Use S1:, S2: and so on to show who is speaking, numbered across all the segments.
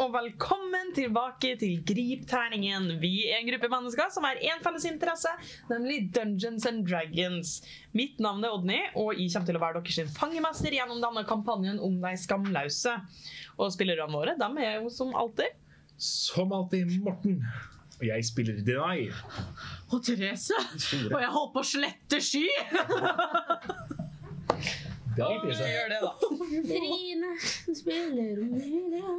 S1: og velkommen tilbake til Gripterningen. Vi er en gruppe mennesker som har én felles interesse, nemlig Dungeons and Dragons. Mitt navn er Odny, og jeg kommer til å være deres sin fangemester gjennom denne kampanjen om de skamløse. Og spillerne våre dem er jo som alltid
S2: Som alltid Morten. Og jeg spiller Denai.
S3: Og Therese! Og jeg holdt på å slette sky!
S2: Det er litt
S1: Vi
S2: irriterende.
S1: gjør det, da.
S4: Trine spiller Omelia.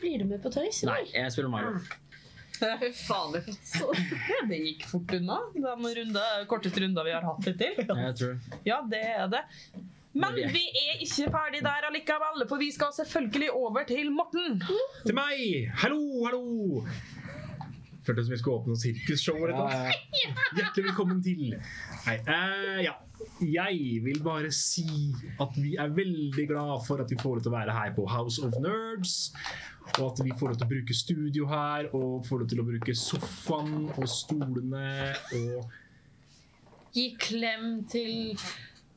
S4: Blir du med på tøys?
S5: Nei, jeg spiller Mario.
S1: Fy fader. Det gikk fort unna, den runde, korteste runda vi har hatt hittil.
S5: Jeg tror.
S1: Ja, det er det. Men vi er ikke ferdig der allikevel, for vi skal selvfølgelig over til Morten.
S2: Til meg! Hallo, hallo! Føltes som vi skulle åpne noe sirkusshow. eller noe. Hjertelig velkommen til. Nei, eh, ja. Jeg vil bare si at vi er veldig glad for at vi får lov til å være her på House of Nerds. Og at vi får lov til å bruke studio her, og får lov til å bruke sofaen og stolene og
S3: Gi klem til,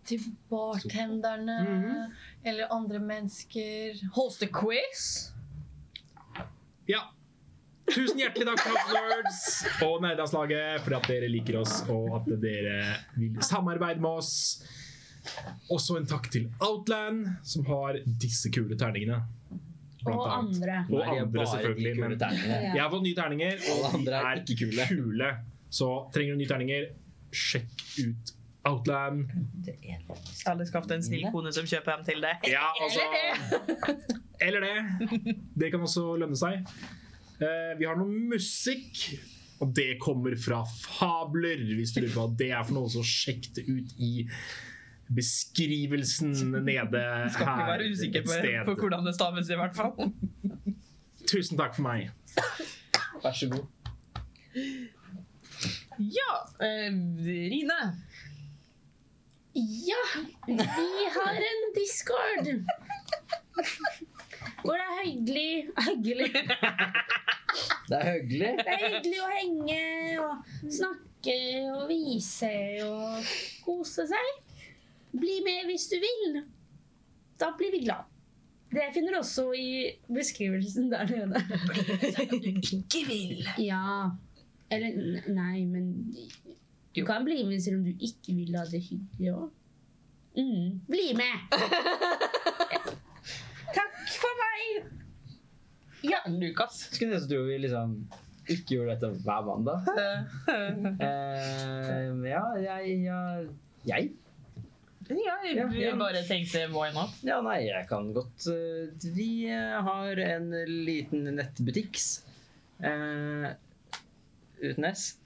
S3: til bartenderne eller andre mennesker. Hoste quiz.
S2: Ja. Tusen hjertelig takk til House Nerds og Nerdelandslaget for at dere liker oss og at dere vil samarbeide med oss. Også en takk til Outland, som har disse kule terningene. Blant
S4: Og
S2: annet.
S4: andre.
S2: Og andre, selvfølgelig. Men
S5: terningene.
S2: jeg har fått nye terninger,
S5: Alle
S2: og de
S5: andre er
S2: er
S5: ikke kule.
S2: kule. Så trenger du nye terninger, sjekk ut Outland.
S1: Alle skal ha en snill kone som kjøper dem til deg.
S2: Ja, altså Eller det. Det kan også lønne seg. Eh, vi har noe musikk, og det kommer fra fabler. Hvis du lurer på hva det er for noe, så sjekk det ut i beskrivelsen nede her.
S1: Skal ikke være usikker
S2: et
S1: på,
S2: sted.
S1: på hvordan det staves, i hvert fall.
S2: Tusen takk for meg.
S5: Vær så god.
S1: Ja, eh, Rine.
S4: Ja, vi har en discord. Hvor det er hyggelig Hyggelig.
S5: Det er hyggelig.
S4: Det er hyggelig å henge og snakke og vise og kose seg. Bli med hvis du vil. Da blir vi glad. Det finner du også i beskrivelsen der nede.
S1: Ikke vil.
S4: Ja. Eller n- nei, men du kan bli med selv om du ikke vil ha det hyggelig òg. Mm, bli med!
S1: Takk for meg. Ja, Lukas.
S5: Skulle nesten tro vi liksom ikke gjorde dette hver mandag.
S1: Eh,
S5: Eh, ja, jeg, ja, jeg?
S1: ja,
S5: Ja,
S1: jeg
S5: ja.
S1: bare tenkte why not?
S5: Ja, nei, jeg kan godt. eh, Vi eh, har en liten nettbutikk. eh, uten S.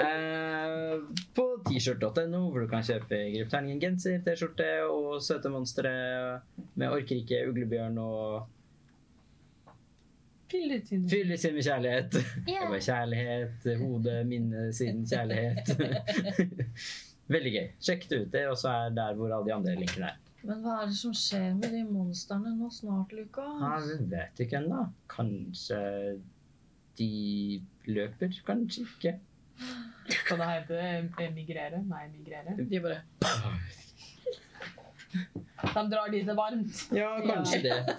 S5: Eh, på t-shirt.no, hvor du kan kjøpe Gripterningen genser, T-skjorte og søte monstre med orkerike, uglebjørn og Fyller sin med kjærlighet. Det var kjærlighet, hode, minne, sinn, kjærlighet. Veldig gøy. Sjekk det ut. Det også er der hvor alle de andre linkene er.
S3: Men hva er det som skjer med de monstrene nå snart,
S1: Ah.
S5: Ja,
S3: Lukas?
S5: Ah, vi vet ikke ennå. Kanskje de løper? Kanskje ikke.
S1: Hva det heter Emigrere? Nei, migrere.
S3: De bare
S1: De drar dit det er varmt.
S5: Ja, kanskje det.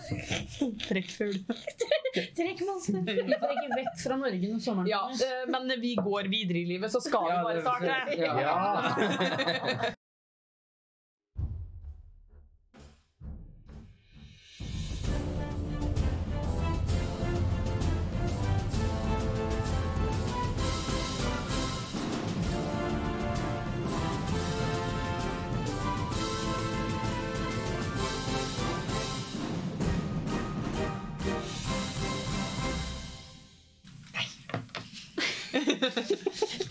S1: Trekkfugl.
S4: Trekk monster. Vi trekker vekk fra Norge når sommeren
S1: Ja, eh, men vi går videre i livet, så skal vi
S5: Ja,
S1: bare
S5: det-
S1: starte.
S5: ja.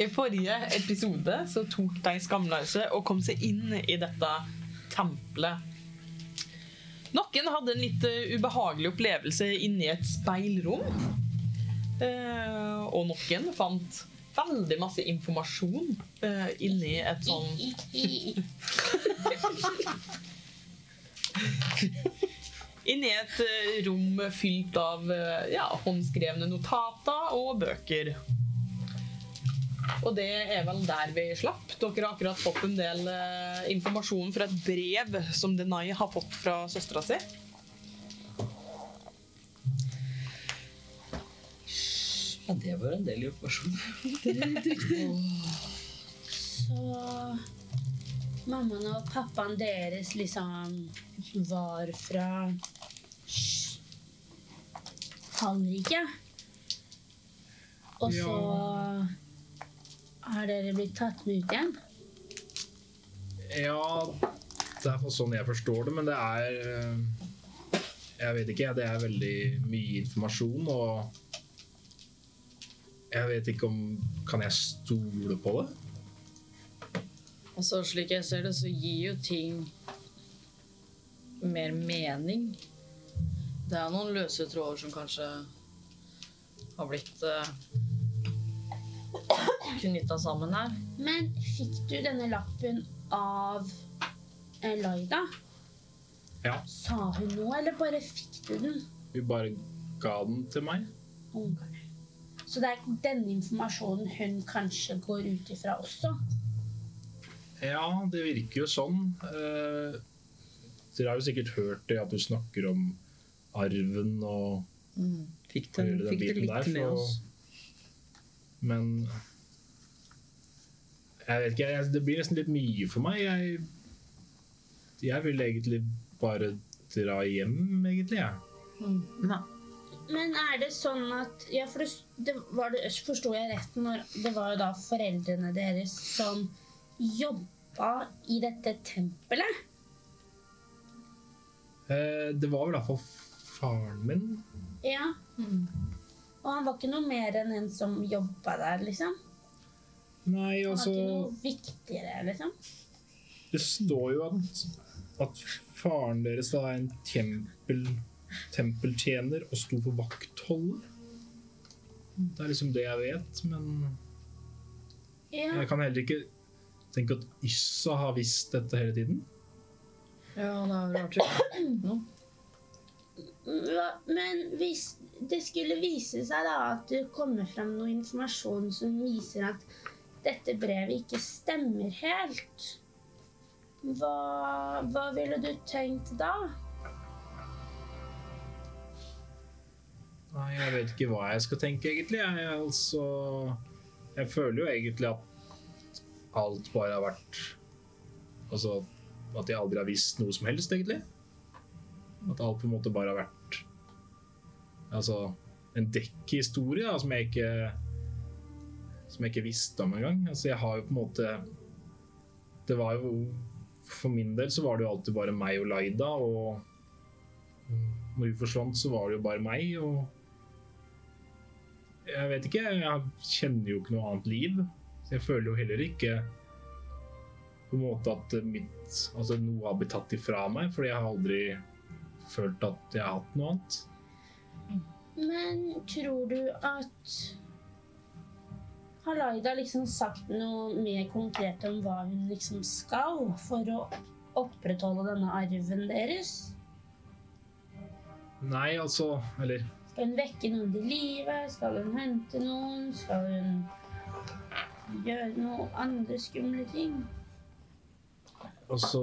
S1: I forrige episode så tok de skamløse og kom seg inn i dette tempelet. Noen hadde en litt eh, ubehagelig opplevelse inni et speilrom. Eh, og noen fant veldig masse informasjon eh, inni et sånn Inni et eh, rom fylt av eh, ja, håndskrevne notater og bøker. Og det er vel der vi slapp. Dere har akkurat fått en del eh, informasjon fra et brev som Denai har fått fra søstera si.
S5: Ja, det var en del informasjon.
S4: Så mammaen og pappaen deres liksom var fra Hallrike. Og så har dere blitt tatt med ut igjen.
S2: Ja, det er for sånn jeg forstår det, men det er eh, Jeg vet ikke, jeg. Det er veldig mye informasjon, og jeg vet ikke om Kan jeg stole på det?
S6: Altså, slik jeg ser det, så gir jo ting mer mening. Det er noen løse tråder som kanskje har blitt uh, knytta sammen her.
S4: Men fikk du denne lappen av eh, Laida?
S2: Ja.
S4: Sa hun noe, eller bare fikk du den?
S2: Hun bare ga den til meg.
S4: Så det er denne informasjonen hun kanskje går ut ifra også.
S2: Ja, det virker jo sånn. Eh, dere har jo sikkert hørt det at du snakker om arven og
S5: Fikk
S2: og
S5: den,
S2: hele den
S5: fikk det
S2: biten
S5: litt
S2: der,
S5: med
S2: så-
S5: oss.
S2: Men jeg vet ikke, jeg, det blir nesten litt mye for meg. Jeg, jeg vil egentlig bare dra hjem, egentlig. Jeg.
S3: Nei.
S4: Men er det sånn at ja, for det, det var det, Forsto jeg rett når det var jo da foreldrene deres som jobba i dette tempelet?
S2: Eh, det var vel i hvert fall faren min.
S4: Ja. Og han var ikke noe mer enn en som jobba der, liksom?
S2: Nei,
S4: Han var
S2: altså
S4: ikke noe viktigere, liksom?
S2: Det står jo at, at faren deres var en tempel, tempeltjener og sto på vaktholdet. Det er liksom det jeg vet, men
S4: Ja.
S2: jeg kan heller ikke tenke at Yssa har visst dette hele tiden.
S6: Ja, det er rart. jo.
S4: Hva- Men hvis det skulle vise seg da at det kommer fram noe informasjon som viser at dette brevet ikke stemmer helt, hva, hva ville du tenkt da?
S2: Nei, jeg vet ikke hva jeg skal tenke, egentlig. Jeg, er altså, jeg føler jo egentlig at alt bare har vært Altså at jeg aldri har visst noe som helst, egentlig. At alt på en måte bare har vært Altså en dekkhistorie da, som jeg ikke Som jeg ikke visste om engang. Altså, jeg har jo på en måte Det var jo For min del så var det jo alltid bare meg og Laida, og når hun forsvant, så var det jo bare meg. Og jeg vet ikke, jeg kjenner jo ikke noe annet liv. Så jeg føler jo heller ikke på en måte at mitt, altså noe har blitt tatt ifra meg, fordi jeg har aldri følt at jeg har hatt noe annet.
S4: Men tror du at Har Laida liksom sagt noe mer konkret om hva hun liksom skal for å opprettholde denne arven deres?
S2: Nei, altså Eller
S4: Skal hun vekke noen til live? Skal hun hente noen? Skal hun gjøre noen andre skumle ting?
S2: altså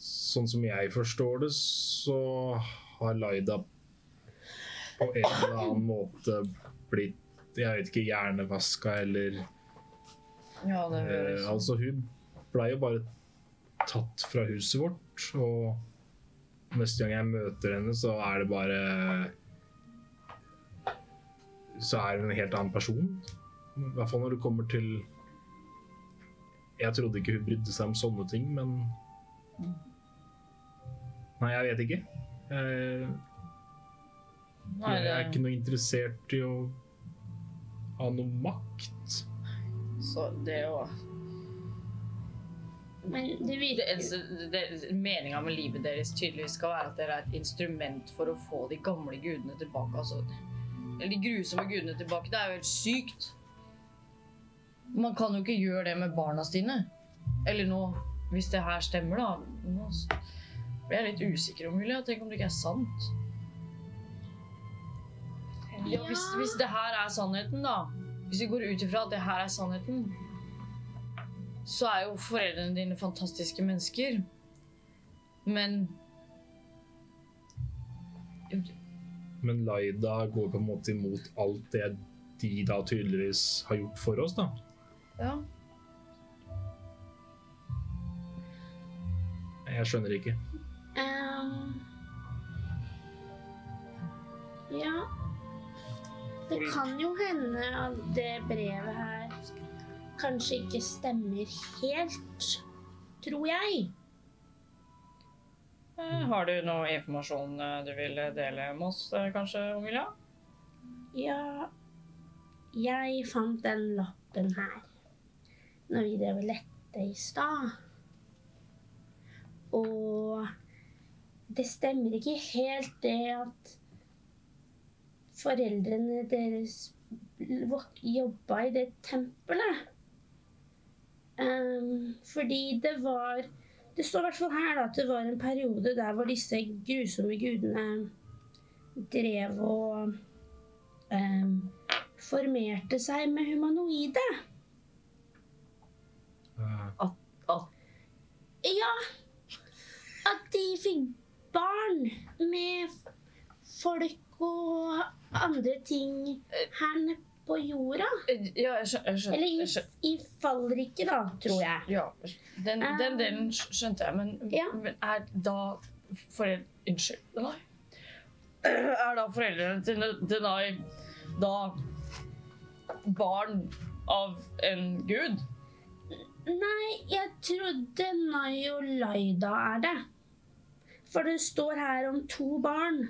S2: Sånn som jeg forstår det, så har Laida på en eller annen måte blitt Jeg vet ikke, hjernevaska eller
S6: Ja, det høres
S2: Eh, altså, hun ble jo bare tatt fra huset vårt, og neste gang jeg møter henne, så er det bare Så er hun en helt annen person. I hvert fall når det kommer til Jeg trodde ikke hun brydde seg om sånne ting, men Nei, jeg vet ikke. Eh,
S6: Nei,
S2: jeg er
S6: det-
S2: ikke noe interessert i å ha noe makt.
S6: Så det å
S4: Men det
S6: det,
S4: virker
S6: eneste- det, Meninga med livet deres tydeligvis skal være at dere er et instrument for å få de gamle gudene tilbake. Altså. Eller de grusomme gudene tilbake. Det er jo helt sykt. Man kan jo ikke gjøre det med barna sine. Eller nå, hvis det her stemmer, da. Nå s- blir jeg litt usikker om Julia. Tenk om det ikke er sant. Ja, hvis, hvis det her er sannheten, da. Hvis vi går ut ifra at det her er sannheten, så er jo foreldrene dine fantastiske mennesker. Men
S2: Men Laida går på en måte imot alt det jeg de da tydeligvis har gjort for oss, da.
S6: Ja.
S2: Jeg skjønner ikke.
S4: Ehm. ja Det kan jo hende at det brevet her kanskje ikke stemmer helt, tror jeg.
S6: Eh, Har du noe informasjon eh, du vil dele med oss, eh, kanskje, Ungila?
S4: Ja Jeg fant den lappen her når vi drev og lette i stad. Og det stemmer ikke helt det at foreldrene deres vok- jobba i det tempelet. Ehm, fordi det var Det står i hvert fall her da, at det var en periode der hvor disse grusomme gudene drev og ehm, formerte seg med humanoide.
S2: Eh,
S4: Ja, at de fikk barn med folk og andre ting her nede på jorda.
S6: Eh, Ja, jeg skjønner. Jeg
S4: Eller i, i fallriket, da, tror jeg.
S6: Ja, den, den
S4: Um,
S6: delen skj- skjønte jeg, men,
S4: ja.
S6: men er da foreldre... Unnskyld, Denai. Er da foreldrene til Ne- Denai da barn av en gud?
S4: Nei, jeg trodde Nayolaida er det. For det står her om to barn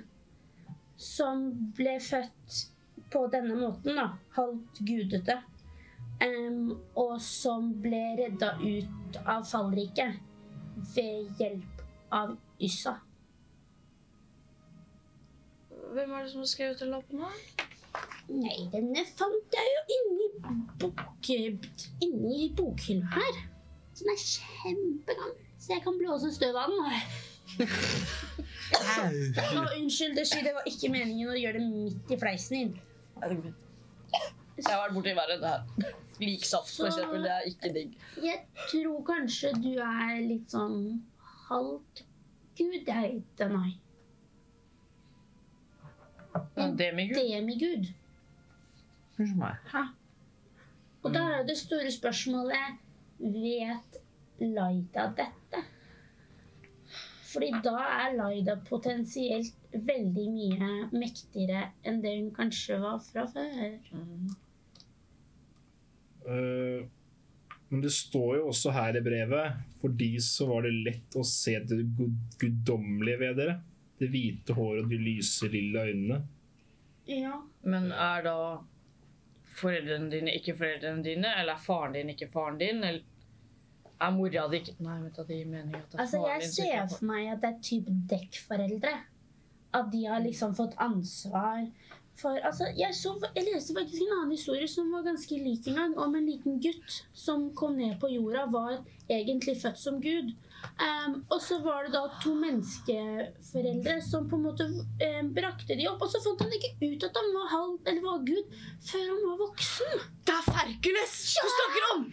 S4: som ble født på denne måten, da. Halvt gudete. Em, og som ble redda ut av fallriket ved hjelp av Yssa.
S6: Hvem er det som har skrevet den lappen her?
S4: Nei, denne fant jeg jo inni, bok, inni bokhylla her. Som er kjempegammel. Så jeg kan blåse støv av den. Å, unnskyld, det, skyld, det var ikke meningen å gjøre det midt i fleisen din.
S6: Jeg har vært borti verre enn det her. Liksaft, for eksempel. Det er ikke digg.
S4: Jeg tror kanskje du er litt sånn halvt gud, jeg, Danai. Mm.
S6: Men Det med gud.
S4: Demigud.
S5: Unnskyld meg.
S4: Og da er jo det store spørsmålet Vet Laida dette? Fordi da er Laida potensielt veldig mye mektigere enn det hun kanskje var fra før.
S2: Eh, Men det står jo også her i brevet For de så var det lett å se det gud guddommelige ved dere. Det hvite håret og de lyse lilla øynene.
S4: Ja.
S6: Men er da foreldrene dine ikke foreldrene dine? Eller er faren din ikke faren din? Eller er mora di ikke Nei, vent, da, det gir mening at det er
S4: Altså,
S6: faren
S4: jeg
S6: din. som ikke
S4: ser
S6: er faren-
S4: for meg at det er type dekkforeldre. At de har liksom fått ansvar for altså, jeg, så, jeg leste faktisk en annen historie som var ganske lik en gang, om en liten gutt som kom ned på jorda, var egentlig født som gud. Ehm, og så var det da to menneskeforeldre som på en måte ehm, brakte de opp. Og så fant han ikke ut at han var halv, eller var gud før han var voksen.
S3: Det er Ferkules du snakker om!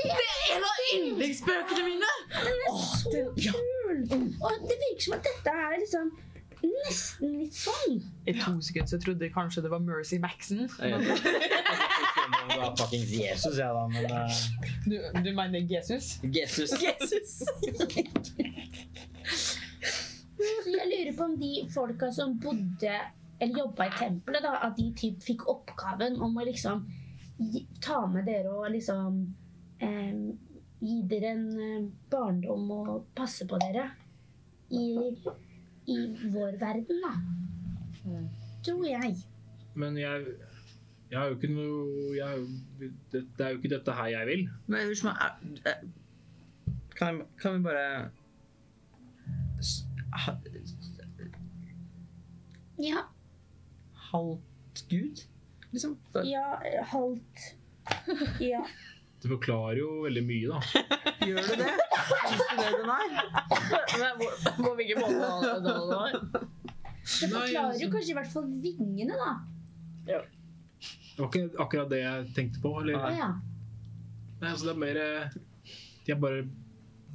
S3: Det er en av yndlingsbøkene mine!
S4: Den er
S3: Åh,
S4: så
S3: den- ja.
S4: kul! Og det virker som at dette er liksom nesten litt sånn.
S1: I to sekunder så trodde jeg kanskje det var Mercy Maxon.
S5: Jeg vet ikke om sånn det var fuckings Jesus, jeg, da, men eh,
S1: Du, du mener Jesus?
S5: Jesus.
S3: Jesus.
S4: Så jeg lurer på om de folka som bodde eller jobba i tempelet, da, at de typ fikk oppgaven om å liksom gi- ta med dere og liksom eh, gi dere en eh, barndom og passe på dere i, i vår verden, da.
S6: Mm.
S4: Tror jeg.
S2: Men jeg jeg har jo ikke noe jeg, har jo- det, det er jo ikke dette her jeg vil.
S5: Men unnskyld meg er- er- kan, jeg- kan vi bare s- ha-
S4: Ja,
S5: Halvt gud? Liksom?
S4: ja halvt Ja.
S2: Det forklarer jo veldig mye, da.
S5: Gjør du det? Syns du det den er?
S6: Nei, hvor- På hvilken måte da- da- da?
S4: Det forklarer jo kanskje i hvert fall vingene, da.
S2: Det var ikke akkurat det jeg tenkte på. Eller?
S4: Å
S2: Nei,
S4: ja.
S2: altså det er mer eh, De har bare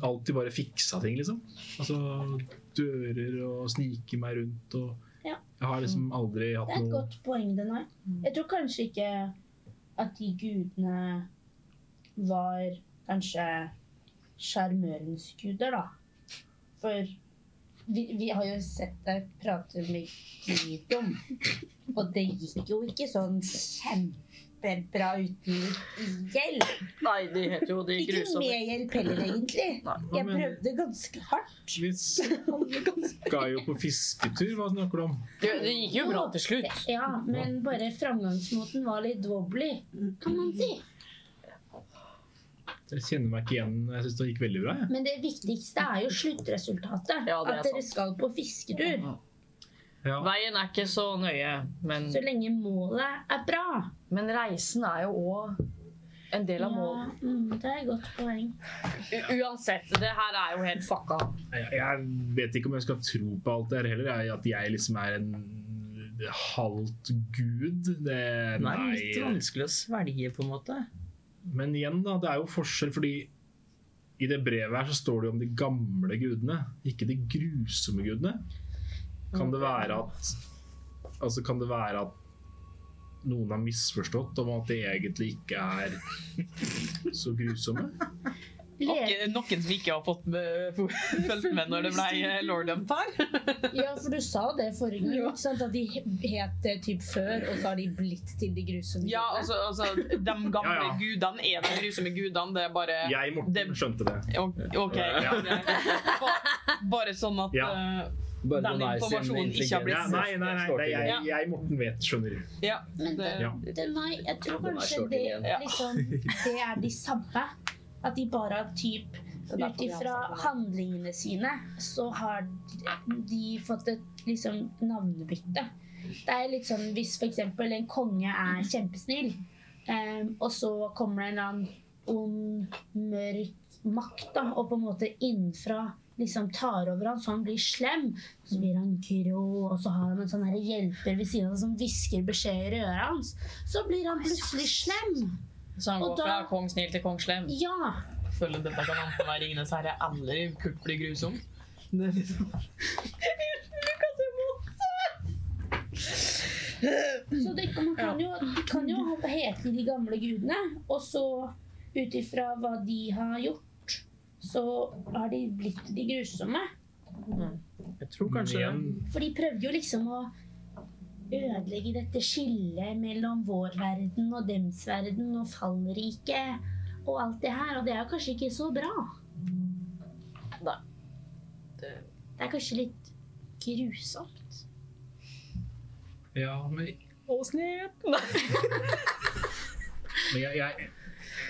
S2: alltid bare fiksa ting, liksom. Altså dører og sniker meg rundt og
S4: Ja.
S2: Jeg har liksom aldri hatt
S4: Det er et
S2: noe
S4: godt poeng, Denai. Jeg tror kanskje ikke at de gudene var kanskje sjarmørens guder, da. For vi, vi har jo sett deg prate med Gidom, og det gikk jo ikke sånn kjempebra uten hjelp.
S6: Nei, de heter jo de
S4: Ikke
S6: grusomme.
S4: med hjelp heller, egentlig. Jeg prøvde ganske hardt.
S2: Vi skal jo på fisketur. Hva snakker du om?
S6: Det, det gikk jo bra til slutt.
S4: Ja, men bare framgangsmåten var litt wobbly, kan man si.
S2: Jeg kjenner meg ikke igjen. Jeg syns det gikk veldig bra. jeg.
S4: Men det viktigste er jo sluttresultatet.
S6: Ja, det er
S4: at dere
S6: sant.
S4: skal på fisketur.
S2: Ja.
S6: Veien er ikke så nøye, men,
S4: Så lenge målet er bra.
S6: men reisen er jo òg en del
S4: Ja,
S6: av målet.
S4: mm, det er et godt poeng.
S6: U uansett, det her er jo helt fucka.
S2: Jeg- Jeg vet ikke om jeg skal tro på alt det her heller. jeg- At jeg liksom er en halvt gud. Det,
S5: Den er litt
S2: nei.
S5: vanskelig å svelge, på en måte.
S2: Men igjen, da. Det er jo forskjell, fordi i det brevet her så står det jo om de gamle gudene, ikke de grusomme gudene. Kan det være at Altså, kan det være at noen har misforstått om at de egentlig ikke er så grusomme?
S4: Le
S1: Noen, eh, noen som ikke har fått med, fulgt med når det ble eh, Lord Dump her.
S4: ja, for du sa det forrige gang, ikke sant? at de he- het det typ før, og så har de blitt til de grusomme.
S1: Ja, altså, altså De gamle
S2: Ja, ja.
S1: gudene er de grusomme gudene. Det er bare
S2: Jeg, Morten,
S1: Det-
S2: skjønte det.
S1: O- OK.
S2: Ja.
S1: Ba- Bare sånn at
S2: Ja.
S1: eh,
S5: Bare
S1: Den
S5: noen er sin
S1: informasjonen ikke har blitt-
S2: Ja,
S5: intelligens.
S2: nei, nei, nei,
S5: Står
S2: det
S5: til
S2: er jeg,
S5: det.
S2: jeg, Morten, vet, skjønner.
S1: Ja.
S4: Men
S1: Det,
S2: Ja.
S4: Det, nei, jeg tror
S5: Den er
S4: kanskje
S5: short
S4: det,
S5: igjen.
S1: Ja.
S4: liksom, det er de samme. At de bare har typ Ut ifra handlingene sine så har de fått et liksom, navnebytte. Det er litt sånn hvis f.eks. en konge er kjempesnill, em, og så kommer det en eller annen ond, mørk makt da, og på en måte innenfra liksom tar over han, så han blir slem. Så blir han grå, og så har han en sånn her hjelper ved siden av seg som hvisker beskjeder i øret hans. Så blir han plutselig slem.
S6: Så han
S4: Og
S6: går
S4: da-
S6: fra kong snill til kong slem.
S4: Ja.
S1: Føler dette kan enten være Ringenes herre eller Kurt blir grusom. Det er liksom
S4: Så det, man kan jo, de kan jo ha- hete de gamle gudene, og så ut ifra hva de har gjort, så har de blitt de grusomme.
S5: Jeg tror kanskje
S2: Men igjen,
S4: For de prøvde jo liksom å ødelegge dette skillet mellom vår verden og dems verden og fallriket og alt det her, og det er jo kanskje ikke så bra.
S6: Nei.
S4: Det
S6: Det-
S4: er kanskje litt grusomt.
S2: Ja, men Men jeg, jeg,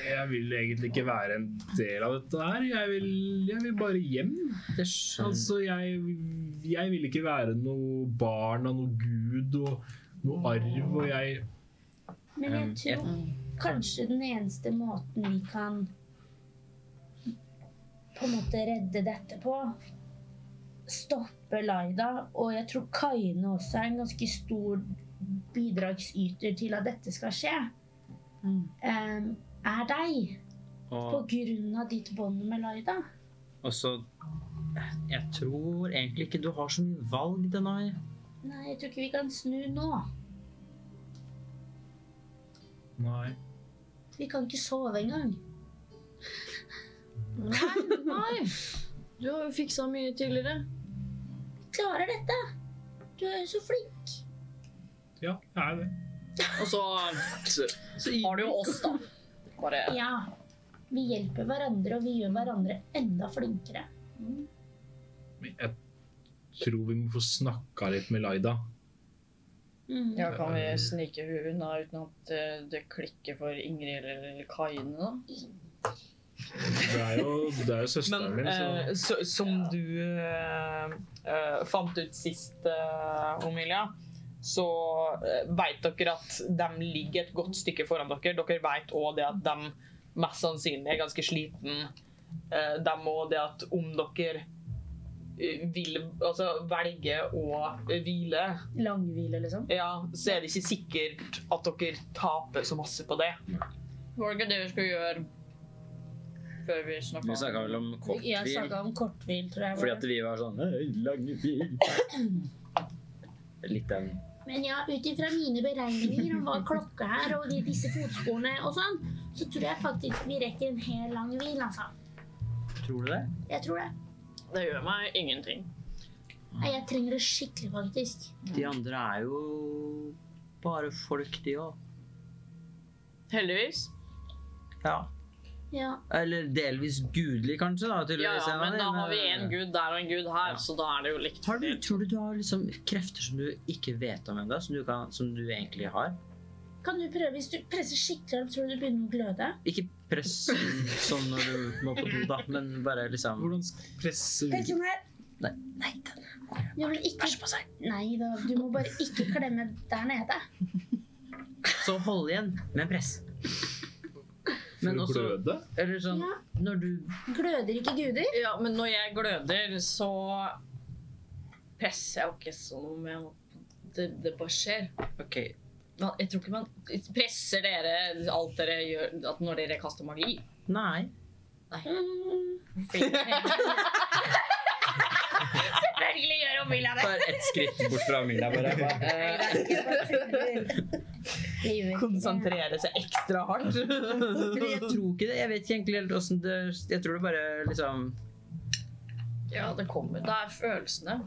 S2: jeg vil egentlig ikke være en del av dette her. Jeg vil, jeg vil bare hjem.
S5: det skjønner
S2: Altså, jeg, jeg vil ikke være noe barn av noe gud og noe arv. Og jeg
S4: Men jeg
S5: Um,
S4: tror
S6: Mm.
S4: kanskje den eneste måten vi kan på en måte redde dette på, stoppe Laida, og jeg tror Kaine også er en ganske stor bidragsyter til at dette skal skje,
S6: Mm.
S4: um, er deg. På
S5: Og,
S4: grunn av ditt bånd med Laida.
S5: og så Jeg tror egentlig ikke du har så mye valg, Denai.
S4: Nei, jeg tror ikke vi kan snu nå.
S2: Nei.
S4: Vi kan ikke sove engang.
S6: Nei, du har jo fiksa mye tidligere.
S4: Vi klarer dette! Du er jo så flink.
S2: Ja, jeg er det.
S6: Og så har du jo oss, da. Bare
S4: Ja. Vi hjelper hverandre, og vi gjør hverandre enda flinkere.
S2: Men jeg tror vi må få snakka litt med Laida.
S4: Mm.
S6: ja, Kan vi snike henne unna uten at eh, det klikker for Ingrid eller Kaine, da?
S2: Det er jo, det er jo søsteren
S1: Men
S2: min,
S1: eh,
S2: så
S1: så, som du eh, eh, fant ut sist, eh, Omilia, så eh, vet dere at de ligger et godt stykke foran dere. Dere vet òg det at de mest sannsynlig er ganske sliten. Eh, de og det at om dere eh, vil altså, velge å hvile,
S4: Langhvile, liksom.
S1: ja, så er det ikke sikkert at dere taper så masse på det.
S6: Var det ikke det vi skulle gjøre før vi snakka?
S5: Vi snakka vel om
S4: Jeg
S5: kortvil.
S4: snakka om korthvil, tror jeg. var
S5: Fordi
S4: det.
S5: at vi var sånn «Hei, Lange fil. Litt den
S4: Men ja, ut ifra mine beregninger om hva klokka er, og de, disse fotsporene og sånn, så tror jeg faktisk vi rekker en hel lang hvil, altså.
S5: Tror du det?
S4: Jeg tror det.
S6: Det gjør meg ingenting.
S4: Nei, jeg trenger det skikkelig, faktisk.
S5: De andre er jo bare folk, de òg.
S6: Heldigvis.
S5: Ja.
S4: Ja.
S5: Eller delvis gudelig, kanskje. da,
S6: Ja,
S5: tydeligvis.
S6: ja,
S5: en av
S6: men
S5: de,
S6: da har vi en gud der og en gud her,
S5: eh, Ja.
S6: så da er det jo likt.
S5: Har du, tror du du har liksom krefter som du ikke vet om ennå, som, du kan- som du egentlig har?
S4: Kan du prøve, hvis du presser skikkelig hardt, tror du du begynner å gløde?
S5: Ikke press sånn når du må på do, da, men bare liksom
S2: Hvordan skal presse
S4: Helt
S2: ut
S4: sånn her.
S5: Nei,
S4: Du må ikke...
S5: Bæsje på seg.
S4: Nei da, du må bare ikke klemme der nede.
S5: Så hold igjen med press.
S2: for
S5: Men
S2: å
S5: også
S2: bløde?
S5: Eller sånn
S4: Ja.
S5: når du
S4: Gløder ikke guder?
S6: Ja, men når jeg gløder, så presser jeg jo ikke sånn. Jeg, det, det bare skjer.
S5: OK.
S6: Man, jeg tror ikke man presser dere alt dere gjør at når dere kaster magi.
S5: Nei.
S4: Mm.
S6: Selvfølgelig gjør om Mila
S5: Bare ett skritt bort fra Mila, bare.
S4: Det
S5: Eh,
S4: gjør ikke det.
S1: Konsentrere seg ekstra hardt.
S5: Eller jeg tror ikke det. Jeg vet ikke egentlig helt åssen det Jeg tror det bare liksom
S6: Ja, det kommer. Det er følelsene.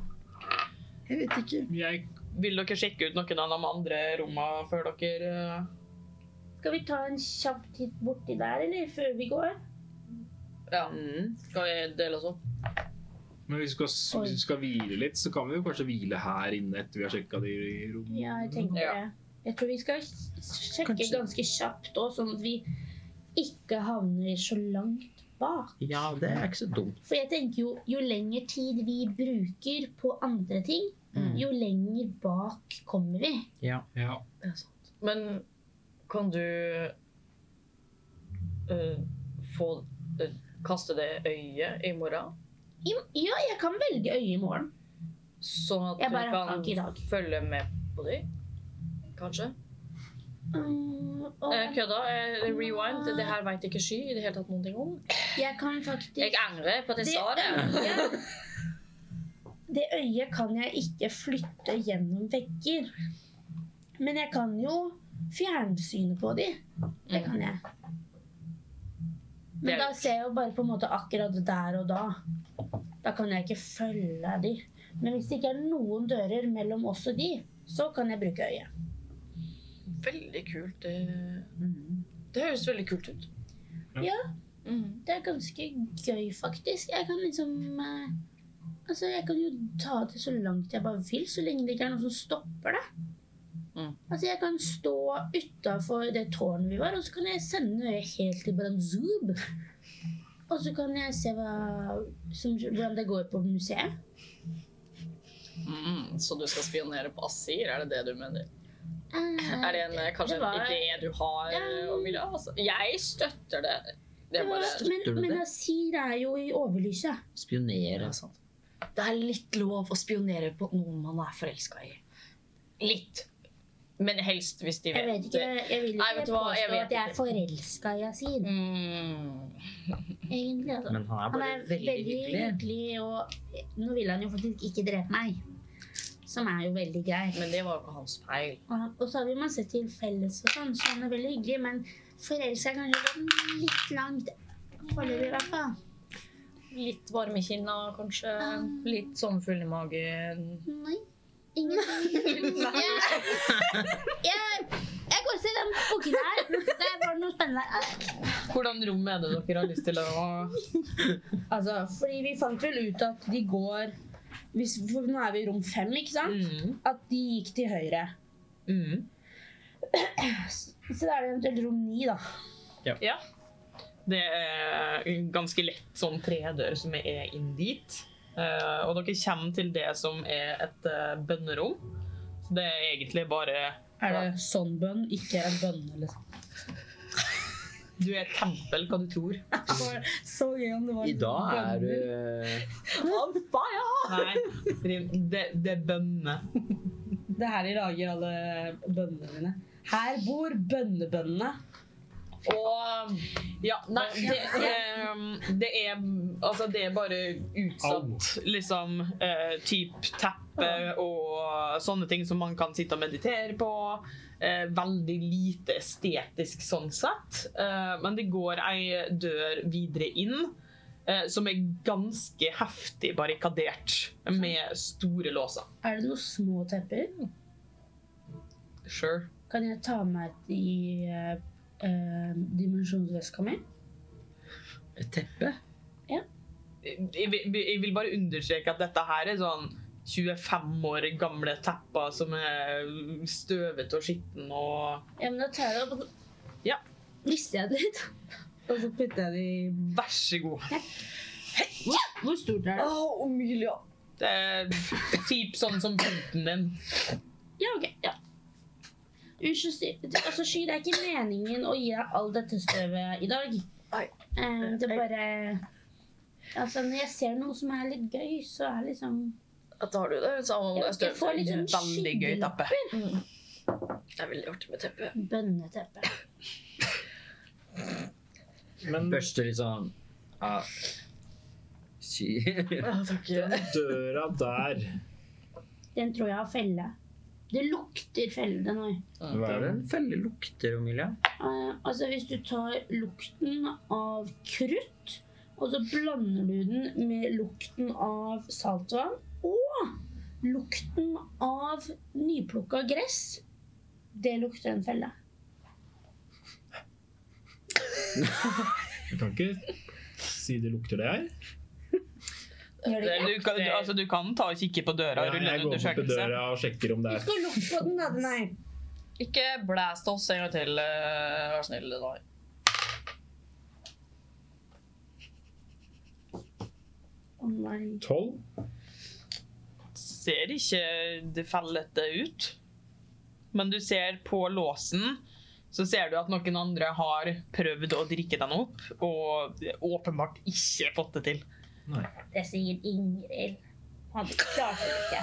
S5: Jeg vet ikke.
S2: Jeg
S1: Vil dere sjekke ut noen av de andre rommene før dere eh,
S4: Skal vi ta en kjapp titt borti der, eller? Før vi går?
S6: Ja,
S5: Mm.
S6: Skal vi dele oss opp?
S2: Men hvis vi, skal, hvis vi skal hvile litt, så kan vi jo kanskje hvile her inne etter vi har sjekka de rommene.
S4: Ja, jeg tenker
S6: Ja.
S4: det. Jeg tror vi skal sjekke
S5: Kanskje-
S4: ganske kjapt òg, sånn at vi ikke havner så langt bak.
S5: Ja, det er ikke så dumt.
S4: For jeg tenker jo, jo lengre tid vi bruker på andre ting,
S6: Mm.
S4: jo lenger bak kommer vi.
S2: Ja.
S6: Men kan du eh, få eh, kaste det øyet i morgen?
S4: Jo- Ja, jeg kan velge øye i morgen.
S6: Sånn at
S4: Jeg
S6: du
S4: bare har tak i
S6: kan
S4: dag.
S6: følge med på dem? Kanskje?
S4: Mm, og
S6: Eh, kødda. eh,
S4: Ah.
S6: rewind. Det her veit ikke Sky i det hele tatt noen ting om.
S4: jeg kan faktisk
S6: Jeg angrer på at jeg
S4: Det-
S6: sa det.
S4: øyet- Det øyet kan jeg ikke flytte gjennom vegger. Men jeg kan jo fjernsynet på de. Det kan jeg. Men da ser jeg jo bare på en måte akkurat der og da. Da kan jeg ikke følge de. Men hvis det ikke er noen dører mellom oss og de, så kan jeg bruke øyet.
S6: Veldig kult. Det, mm. det høres veldig kult ut.
S4: Ja.
S6: Mm.
S4: Det er ganske gøy, faktisk. Jeg kan liksom eh, Altså, jeg kan jo ta det så langt jeg bare vil, så lenge det ikke er noen som stopper det.
S6: Mm.
S4: Altså, jeg kan stå utafor det tårnet vi var, og så kan jeg sende øyet helt til Branzub. Og så kan jeg se hva, som, hvordan det går på museet.
S6: Mm. Så du skal spionere på Asir, er det det du mener?
S4: Eh,
S6: Er det en, eh, kanskje
S4: det var-
S6: en idé du har?
S4: Ja.
S6: eh, Mila? Altså, jeg støtter det. Det
S4: det
S6: er,
S4: var,
S6: bare,
S5: Støtter du
S4: men men
S5: det?
S4: Asir er jo i overlyset.
S5: Spionere og sånt.
S6: det er litt lov å spionere på noen man er forelska i. Litt. Men helst hvis de
S4: Jeg
S6: vet,
S4: vet ikke, jeg vil ikke
S6: Nei, vet du hva,
S4: påstå
S6: jeg vet
S4: at jeg
S6: ikke.
S4: er forelska i Asir.
S6: det. Mm.
S4: Egentlig, altså.
S5: Men han er
S4: Han
S5: bare
S4: er
S5: veldig, hyggelig.
S4: og nå vil han jo faktisk ikke drepe meg. Som er jo veldig greit.
S6: Men det var jo ikke hans feil.
S4: Og, han- og så har vi masse til felles og sånn, så han er veldig hyggelig. Men forelska er kanskje gått litt langt foreløpig, i hvert fall.
S6: Litt varme i kinna, kanskje. Litt sommerfugl i magen.
S4: Nei. Ingenting. Jeg, jeg, jeg går og ser den boken her. Det var noe spennende her.
S1: Hvordan rom er det dere har lyst til å
S4: Altså, fordi vi fant vel ut at de går hvis, for Nå er vi i rom fem, ikke sant?
S1: mm,
S4: At de gikk til høyre.
S1: mm.
S4: Så da er det eventuelt rom ni, da.
S1: Det er en ganske lett sånn tredør som er inn dit. Eh, og dere kommer til det som er et eh, bønnerom. Så det er egentlig bare
S4: Er det sånn bønn, ikke en bønn? Liksom.
S1: Du er et tempel, hva du tror.
S4: Så gøy om det var
S5: I dag er du
S1: Nei, det, det er bønne.
S7: Det er her de lager alle bønnene dine. Her bor bønnebønnene.
S6: Og
S1: Ja, nei, det, eh, det er Altså, det er bare utsatt, liksom. eh, typ teppe og sånne ting som man kan sitte og meditere på. Eh, veldig lite estetisk sånn sett. Eh, men det går ei dør videre inn eh, som er ganske heftig barrikadert med store låser.
S4: Er det noen små tepper?
S1: Sure.
S4: Kan jeg ta med et i uh, eh, dimensjonsveska mi?
S5: Et teppe?
S1: jeg, vil- jeg vil bare understreke at dette her er sånn 25 år gamle tepper som er støvet og skitten og
S4: Ja, men da tar jeg det opp, og så
S1: Ja.
S4: rister jeg det litt.
S8: Og så putter jeg det i
S1: Vær så god.
S4: Hvor stort er det?
S1: Det er typ sånn som foten din.
S4: Ja, ok. Ja. Unnskyld, Sty- altså, Sky, det er ikke meningen å gi deg all dette støvet i dag. Eh, det er bare Altså, når jeg ser noe som er litt gøy, så er liksom
S3: Da tar du det. Samme om det
S4: Jeg,
S3: er
S4: jeg
S3: støv.
S4: får litt sånn
S1: Veldig gøy
S4: skygge-
S1: teppe.
S3: Det er veldig artig med teppe.
S4: Bønneteppe.
S5: Men Børste litt sånn ah. Sky.
S2: Døra der.
S4: Den tror jeg har felle. Det lukter felle, den her.
S5: Det er en veldig lukter, Omilia.
S4: Eh, altså hvis du tar lukten av krutt, og så blander du den med lukten av saltvann og lukten av nyplukka gress, det lukter en felle.
S2: Du kan ikke si det lukter det her.
S4: Gjør det ikke?
S1: Du kan, du, altså, du kan ta og kikke på døra og rulle
S2: jeg
S1: en
S2: går bort til
S1: undersøkelse.
S2: døra og sjekker om det
S4: Du
S2: er
S4: skal lukte på den, da. Den her.
S6: Ikke blæst oss en gang til, eh, vær snill. Da.
S4: Å nei.
S2: tolv.
S1: Ser ikke det fellete ut. Men du ser på låsen, så ser du at noen andre har prøvd å drikke den opp, og åpenbart ikke fått det til.
S4: Det sier Ingrid. Han klarte det ikke.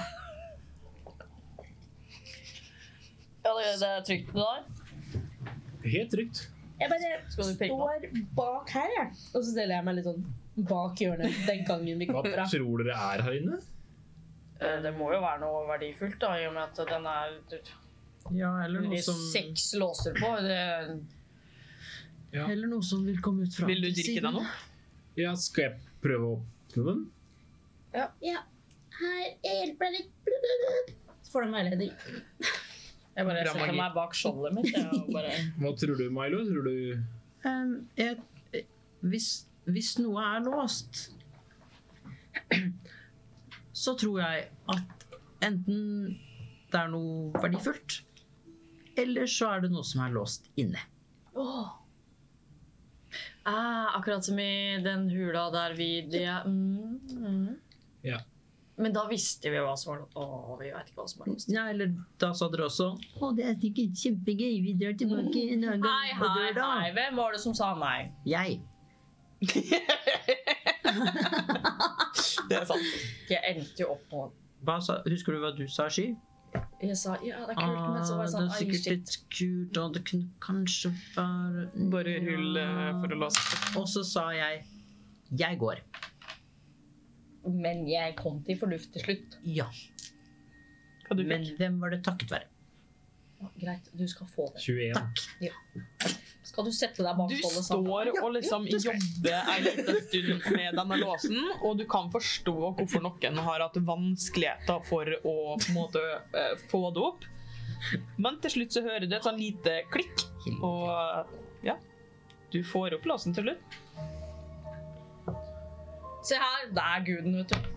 S6: Ja, det, det er trygt det der.
S2: Helt trygt.
S4: Jeg bare
S6: Skal du peke på?
S4: står bak her, jeg.
S8: Og så steller jeg meg litt sånn bak hjørnet den gangen vi
S2: Hva
S8: går fra.
S2: tror dere er her inne?
S6: Eh, Det må jo være noe verdifullt, da, i og med at den er det
S5: Ja, eller
S6: er seks låser på. Det,
S5: Eller noe som vil komme ut fra
S1: Vil du drikke den opp?
S2: Ja, skal jeg prøve å åpne den?
S4: Her, jeg hjelper deg litt. Så får du en veiledning.
S6: jeg bare
S1: Bra
S6: setter
S1: magi.
S6: meg bak skjoldet mitt. Jeg, og bare,
S2: Hva tror du, Milo? Tror du
S5: Ehm, jeg, eh, hvis, hvis noe er låst, så tror jeg at enten det er noe verdifullt, eller så er det noe som er låst inne.
S6: ah, akkurat som i den hula der vi det, mm, mm.
S2: Ja.
S6: Men da visste vi hva som var låst. Å, vi vet ikke hva som er låst.
S5: Ja, eller da sa dere også Å, det er sikkert kjempegøy, vi drar tilbake en annen gang.
S6: Hei,
S5: og
S6: hei,
S5: dør da.»
S6: hei. Hvem var det som sa nei?
S5: Jeg.
S1: Det er sant.
S6: Jeg endte jo opp på
S5: Hva sa, husker du hva du sa, Sky?
S6: Jeg sa ja, det er kult, men så
S5: Ah,
S6: var jeg
S5: det
S6: sånn
S5: er
S6: ai,
S5: sikkert
S6: shit.
S5: litt kult, og det kunne kanskje være
S1: Bare rull eh, for å låse.
S5: Og så sa jeg Jeg går.
S6: Men jeg kom til fornuft til slutt.
S5: Ja.
S1: Hva du fikk?
S5: Men hvem var det takket være?
S6: Ja, Greit, du skal få det.
S2: 21?
S6: Skal du sette deg bak
S1: Du
S6: skjoldet sammen?
S1: står og liksom jobber en liten stund med denne låsen, og du kan forstå hvorfor noen har hatt vanskeligheter for å på en måte eh, få det opp. Men til slutt så hører du et sånn lite klikk, og ja, du får opp låsen til slutt.
S6: Se her, det er guden, vet du.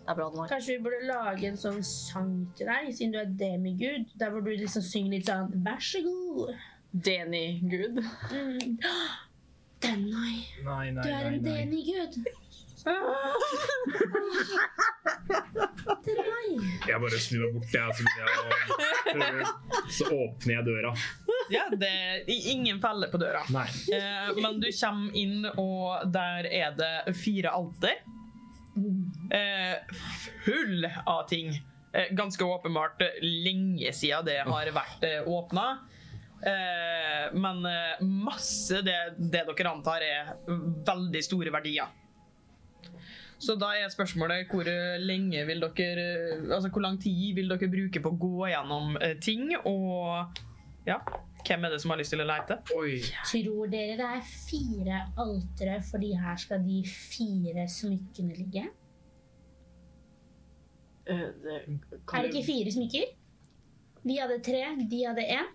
S6: Det er bra den er.
S4: Kanskje vi burde lage en sånn sang til deg, siden du er demigud. Der hvor du liksom synger litt sånn Vær så god.
S6: Deni-gud.
S4: Mm. Denai,
S2: Nei, nei,
S4: du er en denigud. Denai.
S2: Jeg bare snur meg bort, jeg. Så, begynner jeg å- så åpner jeg døra.
S1: Ja, det er ingen felle på døra.
S2: Nei.
S1: Eh, men du kommer inn, og der er det fire alter. Eh, full av ting. Eh, ganske åpenbart eh, lenge siden det har vært eh, åpna. Eh, men eh, masse det, det dere antar er veldig store verdier. Så da er spørsmålet hvor eh, lenge vil dere eh, Altså hvor lang tid vil dere bruke på å gå gjennom eh, ting, og ja, hvem er det som har lyst til å lete?
S2: Oi.
S4: Tror dere det er fire altre, fordi her skal de fire smykkene ligge? Er det ikke fire smykker? Vi hadde tre, de hadde én.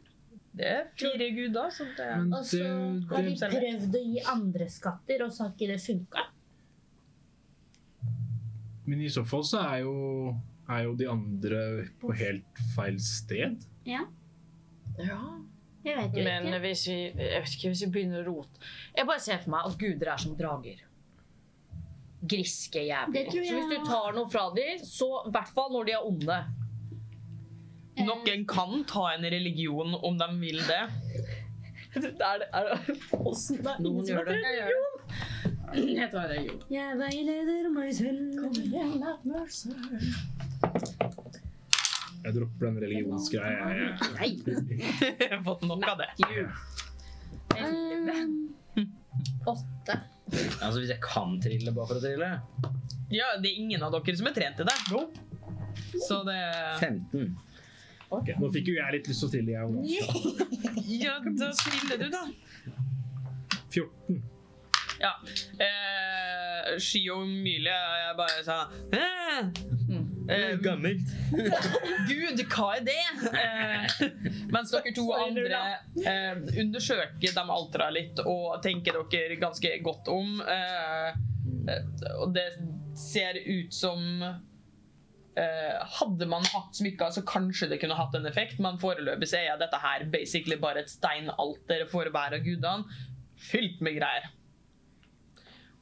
S1: Det er fire guder. Så det er.
S2: Men
S4: Og så
S2: det-
S4: har de
S1: det-
S4: prøvd å gi andre skatter, og så har ikke det funka.
S2: Men i så fall så er jo, er jo de andre på helt feil sted.
S6: Ja.
S4: Jeg vet jo
S6: Men eh,
S4: ikke.
S6: hvis vi, jeg vet ikke, hvis vi begynner å rote Jeg bare ser for meg at guder er som drager. Griske jævler.
S4: Det
S6: Så
S4: tror jeg
S6: hvis du
S4: også.
S6: tar noe fra dem, så i hvert fall når de er onde.
S1: Noen kan ta en religion om de vil det.
S6: Er det, er det, hvordan, det er ingen
S5: Noen
S6: som
S5: gjør det.
S6: har prøvd.
S8: Jeg tar det, jo.
S4: Jeg veileder meg selv.
S2: Jeg dropper den religionsgreia. jeg.
S1: Jeg har fått nok av det.
S4: Um,
S5: Altså, hvis jeg kan trille bare for å trille
S1: Ja, det er ingen av dere som er trent i det. Så det
S5: 15.
S2: Ok, Nå fikk jo jeg litt lyst til å trille, jeg òg.
S1: Ja, da triller du, da.
S2: 14.
S1: Ja. Eh, Sky og Mylie er bare sånn eh, eh,
S5: Gammelt.
S1: Gud, hva er det? Eh, mens dere to andre eh, undersøker de altra litt og tenker dere ganske godt om. Eh, eh, og det ser ut som eh, Hadde man hatt smykker, så kanskje det kunne hatt en effekt, men foreløpig så er dette her basically bare et steinalter for hver av gudene, fylt med greier.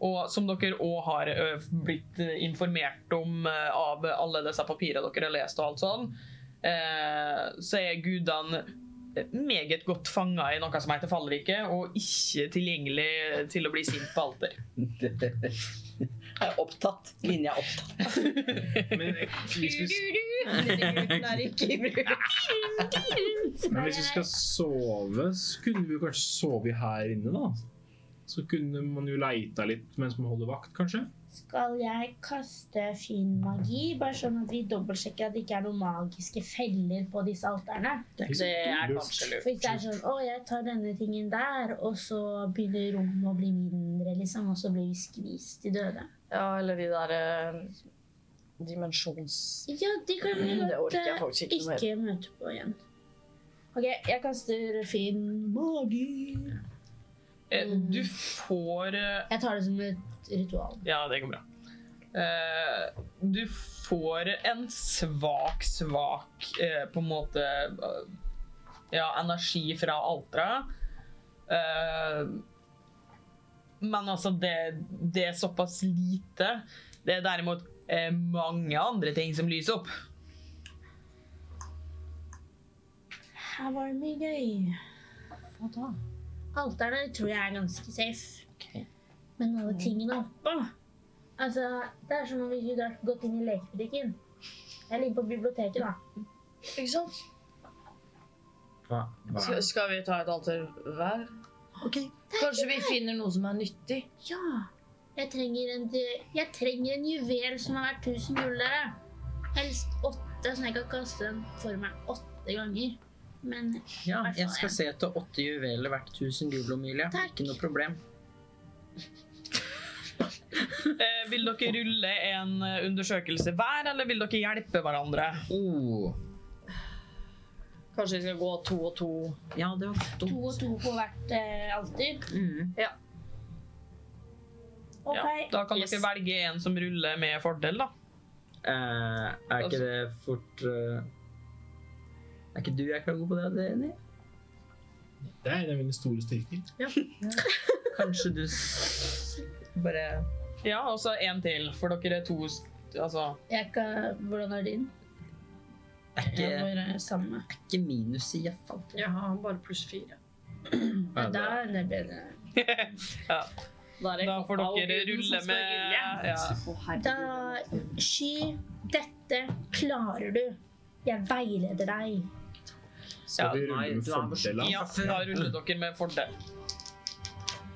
S1: Og som dere òg har ø, blitt ø, informert om ø, av alle disse papirene dere har lest, og alt sånn, eh, så er gudene eh, meget godt fanga i noe som heter fallriket, og ikke tilgjengelig til å bli sint på alter.
S5: Jeg er opptatt. Linja er opptatt.
S2: Men hvis vi,
S6: Den er ikke i bruk.
S2: men hvis vi skal sove, så kunne vi jo kanskje sove her inne, da. Så kunne man jo leita litt mens man holder vakt, kanskje.
S4: skal jeg kaste fin magi, bare sånn at vi dobbeltsjekker at det ikke er noen magiske feller på disse alterne?
S6: Det er kanskje lurt.
S4: For hvis det er sånn, å, jeg tar denne tingen der, og så begynner rommet å bli mindre, liksom, og så blir vi skvist til døde.
S6: Ja, eller de der eh, dimensjons...
S4: Ja, de kan vi
S6: Mm, Det
S4: godt
S6: orker jeg
S4: eh,
S6: faktisk ikke noe mer.
S4: ikke møte på igjen. Ok, jeg kaster fin magi.
S1: Eh, Du får eh, ø,
S4: Jeg tar det som et ritual.
S1: Ja, det går bra. Eh, du får en svak, svak eh, på en måte eh, ja, energi fra Altra. Eh, men altså, det, det er såpass lite. Det er derimot eh, mange andre ting som lyser opp.
S4: Her var det mye gøy. Hva da? Alterne tror jeg er ganske safe. Men alle tingene oppå Altså, det er som om vi skulle ha gått inn i lekebutikken. Jeg ligger på biblioteket, da.
S6: Ikke sant?
S5: Hva?
S6: Skal, skal vi ta et alter hver? Kanskje vi finner noe som er nyttig?
S4: Ja. Jeg trenger en, jeg trenger en juvel som er verdt 1000 gull, dere. Helst åtte, sånn at jeg kan kaste den for meg åtte ganger. Men
S5: Ja, jeg skal se etter åtte juveler hvert 1000 gull, Omilia.
S4: Takk.
S5: Ikke noe problem.
S1: Eh, vil dere rulle en eh, undersøkelse hver, eller vil dere hjelpe hverandre?
S5: Oh.
S6: Kanskje vi skal gå to og to?
S5: Ja, det var
S4: to
S5: dumt.
S4: og to på hvert eh, alter.
S5: Mm.
S4: Ok.
S1: Ja, da kan
S6: Yes.
S1: dere velge en som ruller med fordel, da.
S5: Eh, er ikke det fort eh, Er ikke du jeg kan gå på det, det Jenny?
S2: Det er en av mine store styrker.
S5: Kanskje du s- bare
S1: Ja, og så en til, for dere er to st- Altså
S4: Jeg kan, hvordan er din?
S5: Er ikke,
S4: Jeg bare samme.
S5: ikke minus i iallfall.
S6: Ja, bare pluss fire.
S4: Ja, da er det bedre.
S1: Da får dere rulle med ja.
S4: Da Sky, dette klarer du. Jeg veileder deg.
S2: Skal
S5: Ja,
S2: vi rulle
S5: nei,
S2: med
S5: du er for-
S2: fordel, da?
S1: ja, da ruller dere med fordel.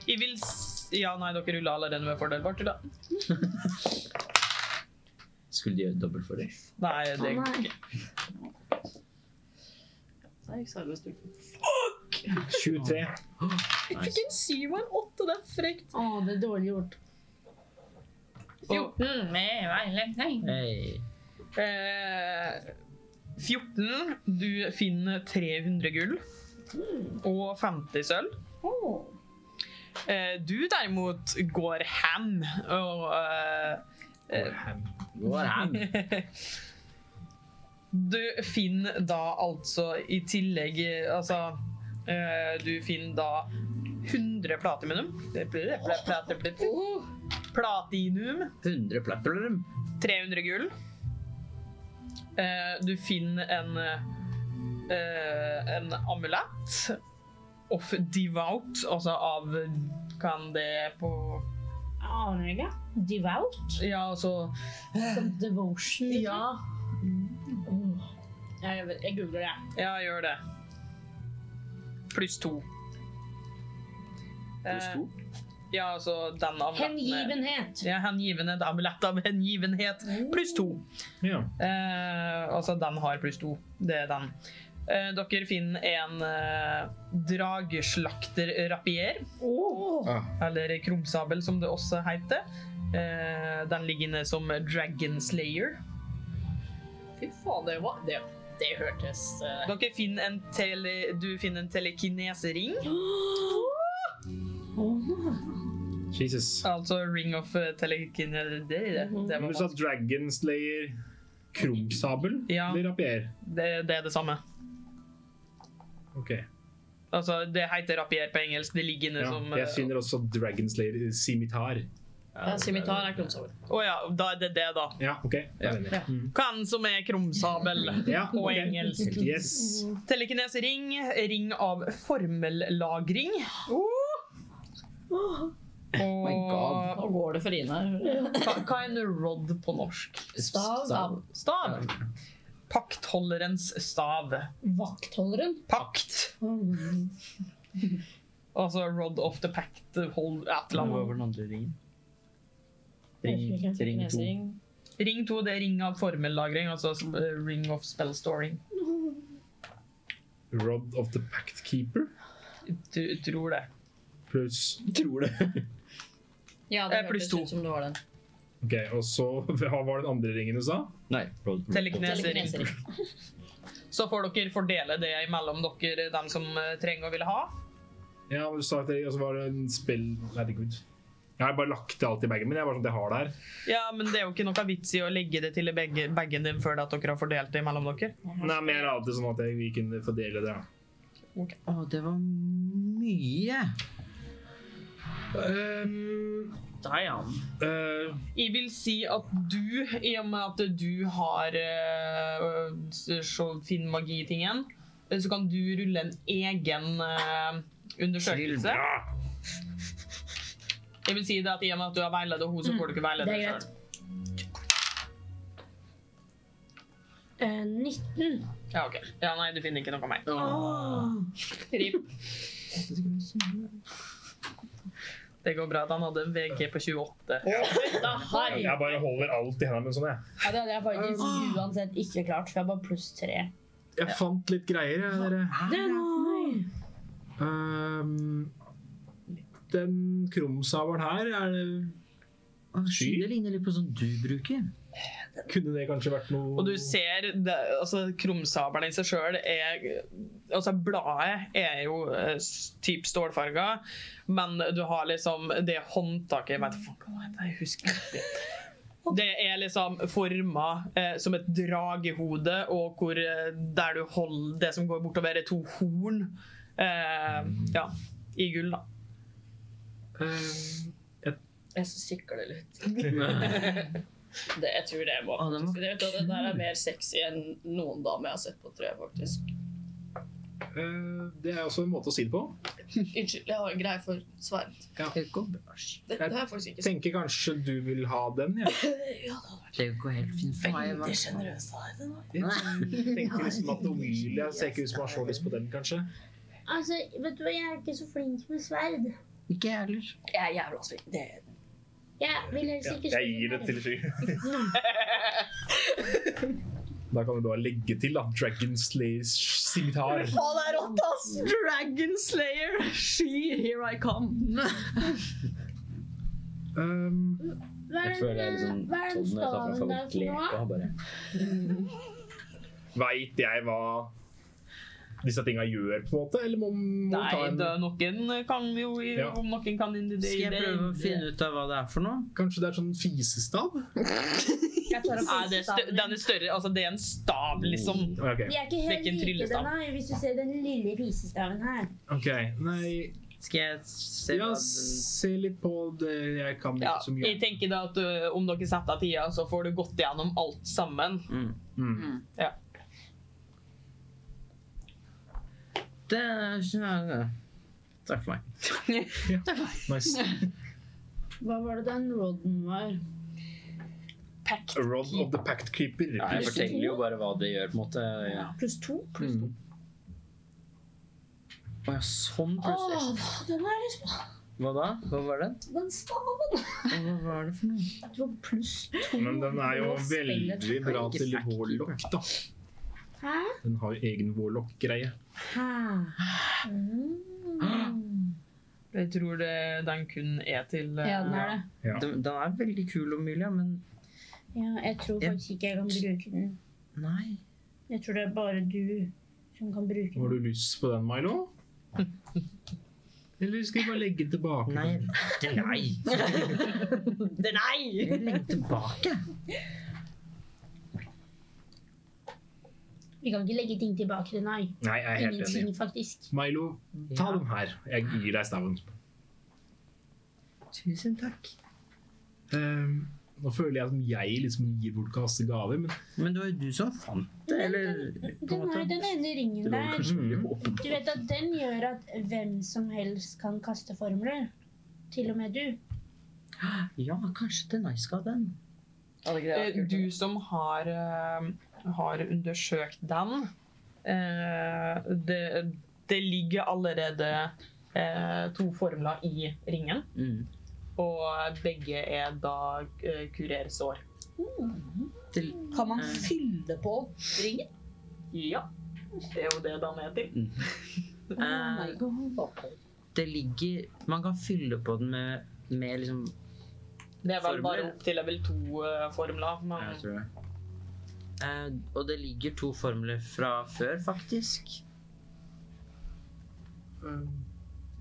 S1: Jeg vil s- Ja, nei, dere rulla allerede med fordel, var det da?
S5: Skulle de gjøre dobbelt for det?
S1: Nei, det går ikke.
S2: 23.
S1: Fikk en syv og en åtte, det er frekt.
S4: Å, det er dårlig gjort.
S6: 14 med veiledning.
S5: Hey.
S1: Eh, 14. Du finner 300 gull og 50 sølv.
S4: Å.
S1: Eh, du derimot går ham og eh,
S5: Går han?
S1: Du finner da altså i tillegg eh, Altså eh, Du finner da 100 platinum. Platinum.
S5: 100 platinum.
S1: 300 gull. Eh, du finner en eh, en amulett of devout, altså av kan det på
S4: Aner ikke. Devout?
S1: Ja, altså
S4: Som devotion?
S1: Ja,
S6: Mm.
S4: Åh. Jeg, vet- jeg googler det.
S1: ja gjør det. Pluss to.
S5: Pluss to.
S1: Eh, ja, altså den amuletten
S4: Hengivenhet.
S1: Ja, hengivenhet. Amulett av hengivenhet. Pluss to.
S2: Ja.
S1: Eh, altså, den har pluss to. Det er den. Eh, dere finner en eh, drageslakterrapier,
S2: Ah,
S1: eller krumsabel som det også heter. Eh, den ligger inne som Dragon Slayer.
S6: Fy faen, det var Det, det hørtes eh,
S1: Dere finner en tele, du finner en telekinesering,
S2: Jesus.
S1: altså Ring of Telekinese... Det, det, det,
S2: Men
S1: var
S2: du sa
S1: vanskelig.
S2: Dragon Slayer, Krumsabel
S1: Ja.
S2: eller Rapier?
S1: det, det er det samme.
S2: Ok.
S1: Altså, det heter rapier på engelsk. Det ligger inne
S2: Ja.
S1: som
S2: Jeg
S1: eh,
S2: finner også Dragon Slayer eh, Scimitar.
S6: ja, Simitar er klumsover.
S1: Å ja, da er det det, da.
S2: Ja, OK. Jeg er enig. Mm.
S1: Hva som er krumsabel
S2: Ja,
S1: på
S2: ok.
S1: engelsk?
S2: Yes.
S1: Telekineses ring, ring av formellagring.
S5: Oh my God.
S1: Og
S6: Nå går det for Ine.
S1: hva hva er en rod på norsk?
S5: Stav.
S1: Stav. Paktholderens stav.
S4: Vaktholderen.
S1: Pakt. Altså rod of the pact hold et eller
S5: Hva
S1: annet.
S5: var den andre ringen?
S4: Jeg husker
S5: Ring,
S4: ikke.
S5: ring to.
S1: Ring to det er ring av formellagring, altså eh, ring of spell storing.
S2: Rod of the Pact Keeper
S1: Du tror det.
S2: pluss Tror det.
S6: Ja, det
S1: Eh, pluss
S6: hørtes
S1: to.
S6: ut som det var den.
S2: OK, og så Hva var den andre ringen du sa?
S5: Nei. roll- roll-
S1: Telekinesering.
S6: Telekinesering.
S1: Så får dere fordele det mellom dere, dem som eh, trenger og vil ha.
S2: Ja, men du sa at det, og så var det en spill Herregud. Jeg har bare lagt det alt i bagen min. Jeg er bare sånn at jeg har det her.
S1: Ja, men det er jo ikke noe vits i å legge det til i begge- bagen din før det at dere har fordelt det mellom dere.
S2: Nei, men jeg la det sånn at jeg, vi kunne fordele det. ja.
S5: Å, det var mye.
S2: Um, eh,
S1: Jeg vil si at du, i og med at du har uh, så fin magi-tingen, eh, så kan du rulle en egen eh, undersøkelse. Jeg vil si det at i og med at du har veiledet henne, så får du ikke veilede
S4: Mm. det er
S1: deg
S4: greit.
S1: selv.
S4: Eh, 19.
S1: Ja, ok. Ja, nei, du finner ikke noe mer. Det går bra at han hadde en VG på 28.
S2: ja, jeg bare holder alt i hendene mine sånn, jeg.
S4: Ja, det hadde jeg faktisk uansett ikke klart, for jeg var pluss 3.
S2: Jeg fant litt greier, jeg, dere.
S4: Det er noe.
S2: Um, den krumsabelen her, er det
S5: Å, sky, Det ligner litt på sånn du bruker.
S2: Kunne det kanskje vært noe
S1: Og du ser, det, altså krumsabelen i seg selv er, altså bladet er jo eh, s- typ stålfarga, men du har liksom det håndtaket, jeg vet ikke hva det er, jeg husker ikke. Det er liksom formet eh, som et dragehode, og hvor, eh, der du holder det som går bortover er to horn, eh, ja, i gull da.
S2: Um,
S6: Jeg sykler det litt. det, jeg tror det var
S5: Å, den var
S6: faktisk Det, vet du, det der er mer sexy enn noen dame jeg har sett på, tror jeg faktisk.
S2: eh, det er også en måte å si det på.
S6: Unnskyld, jeg har en greie for sverd.
S5: Det går bra. sky.
S6: Dette har jeg faktisk ikke
S2: Jeg tenker kanskje du vil ha den, jeg.
S5: Det går helt fint for meg. hva?
S6: sjenerøs av deg.
S2: Jeg tenker liksom at Omelia ser ikke ut som har så lyst på den, kanskje.
S4: Altså, vet du hva, jeg er ikke så flink med sverd.
S5: Ikke jeg heller.
S9: Jeg er jævla svinn.
S4: Jeg vil helst ikke
S2: Jeg gir det til Sky. Da kan du da legge til da, Dragon Slayers simitar.
S3: Faen, det er rått, ass! Dragon Slayer. She, here I come.
S2: Um,
S4: Hva er
S5: Jeg føler jeg er
S4: den,
S5: liksom
S4: hva er den
S5: sånn når
S4: staven der
S5: jeg tar fram
S4: for noe?
S5: favorittleka bare.
S2: Veit jeg hva disse tinga gjør, på en måte? Eller må må vi ta
S1: Nei,
S2: en
S1: det, noen kan jo
S2: Ja.
S1: Om noen kan inn i det
S5: Skal jeg prøve å finne ut av hva det er for noe?
S2: Kanskje det er sånn fisestav?
S8: Jeg klarer å
S1: Nei, det er stø den er større. Altså, det er en stav, liksom.
S2: Ok,
S4: Vi er ikke
S1: Det er ikke
S4: helt
S1: en
S4: like
S1: tryllestav.
S4: den her, hvis du ser den lille visestaven her.
S2: ok. Nei,
S5: Skal jeg se hva
S2: ja,
S5: den...
S2: se litt på det jeg kan
S1: Ja,
S2: ikke så mye.
S1: jeg tenker da at ø, om dere setter av tida, så får du gått gjennom alt sammen.
S5: Mm.
S2: Mm.
S5: Det er ikke- Takk for meg.
S2: Nice.
S3: Hva var det den rodden var?
S1: Pact.
S2: Rod of the Pact Keeper.
S5: Ja, jeg forteller jo bare hva det gjør, på en måte. Ja.
S3: Pluss to?
S5: Mm. Å ja, sånn plutselig.
S3: den har jeg lyst på.
S5: Hva da? Hva var den?
S3: Den staven.
S5: Og Hva var det for noe?
S3: Det var pluss to.
S2: Men den er jo
S3: Og spillet
S2: veldig bra
S5: ikke
S2: til
S5: Pact
S2: warlock, da.
S3: Hæ?
S2: Den har jo egen warlock-greie.
S3: Hæ? Mm.
S1: Jeg tror det, den kun er til øh, ø,
S3: Ja, den er det.
S2: Ja.
S5: Den, den er veldig kul og mulig, ja, men
S4: Ja, jeg tror
S5: Ja.
S4: faktisk ikke jeg kan bruke den.
S5: nei.
S4: Jeg tror det er bare du som kan bruke den.
S2: Har du lyst på den, Milo? Eller skal vi bare legge den tilbake?
S5: Nei. Det nei.
S3: Det nei!
S5: Legg tilbake.
S4: Vi kan ikke legge ting tilbake til nei.
S2: Nei, jeg er helt enig.
S4: Ingenting, faktisk.
S2: Milo, ta
S5: Ja.
S2: den her. Jeg gir deg staven.
S5: Tusen takk.
S2: Ehm, nå føler jeg som jeg liksom gir bort kasse gaver, men
S5: Men det var jo du som fant det, eller på
S4: Den,
S5: en
S4: her,
S5: måte.
S4: den ene ringen
S5: Det Mm. var
S4: der,
S5: kanskje veldig
S4: du vet at den gjør at hvem som helst kan kaste formler. Til og med du.
S5: Ja, kanskje det er nice skal ha den.
S1: Eh, Du som har, eh, har undersøkt den, eh, det, det ligger allerede eh, to formler i ringen.
S5: Mm.
S1: Og begge er da eh, kurersår.
S5: Til,
S8: Kan man fylle på ringen?
S1: Ja, det er jo det den er til.
S2: Mm.
S5: eh, det ligger Man kan fylle på den med, med liksom
S1: Det er vel bare
S5: Formler?
S1: opp til level 2-formler.
S5: Ja,
S1: Men
S5: jeg tror det. Eh, og det ligger to formler fra før, faktisk.
S2: ehm,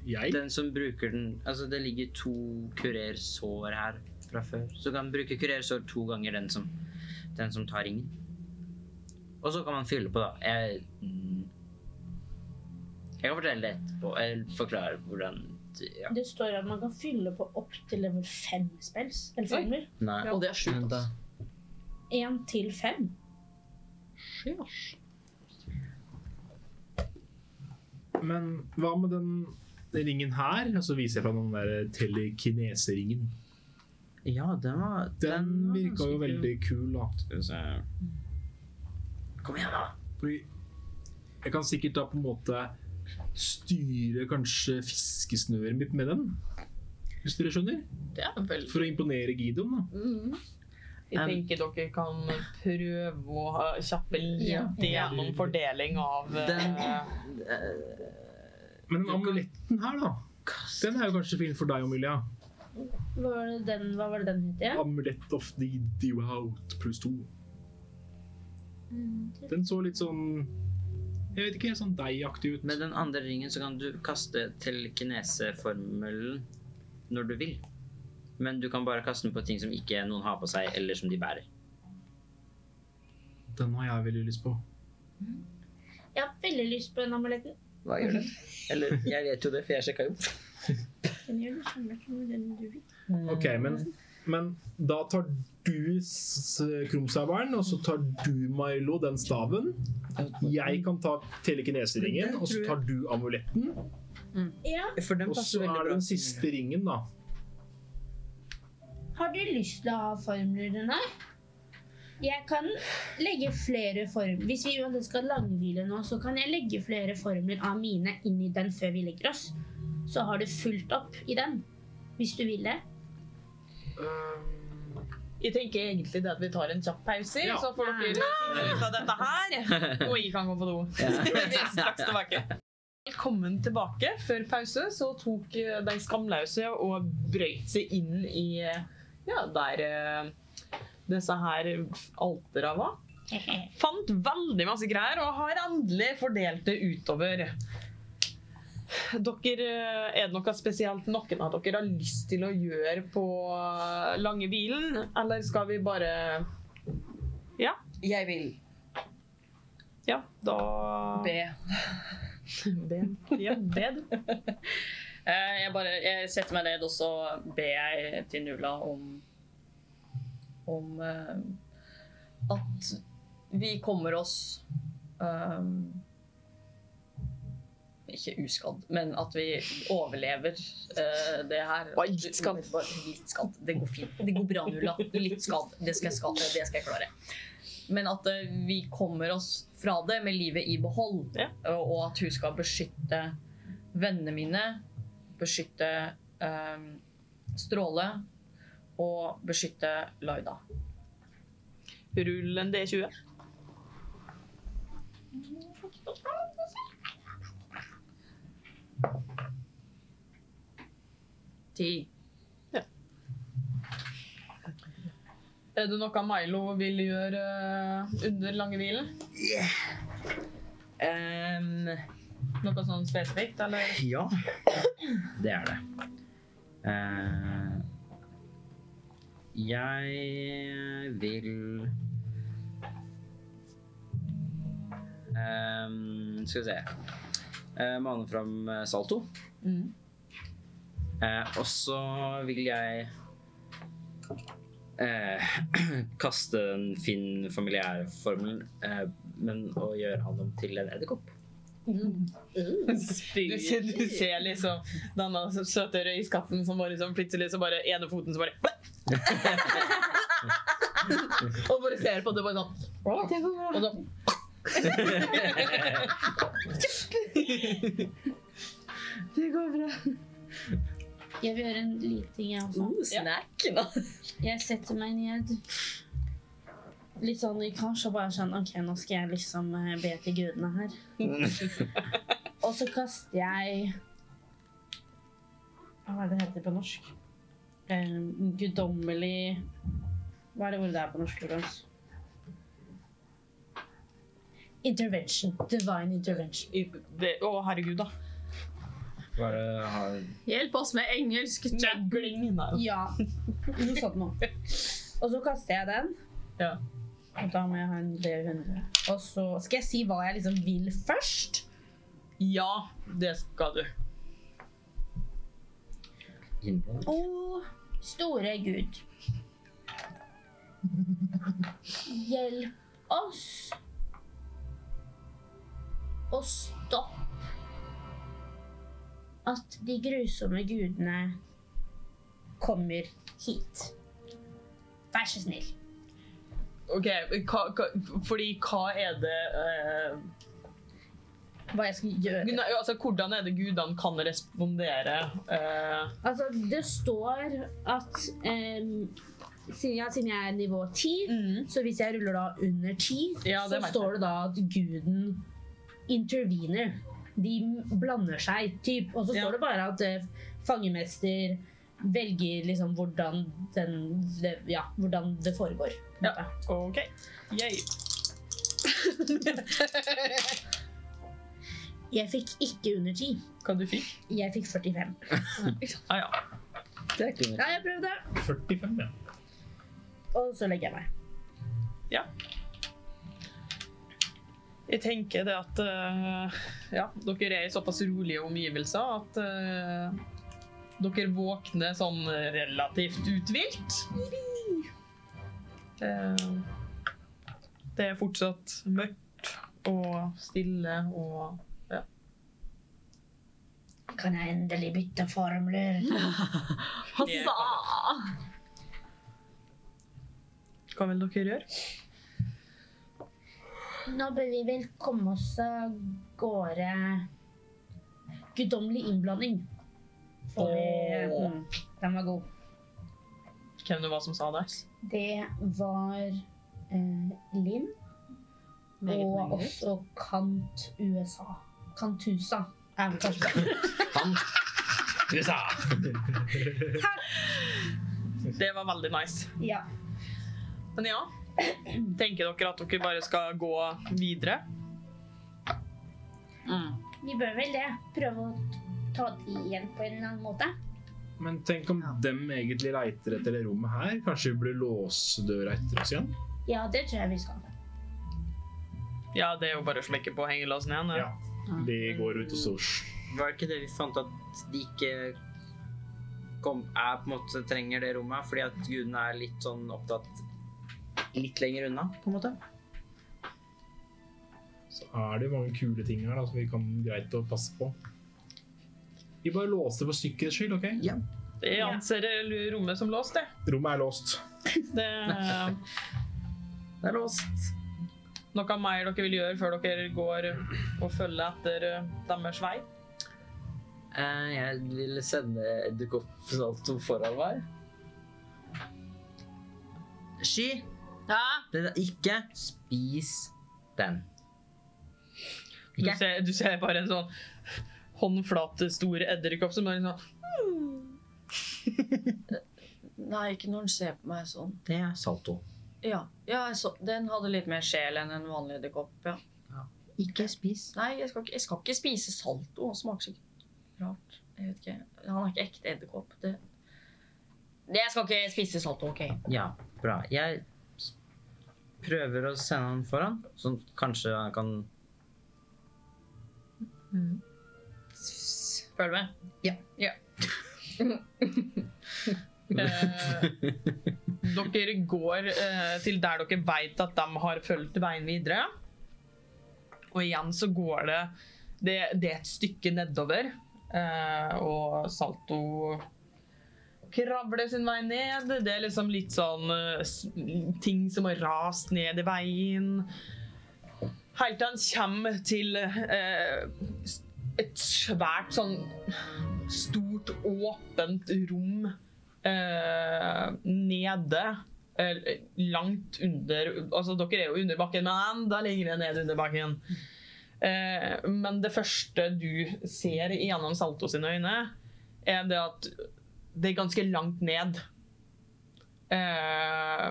S2: jeg?
S5: Den som bruker den Altså, det ligger to kurersår her fra før. Så kan man bruke kurersår to ganger den som, den som tar ringen. Og så kan man fylle på, da. Jeg, mm, jeg kan fortelle det etterpå. Eller forklare hvordan Ja.
S4: Det står at man kan fylle på opp til level 5 spells. Eller
S1: Oi.
S4: formler.
S5: Nei.
S6: Og det er sjukt.
S5: Vent, da.
S4: 1 til 5.
S2: Men hva med den ringen her? Og så viser jeg fra den der telekineseringen.
S5: Ja, den var
S2: Den
S5: var
S2: virka jo
S5: ganske kul.
S2: veldig kul, da.
S5: Skal vi se Kom igjen, da.
S2: Fordi jeg kan sikkert da på en måte styre kanskje fiskesnøret mitt med den. Hvis dere skjønner?
S6: Det er veldig
S2: For å imponere Gideon, da.
S1: jeg
S5: Um.
S1: tenker dere kan prøve å ha- kjappe litt
S6: Ja.
S1: gjennom fordeling av eh,
S5: Den-
S2: Men den amuletten her, da. Den er jo kanskje fin for deg, Amelia.
S4: Hva var det den, hva var det den het igjen?
S2: Amulett of the Dewout pluss to. Den så litt sånn Jeg vet ikke, sånn deigaktig ut.
S5: Med den andre ringen så kan du kaste telekineseformelen når du vil. Men du kan bare kaste den på ting som ikke noen har på seg, eller som de bærer.
S2: Den har jeg veldig lyst på.
S4: Jeg har veldig lyst på den amuletten.
S5: Hva gjør den? Eller, jeg vet jo det, for jeg sjekka jo.
S4: Den gjør det samme som den du vil.
S2: OK, men,
S5: Mm.
S2: men da tar du s- krumsabelen, og så tar du, Milo, den staven. Jeg kan ta telekineseringen, og så tar du amuletten.
S4: Ja,
S5: For den
S2: Og så
S5: passer veldig
S2: er det
S5: bra.
S2: den siste ringen, da.
S4: har du lyst til å ha formler den her? Jeg kan legge flere formler. Hvis vi uansett skal langhvile nå, så kan jeg legge flere formler av mine inn i den før vi legger oss. så har du fulgt opp i den. Hvis du vil det.
S1: Jeg tenker egentlig det at vi tar en kjapp pause,
S2: Ja.
S1: så får dere finne ut av dette her. Og jeg kan gå på do. Vi er straks tilbake. Velkommen tilbake. Før pause så tok eh, de skamløse og brøyt seg inn i eh, ja, der eh, disse her altera var. Fant veldig masse greier og har endelig fordelt det utover. Dere, eh, er det noe spesielt noen av dere har lyst til å gjøre på eh, lange bilen, eller skal vi bare
S6: Jeg vil
S1: Ja, da
S6: be.
S1: Be. Ja, be du.
S6: Eh, Jeg, bare, jeg setter meg ned, og så ber jeg til Nula om om eh, at vi kommer oss eh, ikke uskadd, men at vi overlever eh, det her.
S1: Bare litt skadd.
S6: Bare litt skadd. Det går fint. Det går bra, Nula. Litt skadd. Det skal jeg, skade. Det skal jeg klare. Men at eh, vi kommer oss fra det med livet i behold,
S1: Ja.
S6: og og at hun skal beskytte vennene mine, beskytte eh, Stråle og beskytte Laida.
S1: Rull en D20.
S6: Ti.
S1: Er det noe Milo vil gjøre eh, under lange hvilen?
S5: Ehm,
S1: Noe sånn spesifikt, eller?
S5: ja, det er det. Eh, jeg vil Ehm, Skal vi se Eh, Mane fram eh, salto. Eh, og så vil jeg eh, kaste den fin familiære formelen, eh, men å gjøre han om til en edderkopp.
S1: Du ser, du ser liksom denne søte røyskatten som bare liksom, plutselig så bare ene foten så bare Og bare ser på det bare sånn Og så
S4: Jeg vil gjøre en liten ting, jeg også.
S6: snack!
S4: Jeg setter meg ned litt sånn i kors og bare sånn OK, nå skal jeg liksom eh, be til gudene her. og så kaster jeg Hva er det det heter på norsk? Eh, guddommelig Hva er det ordet det er på norsk? Lorentz? Intervention. Divine intervention.
S1: i- det- Å, herregud, da.
S5: Hva er det har
S6: Hjelp oss med engelsk!
S1: Juggling. Nei.
S4: Ja. Noe sånt noe. Og så kaster jeg den.
S1: Ja.
S4: Og da må jeg ha en D100. Og så skal jeg si hva jeg liksom vil først.
S1: Ja, det skal du.
S5: innblandet?
S4: Å, store Gud. Hjelp oss å stoppe at de grusomme gudene kommer hit. Vær så snill.
S1: OK, hva, hva, fordi hva er det eh,
S4: Hva jeg skal gjøre.
S1: Nei, altså, hvordan er det gudene kan respondere? eh,
S4: Altså, det står at em, siden, ja, siden jeg er nivå 10,
S1: Mm.
S4: så hvis jeg ruller da under 10,
S1: Ja, det merker
S4: så
S1: jeg.
S4: står det da at guden intervener. De blander seg, typ. Og så
S1: Ja.
S4: står det bare at eh, fangemester velger liksom hvordan, den, det, ja, hvordan det foregår. på en
S1: Ja.
S4: måte.
S1: OK. Yay.
S4: Jeg fikk ikke under 10.
S1: Hva du fikk?
S4: Jeg fikk 45.
S1: Ah, ja.
S5: Det er ikke
S4: Ja, jeg prøvde.
S2: 45, ja.
S4: Og så legger jeg meg.
S1: Jeg tenker det at eh, ja, dere er i såpass rolige omgivelser at eh, dere våkner sånn relativt uthvilt. Eh, det er fortsatt mørkt og stille og
S4: Kan jeg endelig bytte formler?
S1: Hva vil dere gjøre?
S4: Nå bør vi vel komme oss av gårde guddommelig innblanding. Og det,
S1: Åh.
S4: mm, den var god.
S1: Hvem det var som sa det?
S4: Det var eh, Linn og også Kant USA. Kantusa. Er vel kanskje.
S5: Han USA!
S1: Det var veldig nice.
S4: Ja.
S1: Men ja, tenker dere at dere bare skal gå videre?
S4: Vi bør vel det. Prøve å ta de igjen på en eller annen måte.
S2: Men tenk om dem egentlig leiter etter det rommet her. Kanskje vi burde låse døra etter oss igjen?
S4: Ja, det tror jeg vi skal.
S1: Ja, det er jo bare å slekke på hengelåsen igjen. Ja.
S2: Ja. Vi går ut og så
S5: Var det ikke det vi fant at de ikke kom, er, på en måte trenger det rommet? Fordi at gudene er litt sånn opptatt litt lenger unna, på en måte?
S2: Så er det jo mange kule ting her da, som vi kan greit å passe på. Vi bare låser for sikkerhets skyld, OK?
S5: Ja.
S1: Jeg anser rommet som låst, det.
S2: Rommet er låst.
S1: det er
S5: Det er låst.
S1: noe mer dere vil gjøre før dere går og følger etter eh, deres vei?
S5: Eh, jeg vil sende Edderkoppsalto foran meg. Sky, det der, ikke spis den.
S1: Du
S5: Ikke?
S1: ser, du ser bare en sånn håndflat, stor edderkopp som er litt sånn
S6: Nei, ikke når den ser på meg sånn.
S5: Det er salto.
S6: Ja, ja jeg så, Den hadde litt mer sjel enn en vanlig edderkopp. Ja.
S5: Ikke spis.
S6: Nei, jeg skal, ikke, jeg skal ikke spise salto. Han smaker sikkert rart. Jeg vet ikke. Han er ikke ekte edderkopp. Det... Jeg skal ikke spise salto, OK?
S5: Ja, bra. Jeg s- prøver å sende han foran, så kanskje han kan
S6: Følg med.
S1: eh, Dere går eh, til der dere vet at de har fulgt veien videre. Og igjen så går det Det, det er et stykke nedover. Eh, og Salto kravler sin vei ned. Det er liksom litt sånn eh, s- ting som har rast ned i veien. Helt til han kommer til eh, s- et svært sånn stort, åpent rom eh, nede eh, langt under Altså, dere er jo under bakken, men enda lenger ned under bakken. Eh, men det første du ser gjennom Salto sine øyne, er det at det er ganske langt ned. Eh,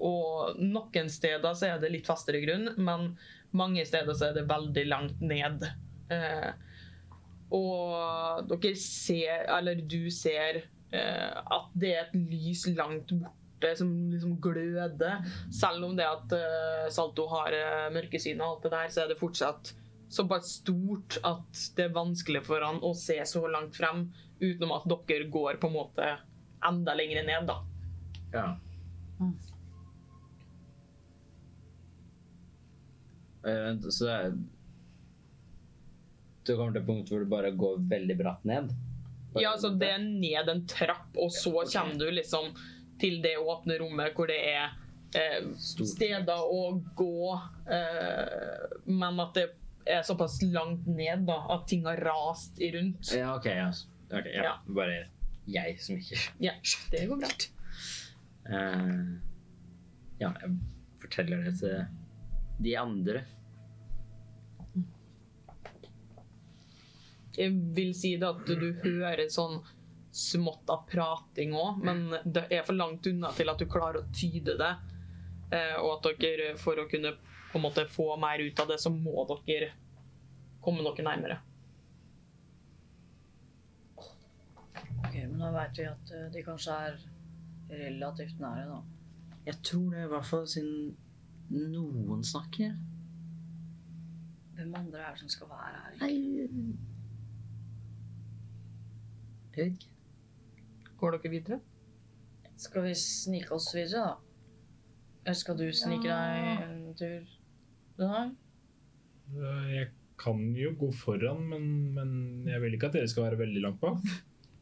S1: og noen steder så er det litt fastere grunn, men mange steder så er det veldig langt ned. Eh, og dere ser, eller du ser, eh, at det er et lys langt borte som liksom gløder. Selv om det at eh, Salto har eh, mørkesyn og alt det der, så er det fortsatt såpass stort at det er vanskelig for han å se så langt frem, utenom at dere går på en måte enda lenger ned, da.
S5: Ja. Vent, så det er Du kommer til et punkt hvor du bare går veldig bratt ned? Bare
S1: Ja, altså
S5: ned.
S1: det er ned en trapp, og så kommer du liksom til det åpne rommet hvor det er eh,
S5: Stort.
S1: steder å gå, eh, men at det er såpass langt ned da, at ting har rast i rundt.
S5: Ja, OK. Ja. s- ok, ja.
S1: Ja.
S5: Bare jeg som ikke
S1: Ja, det går bra.
S5: Eh, Ja, jeg forteller det til de andre.
S1: Jeg vil si det at du hører sånn smått av prating òg, men det er for langt unna til at du klarer å tyde det. Eh, og at dere, for å kunne på en måte få mer ut av det, så må dere komme dere nærmere.
S6: Ok, Men da veit vi at eh, de kanskje er relativt nære, da.
S5: Jeg tror det, i hvert fall siden noen snakker.
S6: Hvem andre er det som skal være her?
S5: Nei Jeg vet ikke.
S1: Går dere videre?
S6: Skal vi snike oss videre, da? Eller skal du snike deg en tur? Nei?
S2: Eh, Jeg kan jo gå foran, men, men jeg vil ikke at dere skal være veldig langt bak.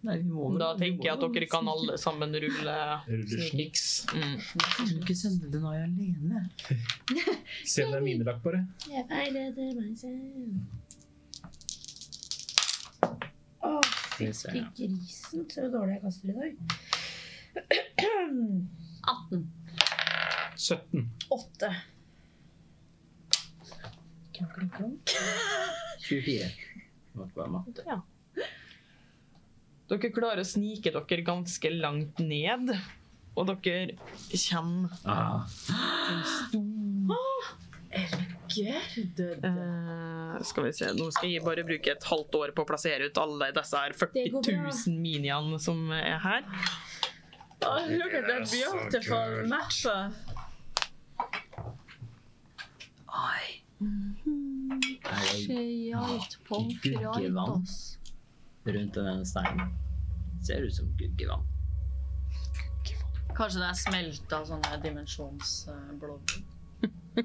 S5: Nei, vi må
S1: Da tenker jeg at dere kan alle sammen rulle
S2: Ruller sniks.
S1: mm.
S5: kan ikke sende den av alene.
S2: Se om det er minelagt, bare.
S4: Jeg veileder meg selv. Å,
S5: Skal vi se.
S4: fytti grisen, så dårlig jeg kaster i dag.
S9: 18.
S2: 17.
S4: Åtte. Kronk, kronk, kronk.
S5: 24. Måtte bare matte.
S1: Dere klarer å snike dere ganske langt ned, og dere kommer
S5: Ah,
S1: eh, Skal vi se, nå skal jeg bare bruke et halvt år på å plassere ut alle disse her 40 000 miniene som er her.
S3: Oh, look at that beautiful map.
S5: jeg
S9: Fjalt på
S5: Guggevann.
S3: altså.
S5: rundt denne steinen. Ser ut som guggevann.
S6: Kanskje det er smelta sånne dimensjonsblobber.
S1: Det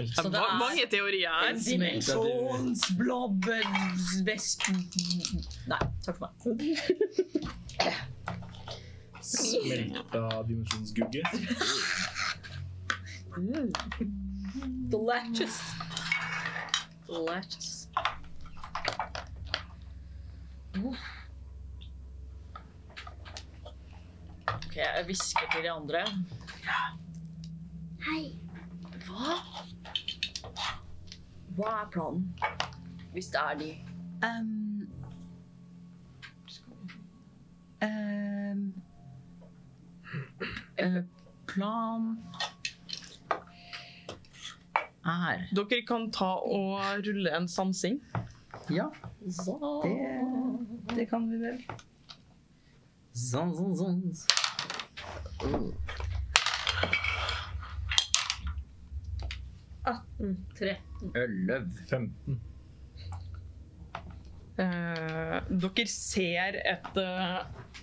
S1: er ma- mange teorier her.
S6: Dimensjonsblobbevesk... Nei, takk for meg.
S2: Smelta dimensjonsgugge.
S6: Delicious. Delicious. Ok, jeg hvisker til de andre.
S4: Hei.
S6: Hva? Hva er planen? Hvis det er de.
S3: Um, um,
S6: eh,
S3: plan er
S1: Dere kan ta og rulle en sansing.
S5: Ja, det, det kan vi vel. Sånn, sånn, sånn. Oh,
S4: 18. 13.
S5: Elleve.
S2: 15.
S1: Eh, dere ser et eh,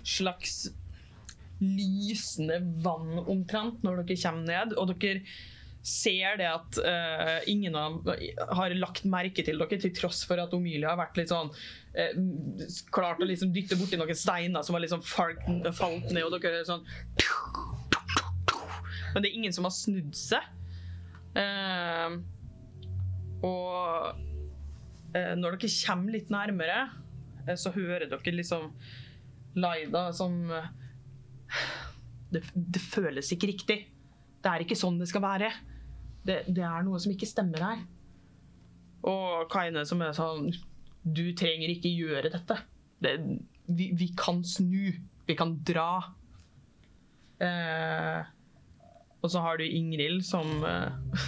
S1: slags lysende vann omtrent når dere kommer ned, og dere ser det at eh, ingen av, har lagt merke til dere, til tross for at Omilia har vært litt sånn eh, klart å liksom dytte borti noen steiner som har liksom falt, falt ned, og dere er sånn Men det er ingen som har snudd seg. Eh, og Eh, når dere kommer litt nærmere, eh, så hører dere liksom Laida som eh, det, det føles ikke riktig. Det er ikke sånn det skal være. Det, det er noe som ikke stemmer her. Og Kaine som er sånn Du trenger ikke gjøre dette. Det, vi, vi kan snu. Vi kan dra. Eh, og så har du Ingrid som eh,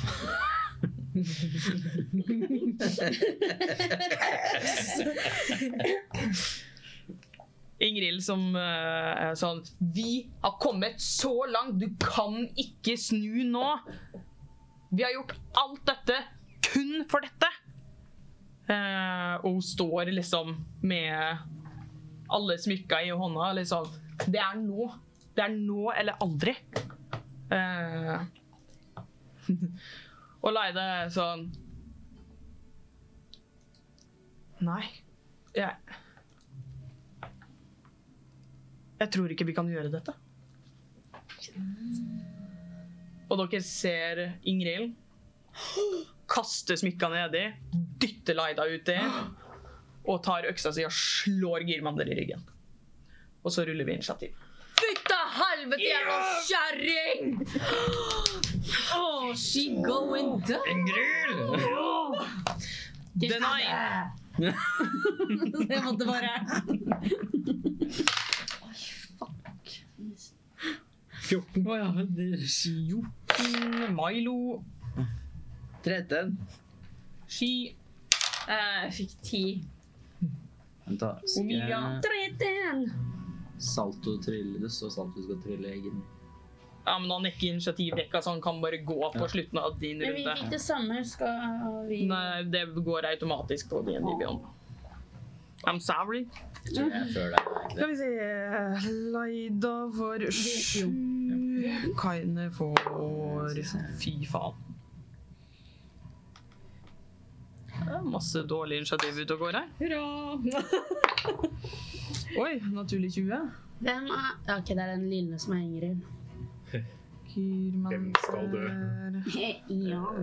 S1: Ingrid som eh, er sånn Vi har kommet så langt, du kan ikke snu nå. Vi har gjort alt dette kun for dette. Eh, og hun står liksom med alle smykka i hånda, liksom. Det er nå. Det er nå eller aldri. Eh, og Leide er sånn Nei. Jeg jeg tror ikke vi kan gjøre dette. Og dere ser Ingrid kaste smykka nedi, dytte Laida uti og tar øksa si og slår Girmander i ryggen. Og så ruller vi initiativ.
S6: Fytte helvete, jævla kjerring! Oh, she going down.
S1: Deny!
S8: Det måtte bare
S2: 14.
S5: Å ja, det er jo
S1: Mm, Milo,
S5: 13.
S1: Ski,
S4: Eh, Jeg fikk 10.
S5: Vent da, skal
S1: Omilia.
S5: jeg
S4: 13.
S5: salto trille? Det står salto skal trille egen.
S1: ja, men Han er ikke i initiativrekka, så han kan bare gå på slutten av din
S4: Men vi
S1: runde.
S4: fikk det samme. Skal vi
S1: Nei, det går automatisk på din Vivian. I'm sorry.
S5: Tror jeg før det er ikke
S1: Skal vi se Laida får sju. Kaine får Fy faen. Det er masse dårlige initiativ ute og går her.
S8: Hurra!
S1: Oi, naturlig 20.
S4: Hvem er ja, OK, det er den lille som er Ingrid.
S1: Kyrman
S2: Hvem skal dø?
S1: er-
S4: ja.
S1: Eh,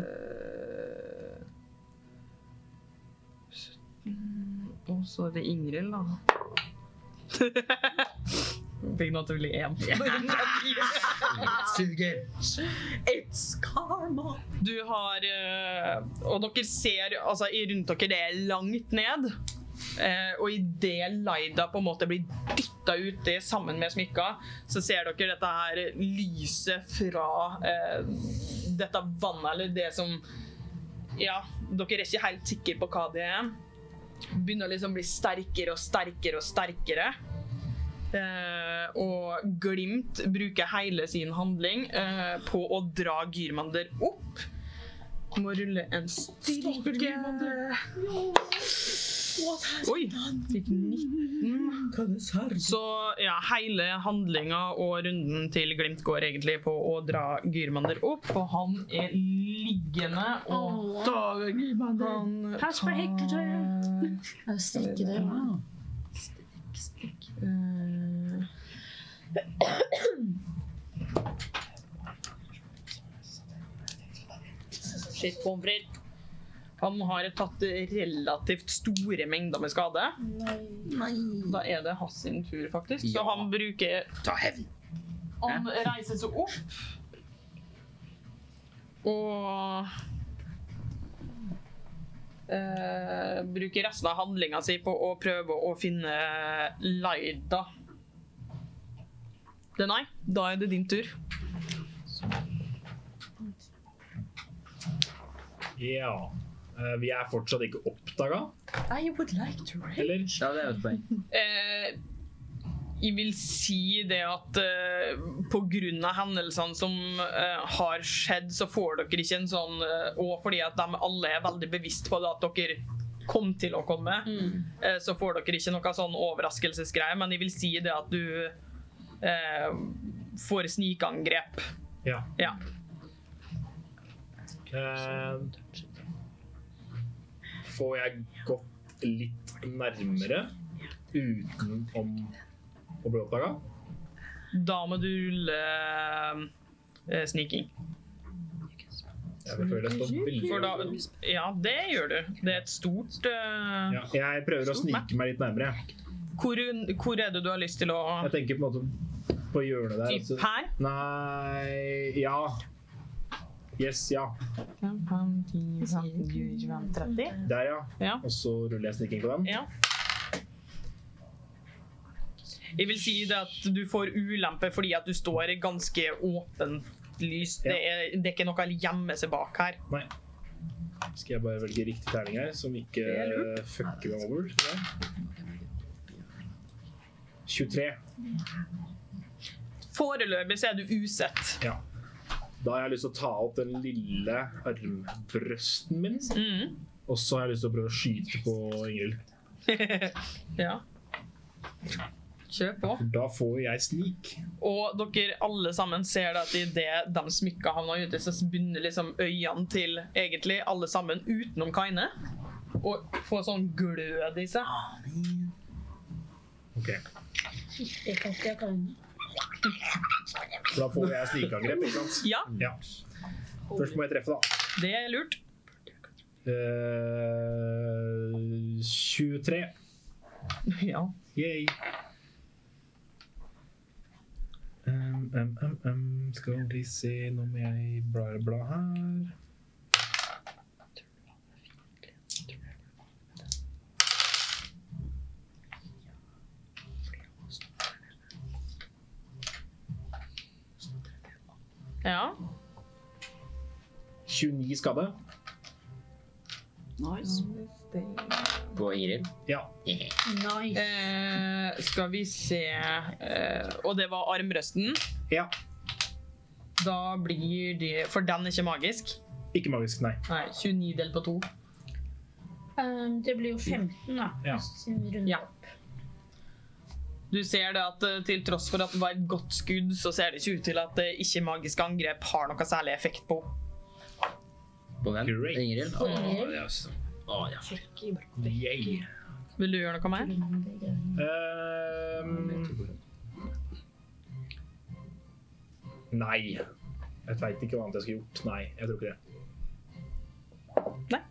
S1: 17 og
S10: så er det Ingrid, da.
S1: Fikk naturlig én.
S5: Suger.
S1: It's karma. Du har eh, Og dere ser altså, i- rundt dere, det er langt ned. Eh, og idet Laida på en måte blir dytta uti sammen med smykka, så ser dere dette her lyset fra eh, dette vannet, eller det som Ja, dere er ikke helt sikre på hva det er. Begynner å liksom bli sterkere og sterkere og sterkere. Eh, og Glimt bruker hele sin handling eh, på å dra Gyrmander opp. Må rulle en styrke Oi! Fikk 19. Så ja, hele handlinga og runden til Glimt går egentlig på å dra Gyrmander opp. Og han er liggende og tar Gyrmander.
S4: Pass på hekletøyet.
S9: Stikke det.
S5: eh,
S1: Eh,
S6: Shit, pommes frites.
S1: Han har tatt relativt store mengder med skade. Da er det hans sin tur, faktisk. Så
S5: Ja.
S1: han bruker
S5: Ta hevn.
S1: Han reiser seg opp. Og eh, bruker resten av handlinga si på å prøve å finne Laida. Det nei, da er det din tur.
S2: Ja. Eh, Vi er fortsatt ikke oppdaga,
S6: I would like to
S2: eller?
S5: Ja, det er jo et poeng.
S1: Eh, jeg vil si det at eh, på grunn av hendelsene som eh, har skjedd, så får dere ikke en sånn eh, Og fordi at de alle er veldig bevisst på det at dere kom til å komme, eh, så får dere ikke noe sånn overraskelsesgreie, men jeg vil si det at du eh, får snikangrep.
S2: Ja.
S1: Ja.
S2: Eh, får jeg gått litt nærmere utenom å bli oppdaga?
S1: Da må du rulle eh, sniking.
S2: Jeg føler det står veldig
S1: For da Ja, det gjør du. Det er et stort eh,
S2: ja, Jeg prøver å snike meg litt nærmere.
S1: Hvor, hvor er det du har lyst til å
S2: Jeg tenker på en måte på hjørnet der.
S1: Typ
S2: altså.
S1: her?
S2: Nei Ja. Yes, ja.
S1: 5, 5, 10, 15, 20, 30.
S2: Der, ja.
S1: Ja.
S2: Og så ruller jeg sniking på den.
S1: Ja. Jeg vil si det at du får ulempe fordi at du står i ganske åpent lys. Det er, det er ikke noe å gjemme seg bak her.
S2: Skal jeg bare velge riktig terning her, som ikke
S1: Det er
S2: eh, fucker meg over? tror jeg. 23.
S1: Foreløpig så er du usett.
S2: Da har jeg lyst til å ta opp den lille armbrøsten min,
S1: Mm.
S2: og så har jeg lyst til å prøve å skyte på Ingrid.
S1: ja. Kjør på.
S2: For da får jeg snik.
S1: Og dere alle sammen ser det at idet de smykka havna ute, så begynner liksom øynene til egentlig alle sammen utenom Kaine å få sånn glød i seg.
S2: Ok,
S4: Det kan ikke jeg kalle den.
S2: For da får jeg snikangrep, ikke sant?
S1: Ja,
S2: Ja. Først må jeg treffe, da.
S1: det er lurt.
S2: Eh, 23.
S1: Ja.
S2: Yay. Um, um, um, um. Skal vi se, nå må jeg bla bla her.
S1: ja.
S2: 29 skade.
S5: På Ingrid.
S2: Ja.
S1: Eh, skal vi se eh, Og det var armrøsten.
S2: Ja.
S1: Da blir det For den er ikke magisk.
S2: Ikke magisk, nei.
S1: Nei, 29 delt på 2.
S4: Ehm, Det blir jo 15, da.
S2: Ja.
S4: Siden vi runder
S1: Ja. Du ser det at eh, til tross for at det var et godt skudd, så ser det ikke ut til at eh, ikke-magiske angrep har noe særlig effekt på
S5: På hvem?
S2: Great.
S5: Ingrid. Å,
S4: Ingrid.
S5: det er også- Å, ja.
S2: Yay.
S1: Vil du gjøre noe mer?
S2: Um, nei. Jeg veit ikke hva annet jeg skulle gjort. Nei, jeg tror ikke det.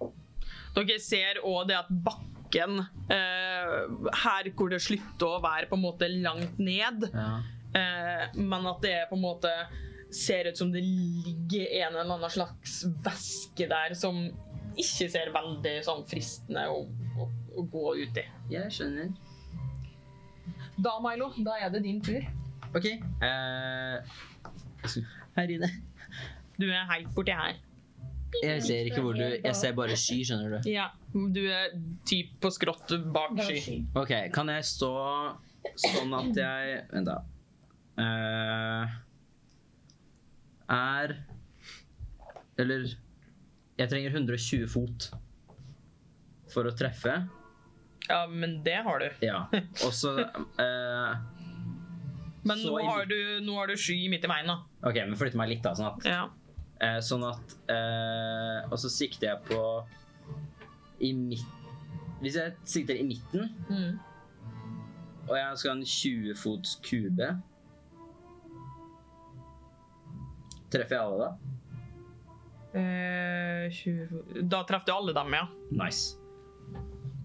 S1: Dere ser òg det at bakken bakken. Eh, her hvor det slutter å være på en måte langt ned.
S5: Ja.
S1: Eh, men at det på en måte ser ut som det ligger en eller annen slags væske der som ikke ser veldig sånn fristende å, å, å gå ut i.
S5: Jeg skjønner.
S1: Da, Milo, da er det din tur.
S5: OK. Eh, her inne.
S1: Du er helt borti her.
S5: Jeg ser ikke hvor du Jeg ser bare sky, skjønner du.
S1: Ja, du er typ på skrått bak sky.
S5: OK, kan jeg stå sånn at jeg Vent, da. Eh, er Eller Jeg trenger 120 fot for å treffe.
S1: Ja, men det har du.
S5: Ja. Og så eh,
S1: Men
S5: Så
S1: nå
S5: inn-
S1: har du, nå har du sky midt i veien, da.
S5: OK, men flytte meg litt, da. sånn at
S1: Ja.
S5: Eh, sånn at eh, Og så sikter jeg på I midt Hvis jeg sikter i midten,
S1: Mm.
S5: og jeg skal ha en 20 fots kube Treffer jeg alle, da?
S1: Eh, 20 fot- Da traff du alle dem, ja.
S5: Nice.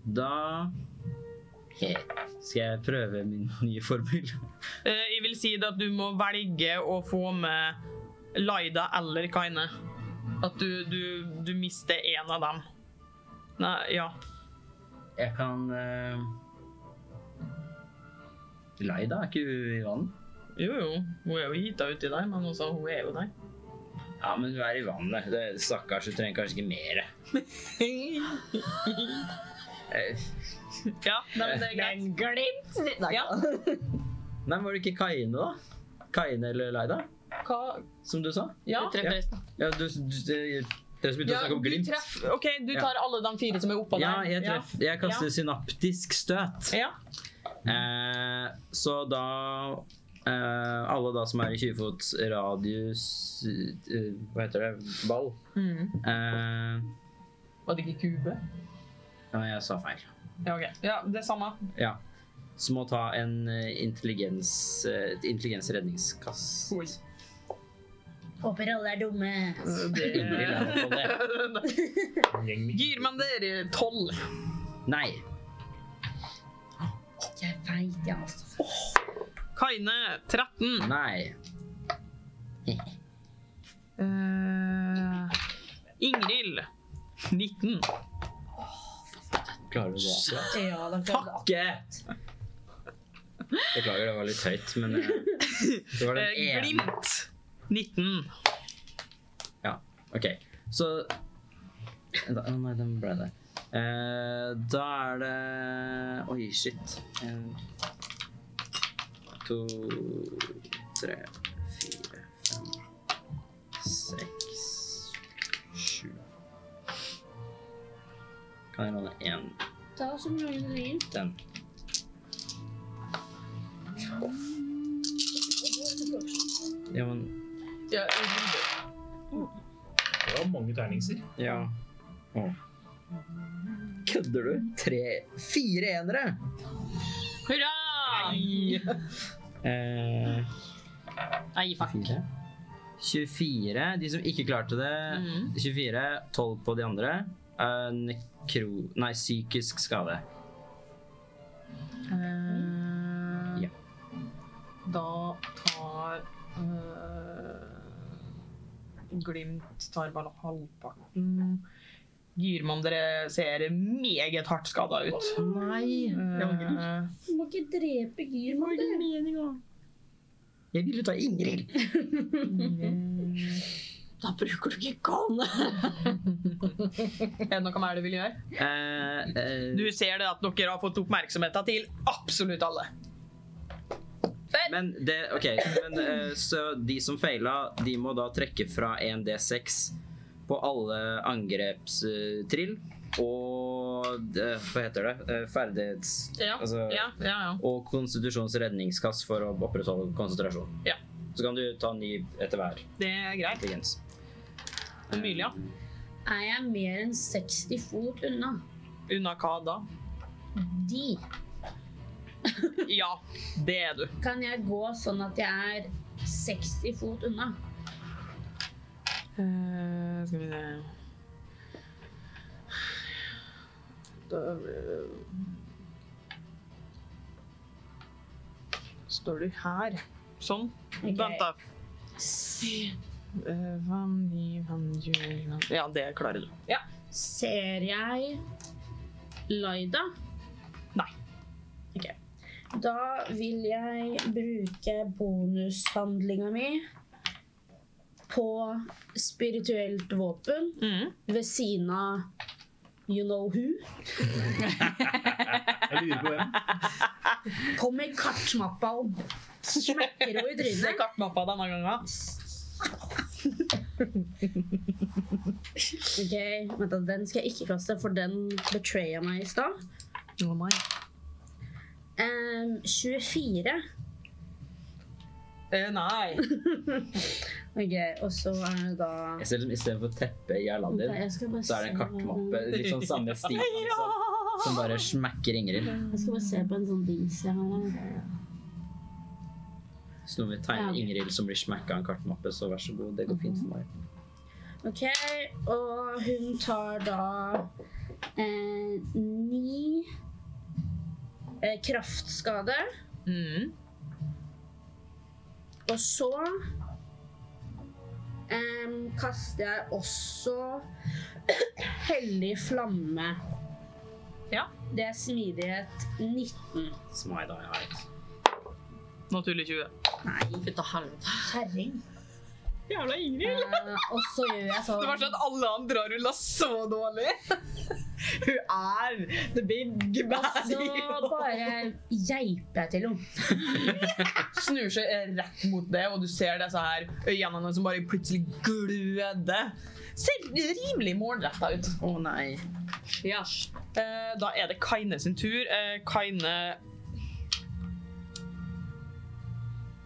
S5: Da Ok, Skal jeg prøve min nye formel?
S1: Eh, jeg vil si det at du må velge å få med Laida eller Kaine. At du, du, du mister en av dem. Nei, ja.
S5: Jeg kan eh... Laida er ikke hun i vann?
S1: Jo, jo. Hun er jo hita uti der, men også, hun er jo der.
S5: Ja, men hun er i vannet. Det- Stakkars, hun trenger kanskje ikke mer. Eh,
S1: ja, nei, men det er greit. Ja.
S5: Nei, men var det ikke Kaine, da? Kaine eller Leida,
S1: Hva?
S5: som du sa?
S1: Ja.
S5: Ja. Ja, du, du, du- dere som begynte å
S1: Ja,
S5: snakke om
S1: du
S5: glimt.
S1: treff- OK, du tar alle de fire som er oppå
S5: Ja,
S1: der.
S5: jeg, treff, jeg kaster synaptisk støt.
S1: Ja.
S5: Eh, så da eh, Alle da som er i 20 fots radius eh, Hva heter det? Ball.
S1: Mm.
S5: Eh,
S1: Var det ikke kube?
S5: ja, jeg sa feil.
S1: Ja, ok. ja, det er samme.
S5: Ja. Så må ta en eh, intelligens, eh, et intelligensredningskast.
S1: Oi.
S4: Håper alle er dumme.
S1: Det...
S5: Underlig, i hvert fall det.
S1: Gir man dere tolv?
S5: Nei.
S4: Jeg veit, jeg, altså.
S1: Kaine 13.
S5: Nei.
S1: Eh, Ingrid 19.
S5: Klarer du det?
S8: Ja, den følte-
S5: Ikke! Beklager, det var litt høyt, men eh, det var den
S1: Eh,
S5: ene.
S1: glimt 19.
S5: Ok, så da, å Nei, den ble der. Eh, da er det Oi, shit. En, to, tre, fire, fem, seks, sju Kan jeg låne én
S4: Ta så mange du vil.
S5: den? Ja, men
S1: Ja,
S2: Det var mange terningser.
S5: Ja. Kødder du? Tre Fire enere!
S1: Hurra!
S5: Eh,
S1: Nei, fuck.
S5: 24. De som ikke klarte det.
S1: Mhm.
S5: 24. 12 på de andre. Eh, nekro... Nei, psykisk skade.
S1: Eh,
S5: Ja.
S1: Da tar eh, Glimt tar bare halvparten. Gyrmann, dere ser meget hardt skada ut.
S5: Nei!
S1: Eh,
S4: Du må ikke drepe Gyrman. du.
S5: Jeg ville ta Ingrid.
S9: Da bruker du ikke kone.
S1: er det noe mer du vil gjøre?
S5: Eh, eh,
S1: Du ser det at dere har fått oppmerksomheten til absolutt alle.
S5: men det OK. Men, eh, så de som feila, de må da trekke fra 1D6 på alle angrepstrill. Og eh, hva heter det? Eh, ferdighets...
S1: Ja,
S5: Altså-
S1: ja, ja, ja.
S5: Og konstitusjons redningskast for å opprettholde konsentrasjon.
S1: Ja.
S5: Så kan du ta ny etter hver
S1: Det er greit.
S5: intelligens.
S1: Emilia,
S4: Er jeg mer enn 60 fot unna?
S1: unna hva da?
S4: De.
S1: Ja, det er du.
S4: Kan jeg gå sånn at jeg er 60 fot unna?
S1: Eh, skal vi se Da, eh, Står du her? Sånn. Vent, da. Eh, Hvem ni, hvem du hvem- Ja, det klarer du. Ja.
S4: Ser jeg Laida?
S1: Nei.
S4: Ok. Da vil jeg bruke bonushandlinga mi på spirituelt våpen
S1: Mhm.
S4: ved siden av you know who.
S2: Jeg lurer på hvem.
S4: Kommer kartmappa og smekker henne i
S1: Se
S4: trynet.
S1: kartmappa denne gangen.
S4: Ok, vent da, Den skal jeg ikke kaste, for den betraya meg i stad.
S1: Å nei.
S4: Ehm, 24.
S1: Eh, nei.
S4: Ok, og så er det da
S5: Selv om istedenfor teppe i Aladdin,
S4: Jeg skal bare
S5: så er det en
S4: se-
S5: kartmappe. Litt sånn samme stil som,
S1: altså.
S5: som bare smekker Ingrid.
S4: Jeg skal bare se på en sånn dings jeg har her.
S5: Så når vi
S4: Ja,
S5: tegner
S4: ok.
S5: Ingrid som blir smekka av en kartmappe, så vær så god, det går fint for meg.
S4: Ok, og hun tar da eh, ni eh, kraftskade.
S1: Mhm.
S4: Og så em, kaster jeg også hellig flamme.
S1: Ja.
S4: Det er smidighet 19.
S5: Som jeg da har.
S1: Naturlig 20.
S4: Nei,
S6: Fytta helvete.
S4: kjerring.
S1: Jævla Ingrid!
S4: Eh, og så gjør jeg sånn.
S1: Det var sånn at alle andre har rulla så dårlig. Hun er the big bad
S4: Så
S1: hero.
S4: bare geiper jeg til henne.
S1: Snur seg eh, rett mot det, og du ser disse her øynene hennes som bare plutselig gløder. Ser rimelig målretta ut.
S5: Å nei.
S1: Eh, da er det Kaine sin tur. Eh, Kaine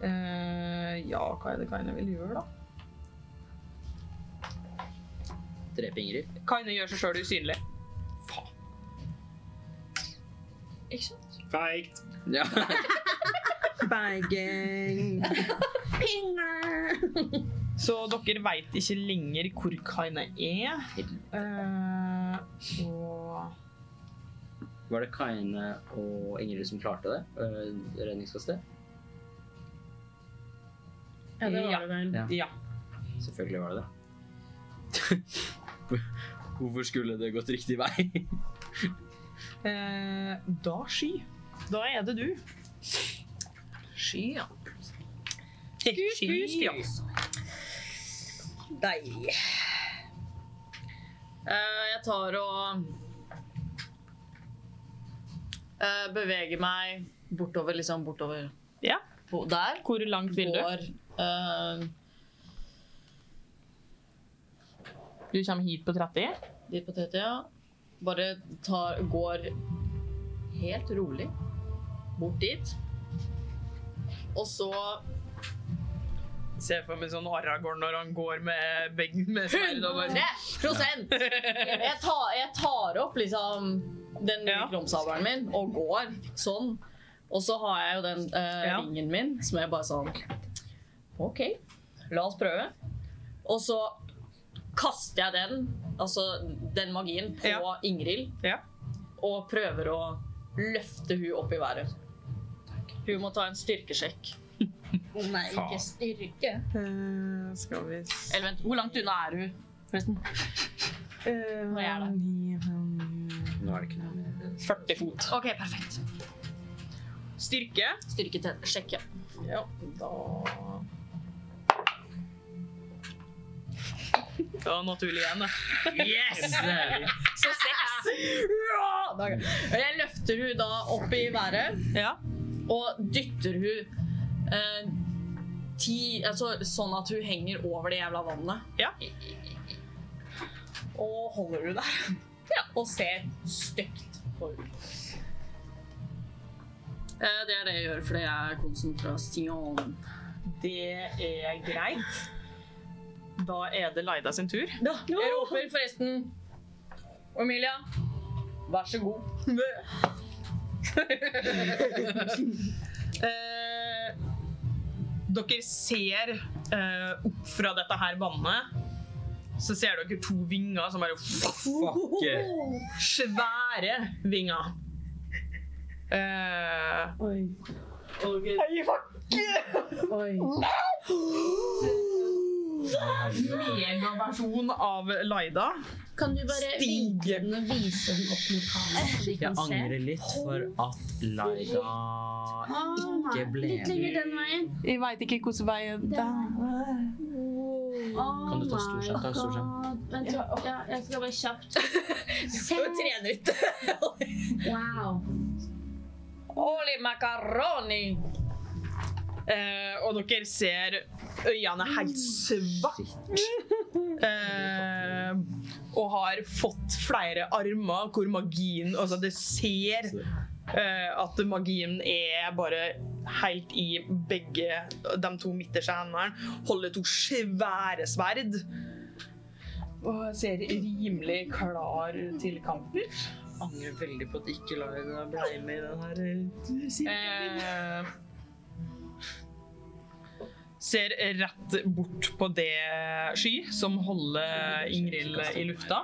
S1: eh, Ja, hva er det Kaine vil gjøre, da?
S5: Drepe Ingrid.
S1: Kaine gjør seg sjøl usynlig.
S6: Ikke sant?
S2: Feigt.
S5: Ja.
S1: Så dere veit ikke lenger hvor Kaine er. Eh, og
S5: Var det Kaine og Ingrid som klarte det? Øh, Redningskastet?
S4: Ja, det var
S1: Ja.
S4: det vel.
S1: Ja.
S5: Selvfølgelig var det det. Hvorfor skulle det gått riktig vei?
S1: Eh, da sky. Da er det du.
S6: Sky, ja.
S1: Skus, skus, ja.
S6: Deilig. Eh, jeg tar og eh, beveger meg bortover, liksom bortover
S1: Ja.
S6: på, der.
S1: Hvor langt vil du?
S6: Går, eh,
S1: Du kommer hit på 30.
S6: dit på TT, ja. Bare tar, går helt rolig bort dit. Og så
S1: Se for meg sånn Aragorn når han går med begge med sverd og
S6: 100
S1: bare-
S6: jeg, tar, jeg tar opp liksom den
S1: Ja.
S6: kromsabelen min og går sånn. Og så har jeg jo den eh,
S1: Ja.
S6: ringen min som jeg bare sånn OK, la oss prøve. Og så kaster jeg den, altså den magien, på
S1: Ja.
S6: Ingrid.
S1: Ja.
S6: Og prøver å løfte hun opp i været. Hun må ta en styrkesjekk.
S4: Å nei, ikke styrke.
S1: Eh, skal vi se
S6: Eller vent, hvor langt unna er hun? Forresten.
S1: Hvor
S6: er det?
S5: Nå er det ikke noe mer.
S1: 40 fot.
S6: OK, perfekt.
S1: Styrke.
S6: Styrkesjekk, ja.
S1: Ja, da Det var naturlig igjen, det.
S5: Yes!
S6: Så seks! Ja, da- Jeg løfter hun da opp i været
S1: Ja.
S6: og dytter hun eh, ti, altså, sånn at hun henger over det jævla vannet.
S1: Ja.
S6: Og holder hun der. Ja, og ser stygt på henne. Eh, det er det jeg gjør, for det er konsentrasjon.
S1: Det er greit. Da er det Laida sin tur.
S6: Da, jeg roper forresten Amelia, vær så god.
S1: Eh, dere ser eh, opp fra dette her vannet så ser dere to vinger som bare
S5: Fuck yeah.
S1: Svære vinger. Eh,
S8: Oi. Oi.
S1: Megaversjon av Laida.
S4: Kan du bare vinke
S1: Stiger.
S4: den og vise den opp mot kamera, så vi
S5: Jeg
S4: kan se?
S5: angrer litt for at Laida ikke ble
S4: Litt
S5: med.
S4: lenger den veien.
S1: Jeg veit ikke hvilken vei
S4: Der.
S5: Kan du ta storskjerm? Ta en storskjerm.
S4: Oh Vent, ja. ja, jeg skal bare kjapt. Se.
S6: trene ut.
S4: Wow.
S6: Holy macaroni!
S1: Eh, og dere ser øynene helt svart. Eh, og har fått flere armer hvor magien Altså, det ser eh, at magien er bare helt i begge de to midterste hendene. Holder to svære sverd. Og ser rimelig klar til kamper.
S5: Angrer veldig på at ikke Laida ble med i den her.
S1: Eh, ser rett bort på det sky som holder Ingrid i lufta.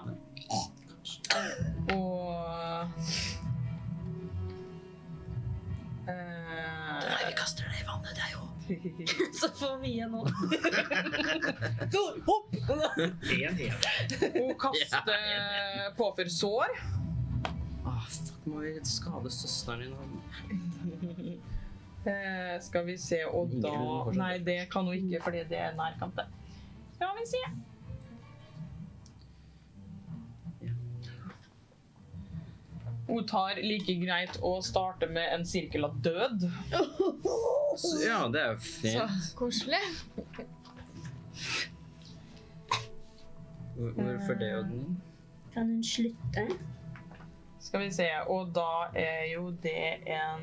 S1: Og eh,
S9: Vi kaster det i vannet, det er jo
S4: Så får vi igjen nå.
S2: En, en.
S1: Hun kaster på for sår.
S5: Ah, fuck, må vi skade søsteren din? og-
S1: Eh, skal vi se, og
S5: Ingrid,
S1: da
S5: hun fortsetter.
S1: Nei, det kan hun ikke, fordi det er nærkamp, det. Skal vi se. Hun tar like greit å starte med en sirkel av død.
S5: Så- Ja, det er jo fint.
S6: Koselig.
S5: Hvor- Hvorfor det og den?
S4: Kan hun slutte?
S1: Skal vi se, og da er jo det en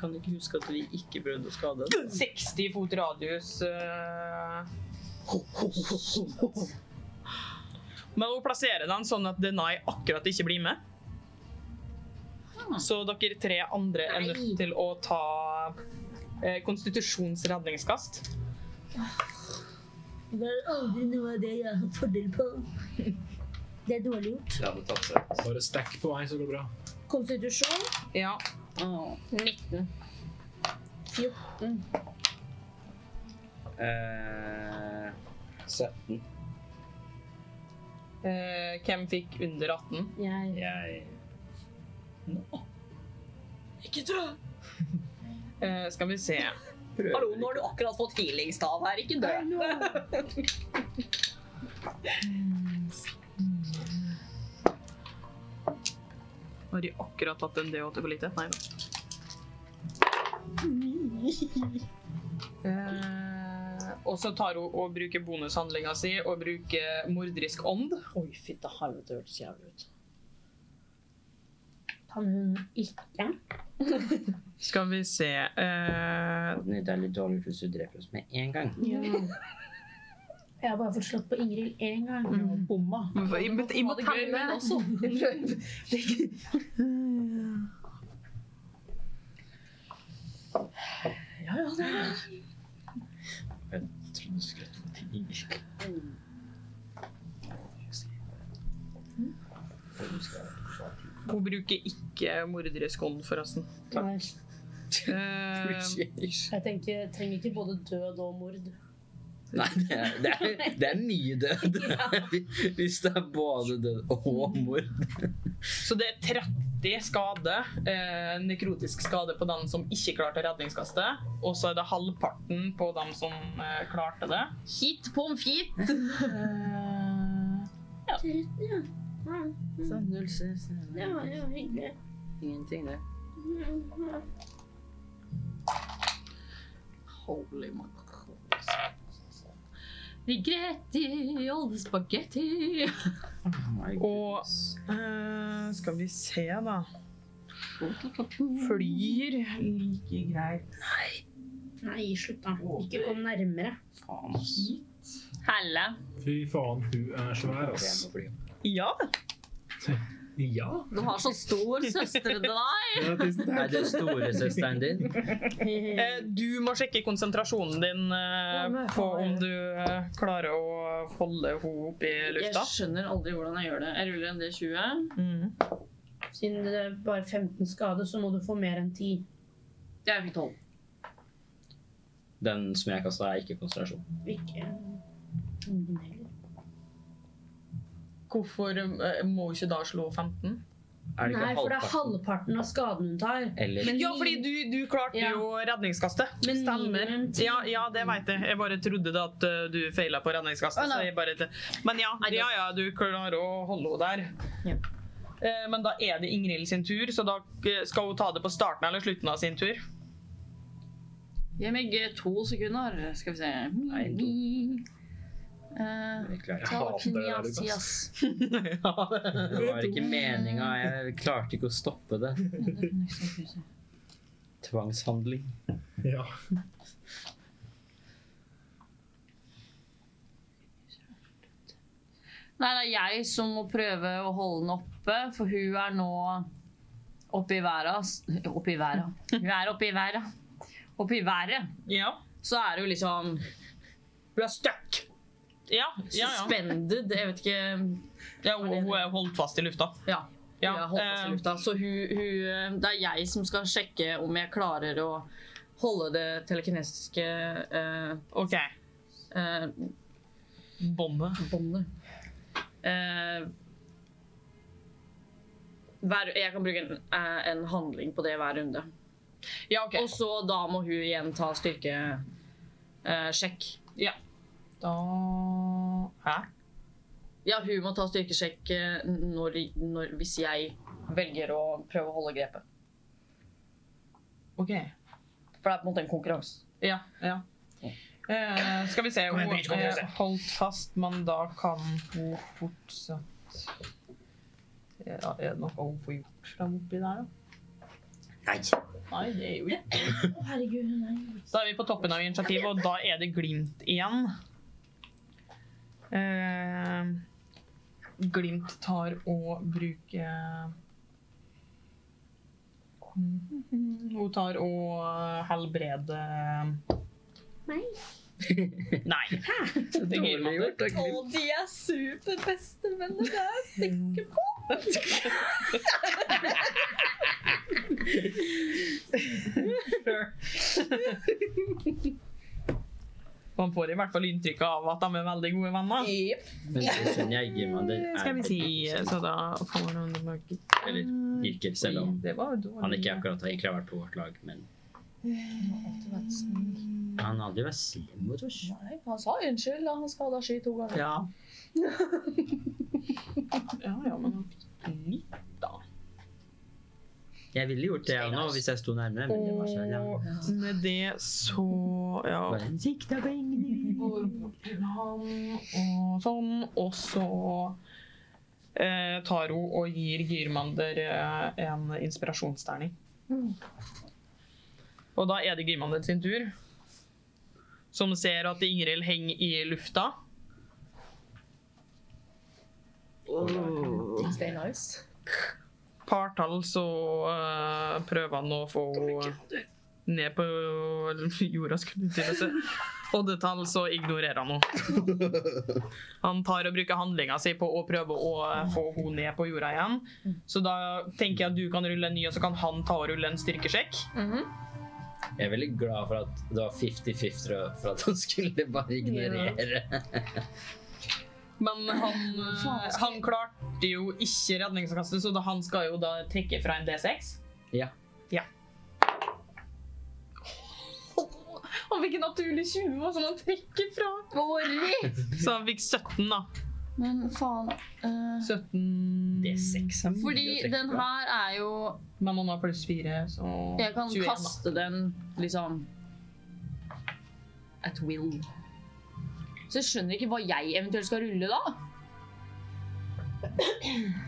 S5: Kan du ikke huske at vi ikke prøvde å skade den?
S1: 60 fot radius eh. Men hun plasserer den sånn at Denai akkurat ikke blir med. Så dere tre andre er nødt til å ta eh, konstitusjonsredningskast.
S3: Det er aldri noe av det jeg har fordel på. Det er dårlig gjort.
S5: Jeg hadde tatt det.
S2: Bare stack på vei, så går det bra.
S4: Konstitusjon?
S1: Ja.
S6: 19.
S5: Eh, 17.
S1: Eh, hvem fikk under 18?
S4: Jeg.
S2: Jeg
S1: Eh, skal vi se.
S5: Prøver
S6: Hallo, nå har du akkurat fått healingstav her, ikke dø.
S1: Har de akkurat tatt en D8 for lite? Nei da. Eh, og så tar hun og bruker bonushandlinga si og bruker morderisk ånd.
S6: Oi, fitte helvete, det hørtes jævlig ut.
S4: Kan hun ikke?
S1: Skal vi se eh,
S5: Nei, det er litt dårlig hvis du dreper oss med en gang.
S4: Ja. Jeg har bare fått slått på Ingrid én gang.
S6: Bomma.
S1: jeg må- jeg må
S6: Ha det gøy, men
S1: telle.
S6: også.
S1: Hun bruker ikke morderisk ånd, forresten.
S8: Nei.
S1: Eh,
S8: Jeg tenker, jeg trenger ikke både død og mord.
S5: Nei, det er, det er, det er mye død. Hvis det er både død og mord.
S1: så det er 30 skade. Eh, nekrotisk skade på den som ikke klarte redningskastet. Og så er det halvparten på dem som eh, klarte det.
S6: Hit pommes frites.
S4: Ja. Ja,
S5: Så null stress.
S4: ja, ja, hyggelig.
S5: Ingenting, det.
S4: Ja.
S6: Holy macaroni. Rigretti, olje spagetti.
S5: Oh my
S1: Og
S5: goodness.
S1: eh, skal vi se, da. Flyr like greit
S4: Nei, slutt da. Ikke kom nærmere.
S5: Faen, ass.
S6: Helle.
S2: Fy faen, hun er svær,
S5: Jeg
S2: ass.
S5: må fly.
S1: Ja.
S2: Ja.
S9: Du har så stor søster til deg.
S2: ja tusen takk.
S5: Er det storesøsteren din?
S1: Eh, du må sjekke konsentrasjonen din eh,
S6: Ja, men
S1: på
S6: faen,
S1: om du eh, klarer å holde henne oppe i lufta.
S6: Jeg skjønner aldri hvordan jeg gjør det. Jeg ruller en D20.
S1: Mm.
S4: Siden det er bare 15 skader, så må du få mer enn 10.
S6: Jeg fikk 12.
S5: Den som jeg kasta, er ikke konsentrasjon.
S4: Ikke
S1: Hvorfor eh, må hun ikke da slå 15?
S5: Er det ikke
S4: Nei, for det er
S5: halvparten?
S4: halvparten av skaden hun tar.
S5: Eller
S4: Men
S1: Ja,
S4: ni-
S1: fordi du, du klarte
S4: Ja.
S1: jo redningskastet.
S4: Men
S1: Stemmer.
S4: minimum ti.
S1: Ja, ja, det veit jeg. Jeg bare trodde da at eh, du feila på redningskastet.
S6: Å, nei.
S1: så jeg bare Men ja,
S6: Nei, det-
S1: ja, ja, du klarer å holde henne der. Eh, Men da er det Ingrid sin tur, så da eh, skal hun ta det på starten eller slutten av sin tur.
S6: Gi meg eh, to sekunder, skal vi se.
S5: Nei, to.
S6: Eh,
S5: Jeg klarer
S2: Jeg
S5: ikke.
S2: hater det der, Lukas.
S6: Talapiniasias.
S5: Det var ikke meninga. Jeg klarte ikke å stoppe det. Tvangshandling.
S2: Ja.
S6: Nei, det er jeg som må prøve å holde den oppe, for hun er nå oppe i været. ass. Oppe i været. Hun er oppe i været. Oppe i været.
S1: Ja.
S6: Så er hun liksom Hun er stuck.
S1: Ja, ja, ja.
S6: Suspended. Jeg vet ikke
S1: ja hun, hun er holdt fast i lufta.
S6: Ja.
S1: Ja,
S6: jeg holdt fast
S1: eh,
S6: i lufta. Så hun, hun, det er jeg som skal sjekke om jeg klarer å holde det telekinesiske eh,
S1: OK.
S6: eh,
S1: Båndet.
S6: båndet. Eh, hver, jeg kan bruke en, eh, en handling på det hver runde.
S1: Ja, OK.
S6: Og så da må hun igjen ta styrkesjekk. Eh, sjekk.
S1: Da Hæ?
S6: ja, hun må ta styrkesjekk eh, når, når, hvis jeg velger å prøve å holde grepet.
S1: OK.
S6: For det er på en måte en konkurranse.
S1: Ja. ja. Eh, skal vi se.
S2: Kom
S1: Hun
S2: igjen, bryt, kom igjen,
S1: er holdt fast, men da kan hun fortsatt ja, Er det noe hun får gjort fram oppi der, da? Nei. Nei, det er jo ikke.
S4: Å, herregud, nei.
S1: Da er vi på toppen av initiativet, og da er det Glimt igjen. Eh, glimt tar og bruker Hun tar og helbreder
S4: Nei.
S1: Nei. Det gir
S5: Dårlig
S1: meg det.
S5: gjort. da, Glimt.
S8: de er superbestevenner, det er jeg sikker på.
S1: Man får i hvert fall inntrykk av at de er veldig gode venner.
S5: Men så skjønner jeg ikke om det er
S1: Skal vi si, eh, sånn- så da får hun tilbake.
S5: Eller virker, selv om
S1: Det var dårlig.
S5: han ikke akkurat har egentlig har vært på vårt lag, men Han har aldri vært slem mot oss.
S6: Nei, han sa unnskyld da han skada sky to ganger.
S1: Ja. ja, ja, men litt da.
S5: Jeg ville gjort det jeg nå hvis jeg sto nærmere, men det var så
S1: Og
S5: langt.
S1: med det så ja.
S5: Bare sikta på Ingrid.
S1: Går bort til han og sånn, og så eh, tar hun og gir Gyrmander eh, en inspirasjonsterning. Og da er det Gyrmander sin tur, som ser at Ingrid henger i lufta.
S6: Stay nice.
S1: Partall så eh, prøver han å få henne ned på jorda, skulle jeg til å si. Oddetall så ignorerer han henne. Han tar og bruker handlinga si på å prøve å eh, få henne ned på jorda igjen. Så da tenker jeg at du kan rulle en ny, og så kan han ta og rulle en styrkesjekk.
S5: Jeg er veldig glad for at det var 50-50 og for at han skulle bare ignorere.
S1: Men han, eh, han klarte jo ikke redningskastet, så da, han skal jo da trekke fra en D6.
S5: Ja.
S1: Han fikk en naturlig 20, som han trekker fra. Så han fikk 17, da.
S6: Men faen eh,
S1: 17
S5: Det er seks.
S6: Fordi
S5: Mye å trekke
S6: den
S5: fra.
S6: her er jo
S1: Men han har pluss 4, så
S6: Jeg kan
S1: 21, da.
S6: kaste den liksom At will. Så jeg skjønner ikke hva jeg eventuelt skal rulle, da.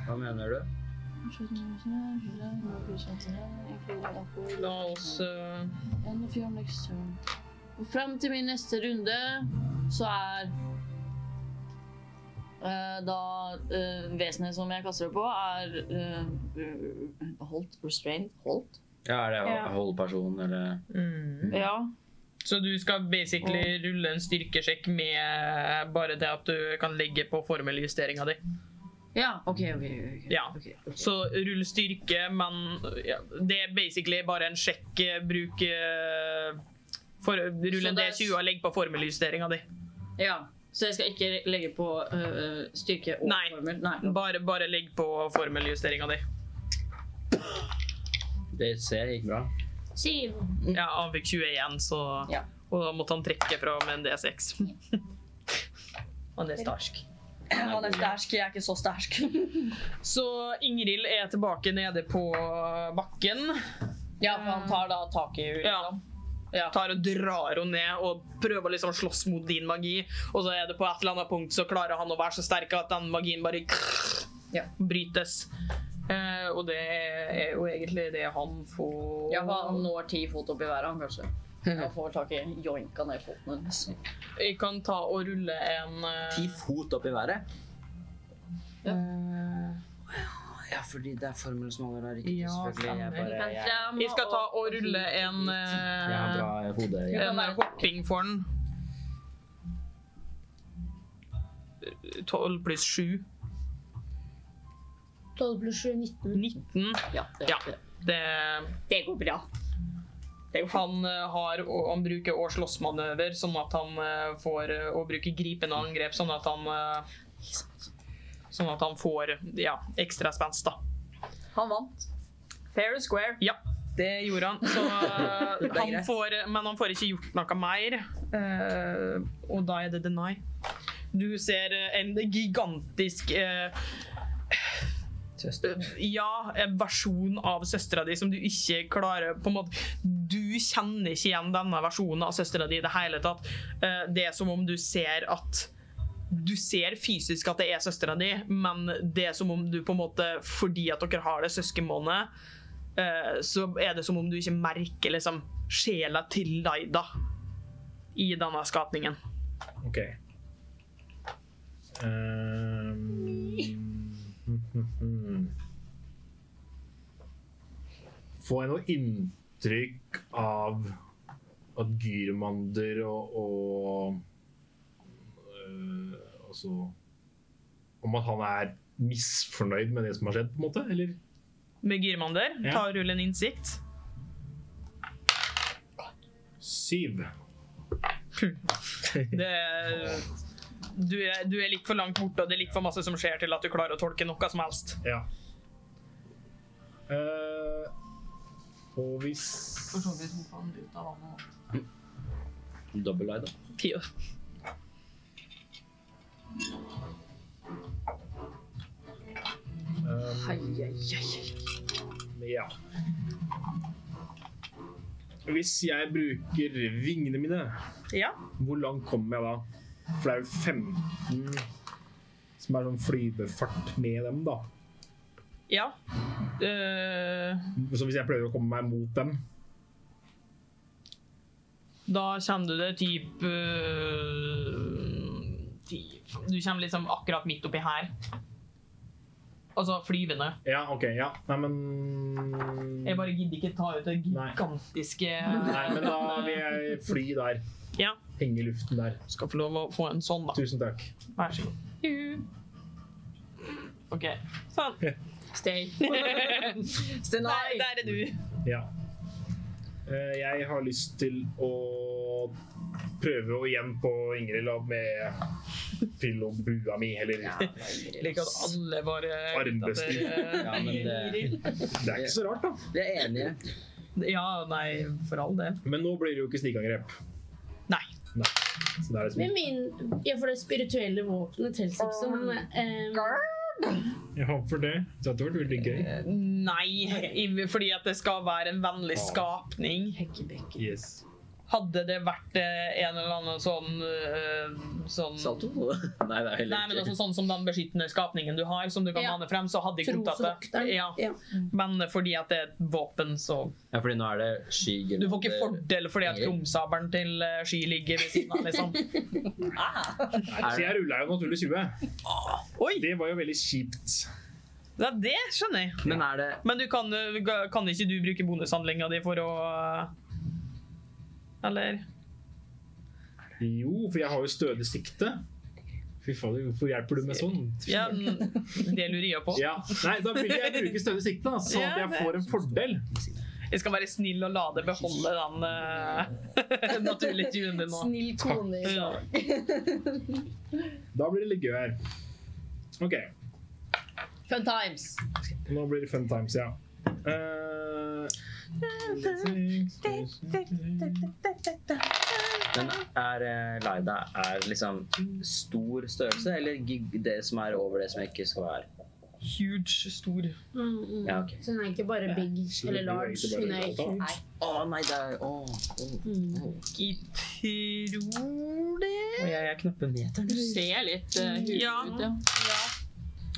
S5: Hva mener du?
S1: La oss øh,
S6: And if you're next turn. Og frem til min neste runde så er eh, da eh, vesenet som jeg kaster det på, er eh, holdt, restrained, holdt.
S5: Ja, er det
S4: Ja.
S5: holdperson eller
S1: Mm.
S6: Ja.
S1: Så du skal basically rulle en styrkesjekk med bare det at du kan legge på formeljusteringa di.
S6: Ja, ok, ok. ok,
S1: Ja.
S6: ok, ok.
S1: Så rull styrke, men ja, det er basically bare en sjekk. eh, Bruk eh, for,
S6: Så
S1: Rull en
S6: det er-
S1: D20 og legg på formeljusteringa di.
S6: ja. Så jeg skal ikke legge på eh, styrke og
S1: Nei.
S6: formel? Nei.
S1: Bare, bare legg på formeljusteringa di.
S5: Det ser jeg gikk bra.
S4: Syv.
S1: Ja, han fikk 21, så
S6: Mm. Ja.
S1: Og da måtte han trekke fra med en D6. Han er starsk.
S8: Han er stærsk, jeg er ikke så stærsk.
S1: Så Ingrid er tilbake nede på bakken.
S6: Ja, for han tar da tak i henne.
S1: Ja.
S6: Ja.
S1: Tar og drar henne ned og prøver å liksom slåss mot din magi. Og så er det på et eller annet punkt så klarer han å være så sterk at den magien bare
S6: Ja.
S1: brytes. Eh, og det er jo egentlig det han får
S6: Ja, for han når ti fot opp i været, han kanskje. Han får tak i joinka ned foten hennes.
S1: Jeg kan ta og rulle en eh,
S5: Ti fot opp i været.
S6: Ja.
S1: eh,
S5: Ja, fordi det er formelen som holder der, riktig.
S1: Ja,
S5: selvfølgelig. Jeg
S1: stemmer.
S5: bare jeg,
S1: Jeg skal ta og rulle en,
S5: jeg har
S1: eh,
S5: bra hode. Jeg.
S1: en hopping for den. 12 pluss 7.
S4: 12 pluss 7 er 19.
S1: 19.
S6: Ja, det
S1: Ja.
S6: er det.
S1: Det
S4: Det går bra.
S1: Han, eh, har, og han bruker å slåssmanøver, sånn at han eh, får eh, å bruke gripende angrep, sånn at han eh, Sånn at han får ja, ekstra spenst, da.
S6: Han vant. Fair and square.
S1: Ja, det gjorde han. Så eh, han får, men han får ikke gjort noe mer. Eh, og da er det deny. Du ser eh, en gigantisk eh, ja, en versjon av søstera di som du ikke klarer på en måte, Du kjenner ikke igjen denne versjonen av søstera di i det hele tatt. Eh, Det er som om du ser at du ser fysisk at det er søstera di, men det er som om du på en måte Fordi at dere har det søskenbåndet, eh, så er det som om du ikke merker liksom sjela til Laida i denne skapningen.
S2: Ok. Ehm, Får jeg noe inntrykk av at Gyrmander og, og øh, Altså Om at han er misfornøyd med det som har skjedd, på en måte? Eller?
S1: Med Gyrmander,
S2: Ja.
S1: ta og rull en innsikt.
S2: Syv.
S1: Det, du, er, du er litt for langt borte, og det er litt for masse som skjer til at du klarer å tolke noe som helst.
S2: Ja. Eh, og hvis
S5: Dobbel eye, da.
S1: Ti år.
S2: Um, Ja. Hvis jeg bruker vingene mine,
S1: Ja.
S2: hvor langt kommer jeg da? For det er jo 15 som er sånn flyvefart med dem, da.
S1: ja. Eh,
S2: Så hvis jeg prøver å komme meg mot dem
S1: da kjenner du det typ eh, ti- Du kommer liksom akkurat midt oppi her. Altså flyvende.
S2: Ja, OK. Ja. Nei, men
S1: Jeg bare gidder ikke ta ut det
S2: Nei.
S1: gigantiske
S2: Nei, men da vil jeg fly der.
S1: Ja.
S2: Henge i luften der.
S1: Skal få lov å få en sånn, da.
S2: Tusen takk.
S1: Vær så god. Juhu. OK. Sånn.
S6: Stay. Stay
S1: Der,
S6: night.
S1: der er du.
S2: Ja. Eh, Jeg har lyst til å prøve å igjen på Ingrid da, med pil og bua mi, eller
S1: Liker at alle bare eh,
S2: Armbøster.
S5: Ja, men det-
S2: Det er ikke så rart, da.
S5: Vi er enige.
S1: Ja, nei, for all del.
S2: Men nå blir det jo ikke snikangrep.
S1: Nei.
S2: Så da er det
S4: Med
S2: sånn.
S4: min Ja, for det spirituelle våpenet teller ikke som eh,
S2: Jeg håper det. Det hadde vært veldig gøy.
S1: Eh, Nei, i- fordi at det skal være en vennlig skapning.
S2: Yes.
S1: Hadde det vært eh, en eller annen sånn, eh, sånn
S5: Salto? Nei, det er
S1: Nei, men
S5: heller
S1: også
S5: ikke.
S1: sånn som den beskyttende skapningen du har, som du kan
S4: Ja.
S1: mane frem, så hadde jeg godtatt det.
S3: Trosdokteren.
S1: Ja.
S3: Ja.
S1: Men fordi at det er et våpen, så
S5: Ja, fordi nå er det sky
S1: altså- Du får ikke fordel fordi at krumsabelen til eh, Sky ligger ved siden av, liksom.
S2: Så jeg rulla jo naturlig 20.
S1: Oi!
S2: Det var jo veldig kjipt.
S1: Ja, det skjønner jeg.
S5: Men er det
S1: Men du kan, eh, kan ikke du bruke bonushandlinga di for å eh, Eller?
S2: Jo, for jeg har jo stødig sikte. Fy fader, hvorfor hjelper du med sånn?
S1: Ja, mm, det lurer jeg på.
S2: Ja. Nei, da vil jeg bruke stødig sikte, da, sånn at
S1: Ja,
S2: jeg
S1: det-
S2: får en fordel.
S1: Jeg skal være snill og la deg beholde den eh, naturlige tunen din nå.
S3: Snill kone.
S1: Ja.
S2: Da blir det litt gøy her. OK.
S6: Fun times.
S2: Nå blir det fun times, ja. Eh,
S5: Men er eh, Laida er liksom stor størrelse, eller gig det som er over det som ikke skal være?
S1: Huge, stor.
S4: Mm, mm.
S5: Ja, ok.
S4: Så hun er ikke bare big eller large, hun er Mm. huge.
S5: Å nei, det er Å. å.
S1: Jeg tror det.
S5: Å, Jeg er knappe meteren.
S9: Du ser litt
S6: øh,
S9: uh,
S1: Ja.
S9: ut, ja.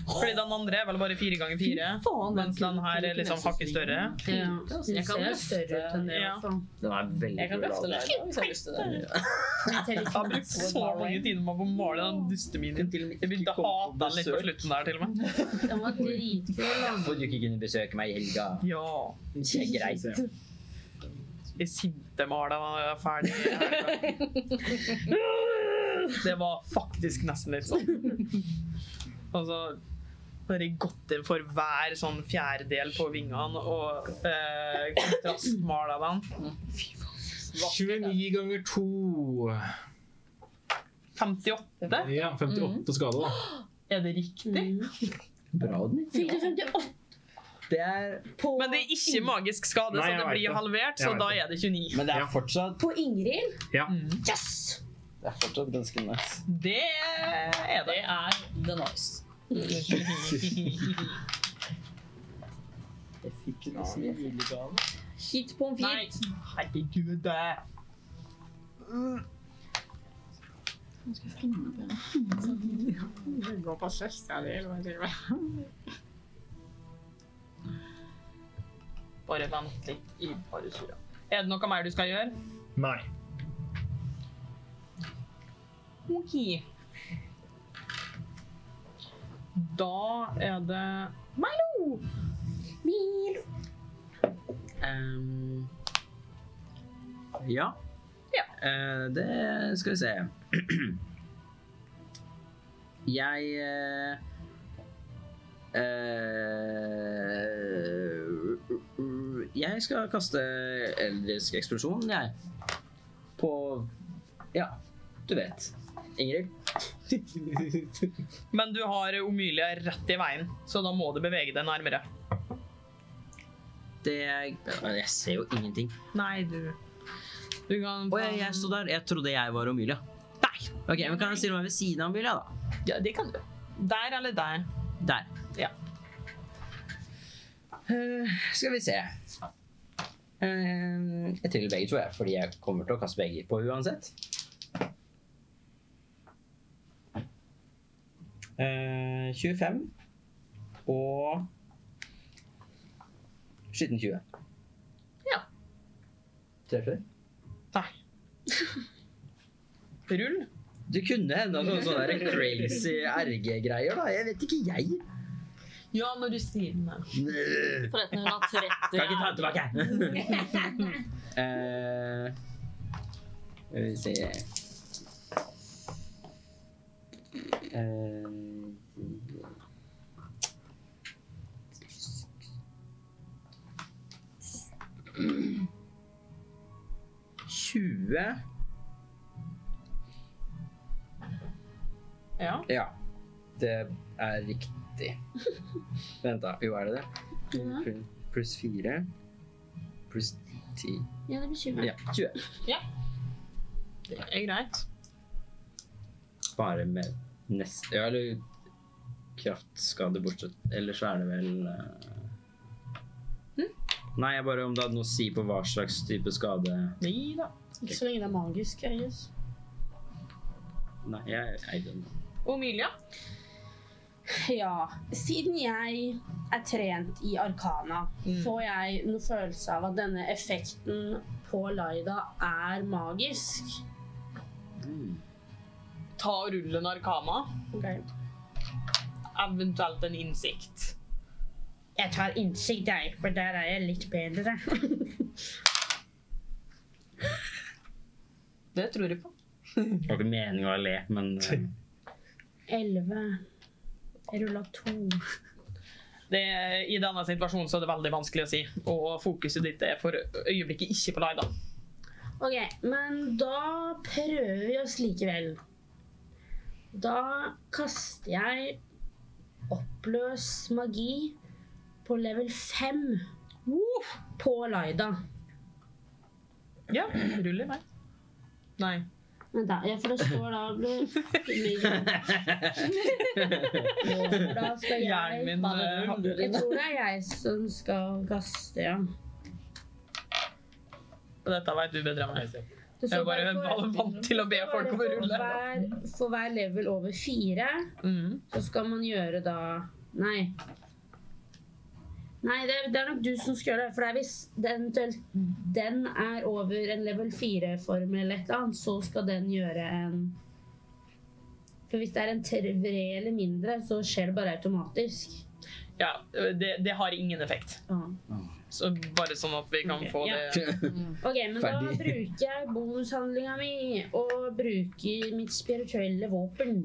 S1: Fordi den andre er vel bare fire ganger fire. Mens den her er liksom hakket større.
S4: Ja. Hun
S9: Jeg kan
S4: ser
S9: løfte-
S4: større ut enn det, i
S1: Ja.
S4: hvert fall.
S5: Den er veldig
S6: Jeg kan løfte
S5: Laida.
S6: deg da, hvis jeg har lyst til det.
S4: Jeg teller
S1: Jeg har brukt så mange timer på å male den dusteminen. Jeg begynte å hate den litt på slutten der, til og med.
S4: ikke. Den var dritkul.
S5: Får du ikke kunne besøke meg i helga?
S1: Ja.
S5: Det er greit.
S1: Jeg sinte maler den er ferdig. Det var faktisk nesten litt sånn. Altså bare godter for hver sånn fjerdedel på vingene og eh, kontrastmaler den.
S2: 29 ganger 2.
S1: 58?
S2: Ja, 58 skade, da.
S1: Er det riktig?
S4: Mm.
S5: Bra, Odny.
S4: Fikk du 58?
S5: Det er
S4: På,
S1: Men det er ikke magisk skade,
S2: Nei,
S1: så
S2: jeg
S1: det
S2: vet
S1: blir
S2: det.
S1: halvert.
S2: Jeg
S1: Så
S2: vet
S1: da
S2: det.
S1: er det 29.
S5: Men det er
S2: Ja.
S5: fortsatt,
S4: på Ingrid?
S1: Mm.
S4: Yes!
S5: det er fortsatt ganske nice.
S1: Det er det.
S6: Det er the noise.
S5: Jeg fikk jo nesten en julegave.
S6: Hit på en
S1: Nei, herregud. det- Bare vent litt i paresura. Er det noe mer du skal gjøre?
S2: Nei.
S1: Ok. Da er det Milo!
S5: Ehm, ja.
S1: Ja.
S5: Eh, det skal vi se. Jeg eh, eh, Jeg skal kaste eldrisk eksplosjon, jeg. På Ja, du vet. Ingrid.
S1: Men du har Omylia rett i veien, så da må du bevege deg nærmere.
S5: Det er Jeg ser jo ingenting.
S1: Nei, du Du kan
S5: Å, jeg, jeg sto der. Jeg trodde jeg var Omilia.
S1: Nei!
S5: Ok, men Kan jeg stille meg ved siden av Omilia, da?
S1: Ja, det kan du. Der eller der?
S5: Der.
S1: Ja.
S5: Eh, skal vi se. Eh, jeg triller begge to, jeg, fordi jeg kommer til å kaste begge på uansett. Eh, 25 og skitten 20.
S1: Ja.
S5: Treffer.
S1: Rull.
S5: Du kunne enda noen sånne der crazy RG-greier, da. Jeg vet ikke, jeg.
S1: Ja, når du sier den.
S5: Kan ikke ta den tilbake. Eh, Skal vi se Eh, Tjue
S1: Ja.
S5: Ja. Det er riktig. Vent, da. Jo, er det det? Pl- Pluss fire. Pluss ti.
S4: Ja, det blir 20.
S5: Ja, 20.
S1: Det er greit.
S5: Bare med neste Ja, eller kraftskade bortsett. Eller så er det vel Hm? eh, Nei, jeg bare om det hadde noe å si på hva slags type skade
S1: Nei da.
S4: Ikke så lenge det er magisk, I guess.
S5: Nei, jeg eide den.
S1: Omilia?
S4: Ja. Siden jeg er trent i arkana, får jeg noen følelse av at denne effekten på Laida er magisk.
S5: Mm.
S1: Ta og rull en arkana. Eventuelt en innsikt.
S4: Jeg tar innsikt, jeg, for der er jeg litt bedre.
S1: Det tror jeg på.
S5: Det var ikke meningen å le, men eh,
S4: Elleve. Jeg rulla to.
S1: Det, I denne situasjonen så er det veldig vanskelig å si. Og fokuset ditt er for øyeblikket ikke på Laida.
S4: OK, men da prøver vi oss likevel. Da kaster jeg oppløs magi på level 5 på Laida.
S1: Ja, rull i vei. Nei.
S4: Vent da, ja, for det står da blir- Da skal
S1: Hjernen
S4: jeg
S1: min eh, hadde
S4: Jeg tror det er jeg som skal kaste, ja.
S1: Dette vet du bedre enn meg.
S4: Det
S1: Jeg
S4: står
S1: er bare
S4: for-
S1: vant til å be
S4: så var
S1: folk
S4: det
S1: om å
S4: for
S1: rulle.
S4: hver- For hver level over fire
S1: Mm.
S4: Så skal man gjøre da Nei. Nei, det er, det er nok du som skal gjøre det. For det er hvis det eventuelt den er over en level 4-form eller et eller annet, så skal den gjøre en For hvis det er en tre eller mindre, så skjer det bare automatisk.
S1: Ja, det, det har ingen effekt.
S4: Ah.
S1: Så bare sånn at vi kan
S4: Ok,
S1: få
S4: ja.
S1: det
S4: Ok, men da
S5: Ferdig.
S4: bruker jeg bonushandlinga mi og bruker mitt spirituelle våpen.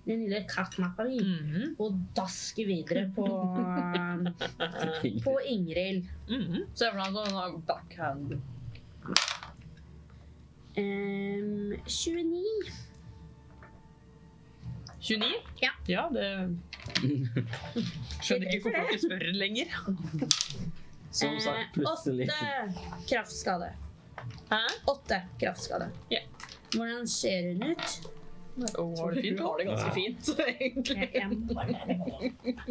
S4: Den lille kattmappa mi.
S1: Mhm,
S4: Og dasker videre på, på Ingrid.
S1: mhm.
S6: Se for deg en sånn backhand.
S4: Ehm, 29.
S1: 29?
S4: Ja.
S1: det skjønner ikke hvorfor folk spør lenger.
S5: Som sagt,
S4: Eh,
S5: plutselig.
S4: Åtte kraftskade.
S1: Hæ?
S4: Åtte kraftskade.
S1: Ja.
S4: Hvordan ser hun ut?
S1: Oh, har det fint? Du har det ganske fint, egentlig.
S4: Jeg- jeg må-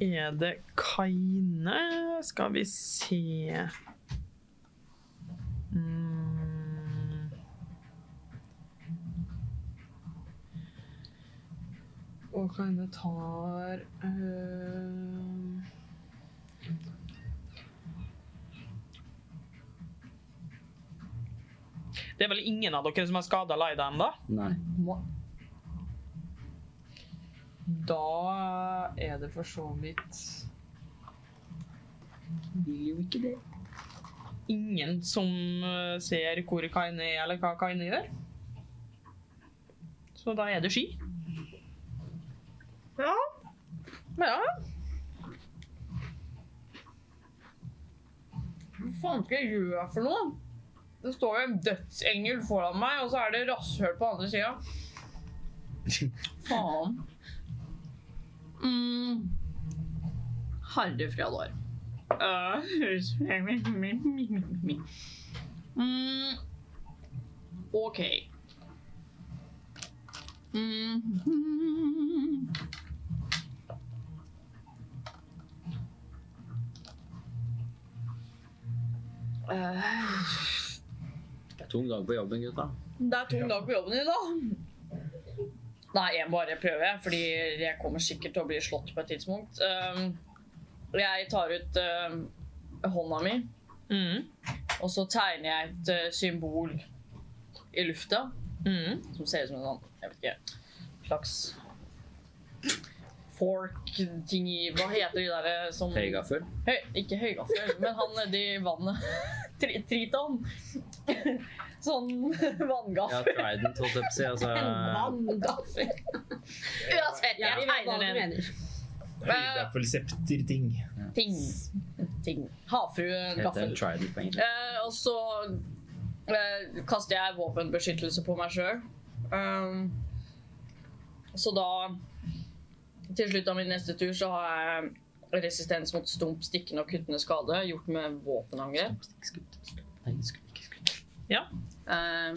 S1: Er det Kaine? Skal vi se Mm. Og Kaine tar eh, Det er vel ingen av dere som har skada Laida ennå?
S5: Nei.
S1: Da er det for så vidt
S5: Vil jo ikke det.
S1: ingen som eh, ser hvor Kaine er, eller hva Kaine gjør. Så da er det sky. Ja. Ja.
S6: Hva faen skal jeg gjøre for noe? Det står jo en dødsengel foran meg, og så er det rasshøl på andre sida. Faen. Mm. Harry Fjadar. Eh, Mm. OK. Mm.
S5: Tung dag på jobben, gutta.
S6: Det er tung dag på jobben din, da. Nei, jeg bare prøver, fordi jeg kommer sikkert til å bli slått på et tidspunkt. Um, jeg tar ut um, hånda mi,
S1: Mm.
S6: og så tegner jeg et uh, symbol i lufta
S1: Mm.
S6: som ser ut som en sånn, jeg vet ikke, slags fork-ting i Hva heter de der uh, som
S5: Høygaffel.
S6: Høy, ikke høygaffel, men han nedi vannet. Tri Triton. Sånn
S5: Ja,
S6: vanngaffel.
S5: Trident, holdt jeg på å si. Altså,
S4: Vanngaffel.
S6: Uansett,
S4: Ja,
S6: jeg
S4: vi vet hva
S6: tegner
S4: du
S6: en
S4: mener.
S2: Høydeffelsepter-ting.
S6: ting. ting.
S5: heter
S6: Havfruegaffel.
S5: det Trident på engelsk.
S6: Eh, og så eh, kaster jeg våpenbeskyttelse på meg sjøl. så da Til slutt av min neste tur så har jeg resistens mot stump, stikkende og kuttende skade gjort med våpenangrep.
S5: Skutt, skutt. Nei, skutt, ikke skutt.
S6: Ehm, eh, Um,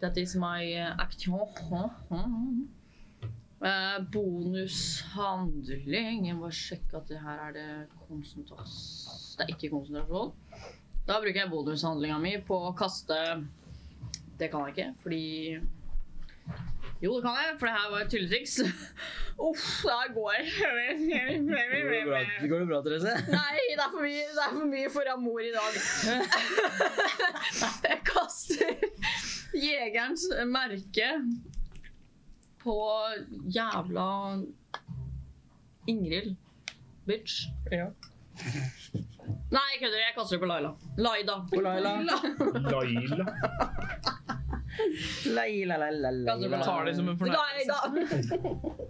S6: that is my uh, action. Eh, bonushandling Jeg må bare sjekke at det her er det konsentrasjon Det er ikke konsentrasjon. Da bruker jeg bonushandlinga mi på å kaste Det kan jeg ikke, fordi Jo, det kan jeg, for det her var et tulletriks. Uff, det her
S5: Går det
S6: går
S5: bra, går det bra Therese?
S6: Nei, det er for mye, det er for, mye for Amor i dag. Jeg kaster jegerens merke på jævla Ingrid. Bitch.
S1: Ja.
S6: Nei, jeg kødder. Jeg kaster det på Laila. Laida.
S5: På Laila.
S2: Laila.
S5: Laila, la, la, la,
S1: Du
S5: la.
S1: tar det som en fornærmelse.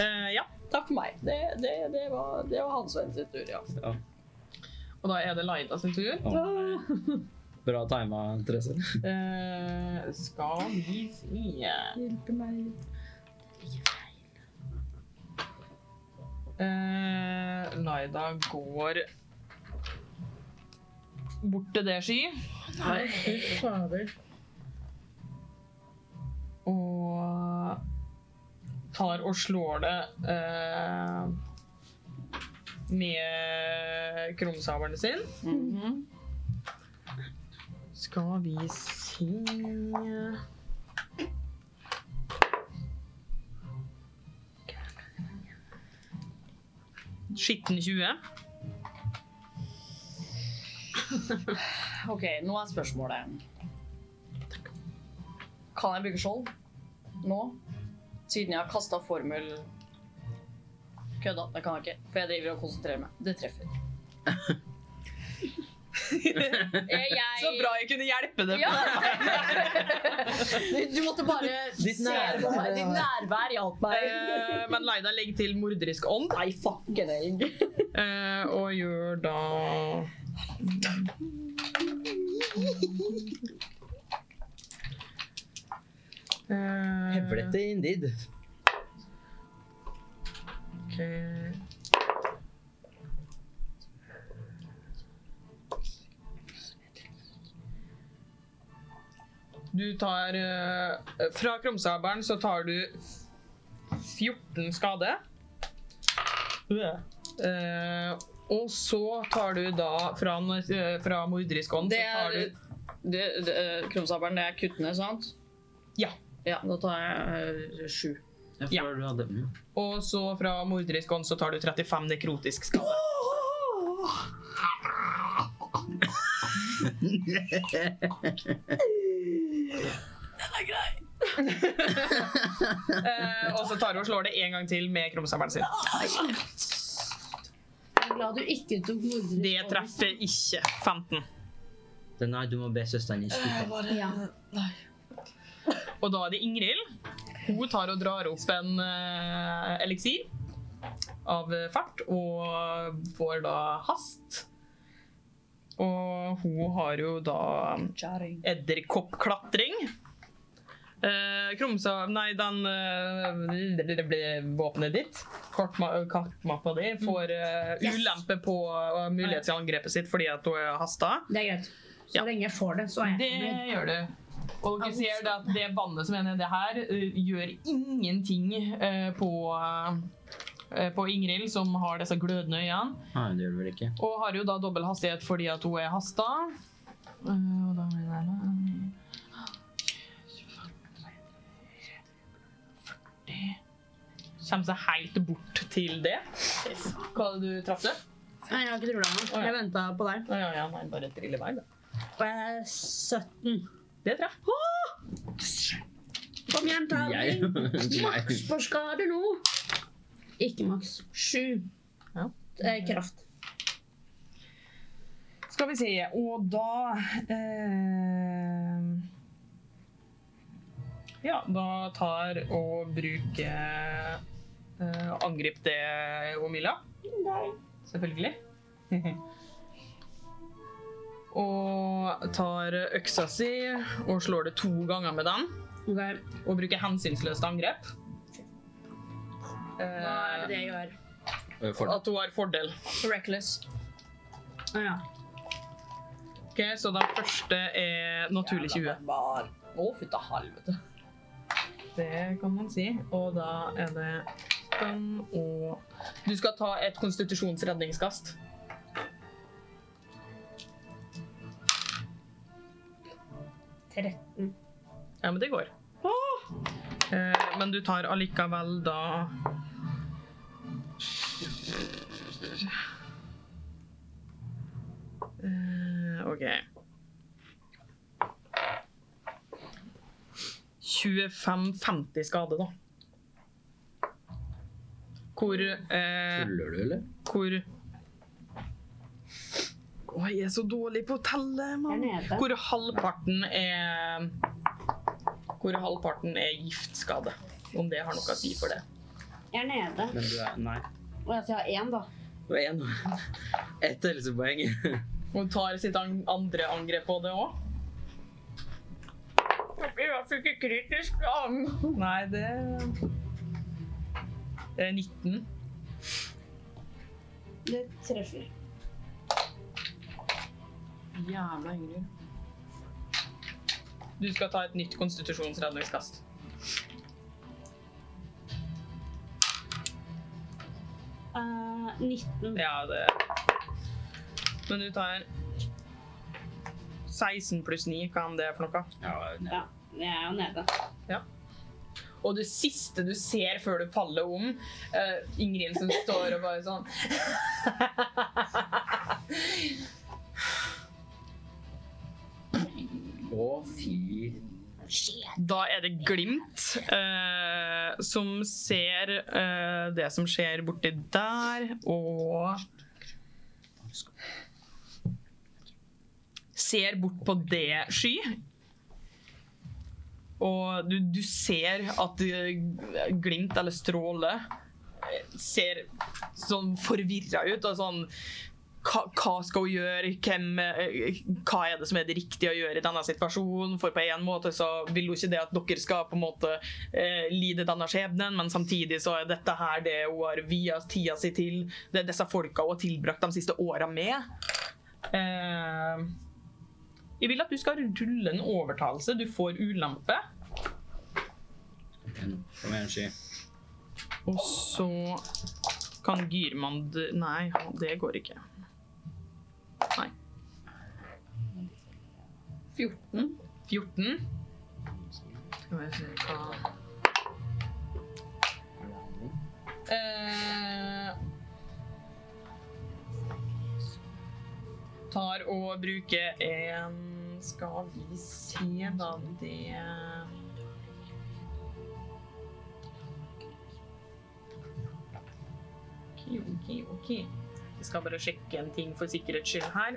S6: Eh, ja, takk for meg. Det, det, det var, det var Hans Venn sin tur, ja.
S1: Og da er det Laida sin tur.
S5: Bra tima, Therese.
S1: Eh, skal vi si
S8: Hjelpe meg.
S1: Eh, Laida går bort til det sky.
S8: Fy fader.
S1: og tar og slår det eh, med krumsabelen sin. Skal vi se Skitten 20.
S6: Ok, nå er spørsmålet. Kan jeg bruke skjold nå? Siden jeg har kasta formel Kødda, det kan jeg ikke. For jeg driver og konsentrerer meg. Det treffer. Eh, Jeg...
S1: Så bra jeg kunne hjelpe deg.
S6: Ja. Du måtte bare
S5: Ditt
S6: se på
S5: nærvær, ja.
S6: meg. Ditt nærvær hjalp meg.
S1: Eh, men Laida legger til morderisk ånd.
S6: Nei, fucken egg.
S1: Eh, og gjør da Eh,
S5: Hevlete indeed.
S1: ok. Du tar eh, Fra krumsabelen så tar du 14 skade. Eh, og så tar du da fra, eh, fra morderisk ånd
S6: Det
S1: så tar
S6: er
S1: du
S6: det, det, eh, Krumsabelen, det er kuttende, sant?
S1: Ja.
S6: Ja, Da tar jeg eh, sju.
S1: Ja.
S5: Du hadde.
S1: Og så fra morderisk ånd så tar du 35 nekrotisk skade. Den er grei. eh, og så tar hun og slår det en gang til med krumsabelen sin.
S3: Jeg er glad du ikke tok morderisk
S1: Det treffer ikke 15.
S5: Nei, du må be søsteren
S1: Eh,
S5: din slutte.
S3: Ja.
S1: Og da er det Ingrid. Hun tar og drar opp en eh, eliksir av eh, fart og får da hast. Og hun har jo da edderkoppklatring. Eh, Krumsa Nei, den eh, det- det ble våpenet ditt. Kartma kartmappa di får eh,
S4: Yes.
S1: ulempe på eh, mulighet til angrepet sitt fordi at hun er hasta.
S4: Det er greit. Så
S1: Ja.
S4: lenge jeg får det, så er
S1: Det
S4: jeg fornøyd.
S1: gjør det. Og dere ser det at det vannet som er nedi her, eh, gjør ingenting eh, på, eh, på Ingrid, som har disse glødende øynene.
S5: Nei, det gjør du vel ikke.
S1: Og har jo da dobbel hastighet fordi at hun er hasta. Eh, og da blir det Kommer seg helt bort til det. Hva hadde du traff du?
S4: Nei, jeg har ikke trua meg. Jeg venta på deg.
S1: Å ja, ja, nei, bare trille vei, da.
S4: Og jeg er 17.
S1: Det traff.
S4: Kom igjen, ta
S5: Jeg?
S4: den.
S5: Nei.
S4: Maks på skade nå. Ikke maks. Sju.
S1: Ja.
S4: Det er kraft.
S1: Skal vi se, og da eh, Ja, da tar og bruker eh, Angrip det, Omila. Selvfølgelig. og tar øksa si og slår det to ganger med den.
S4: Ok, Hva
S1: Og bruker hensynsløst angrep.
S4: er det
S1: Eh,
S4: det jeg gjør?
S5: For
S1: at hun har fordel.
S6: Reckless.
S4: Å ja.
S1: Ok, Så den første er naturlig 20.
S6: Jævla barbar. Å, fytta helvete.
S1: Det kan man si. Og da er det den og Du skal ta et konstitusjonsredningskast.
S4: Tretten.
S1: Ja, men det går. Eh, men du tar allikevel da Eh, OK. 25-50 skade, da. Hvor eh,
S5: Tuller du, eller?
S1: Hvor Å, jeg er så dårlig på å telle, mann.
S8: nede.
S1: Hvor halvparten er Hvor halvparten er giftskade. Om det har noe å si for det.
S8: Jeg er nede.
S5: Men du er Nei.
S8: Og jeg har én, da.
S5: Du er én. Ett helsepoeng.
S1: Hun tar sitt an- andre angrep på det òg. Det blir i hvert fall ikke kritisk. Nei, det Det er 19.
S8: Det treffer.
S6: Jævla Ingrid.
S1: Du skal ta et nytt konstitusjonsredningskast.
S8: Eh, 19.
S1: Ja, det Men du tar 16 pluss 9, hva enn det er for noe.
S8: Ja, jeg er jo nede.
S1: Og det siste du ser før du faller om, eh, Ingrid som står og bare sånn
S5: Å, fy
S1: Da er det Glimt eh, som ser eh, det som skjer borti der, og Ser bort på det, Sky. Og du, du ser at eh, Glimt, eller Stråle, eh, ser sånn forvirra ut. og sånn hva, hva skal hun gjøre? Hvem, eh, hva er det som er det riktige å gjøre i denne situasjonen? For på en måte så vil hun ikke det at dere skal på en måte eh, lide denne skjebnen, men samtidig så er dette her det hun har via tida si til. Det er disse folka hun har tilbrakt de siste åra med. Eh, jeg vil at du skal rulle en overtalelse. Du får ulempe.
S5: Kom igjen, Sky.
S1: Og så kan Gyrmand Nei, det går ikke. Nei. 14. 14. Skal vi se hva eh, Tar og bruker en Skal vi se, da det Ok, ok, ok. Jeg skal bare sjekke en ting for sikkerhets skyld her.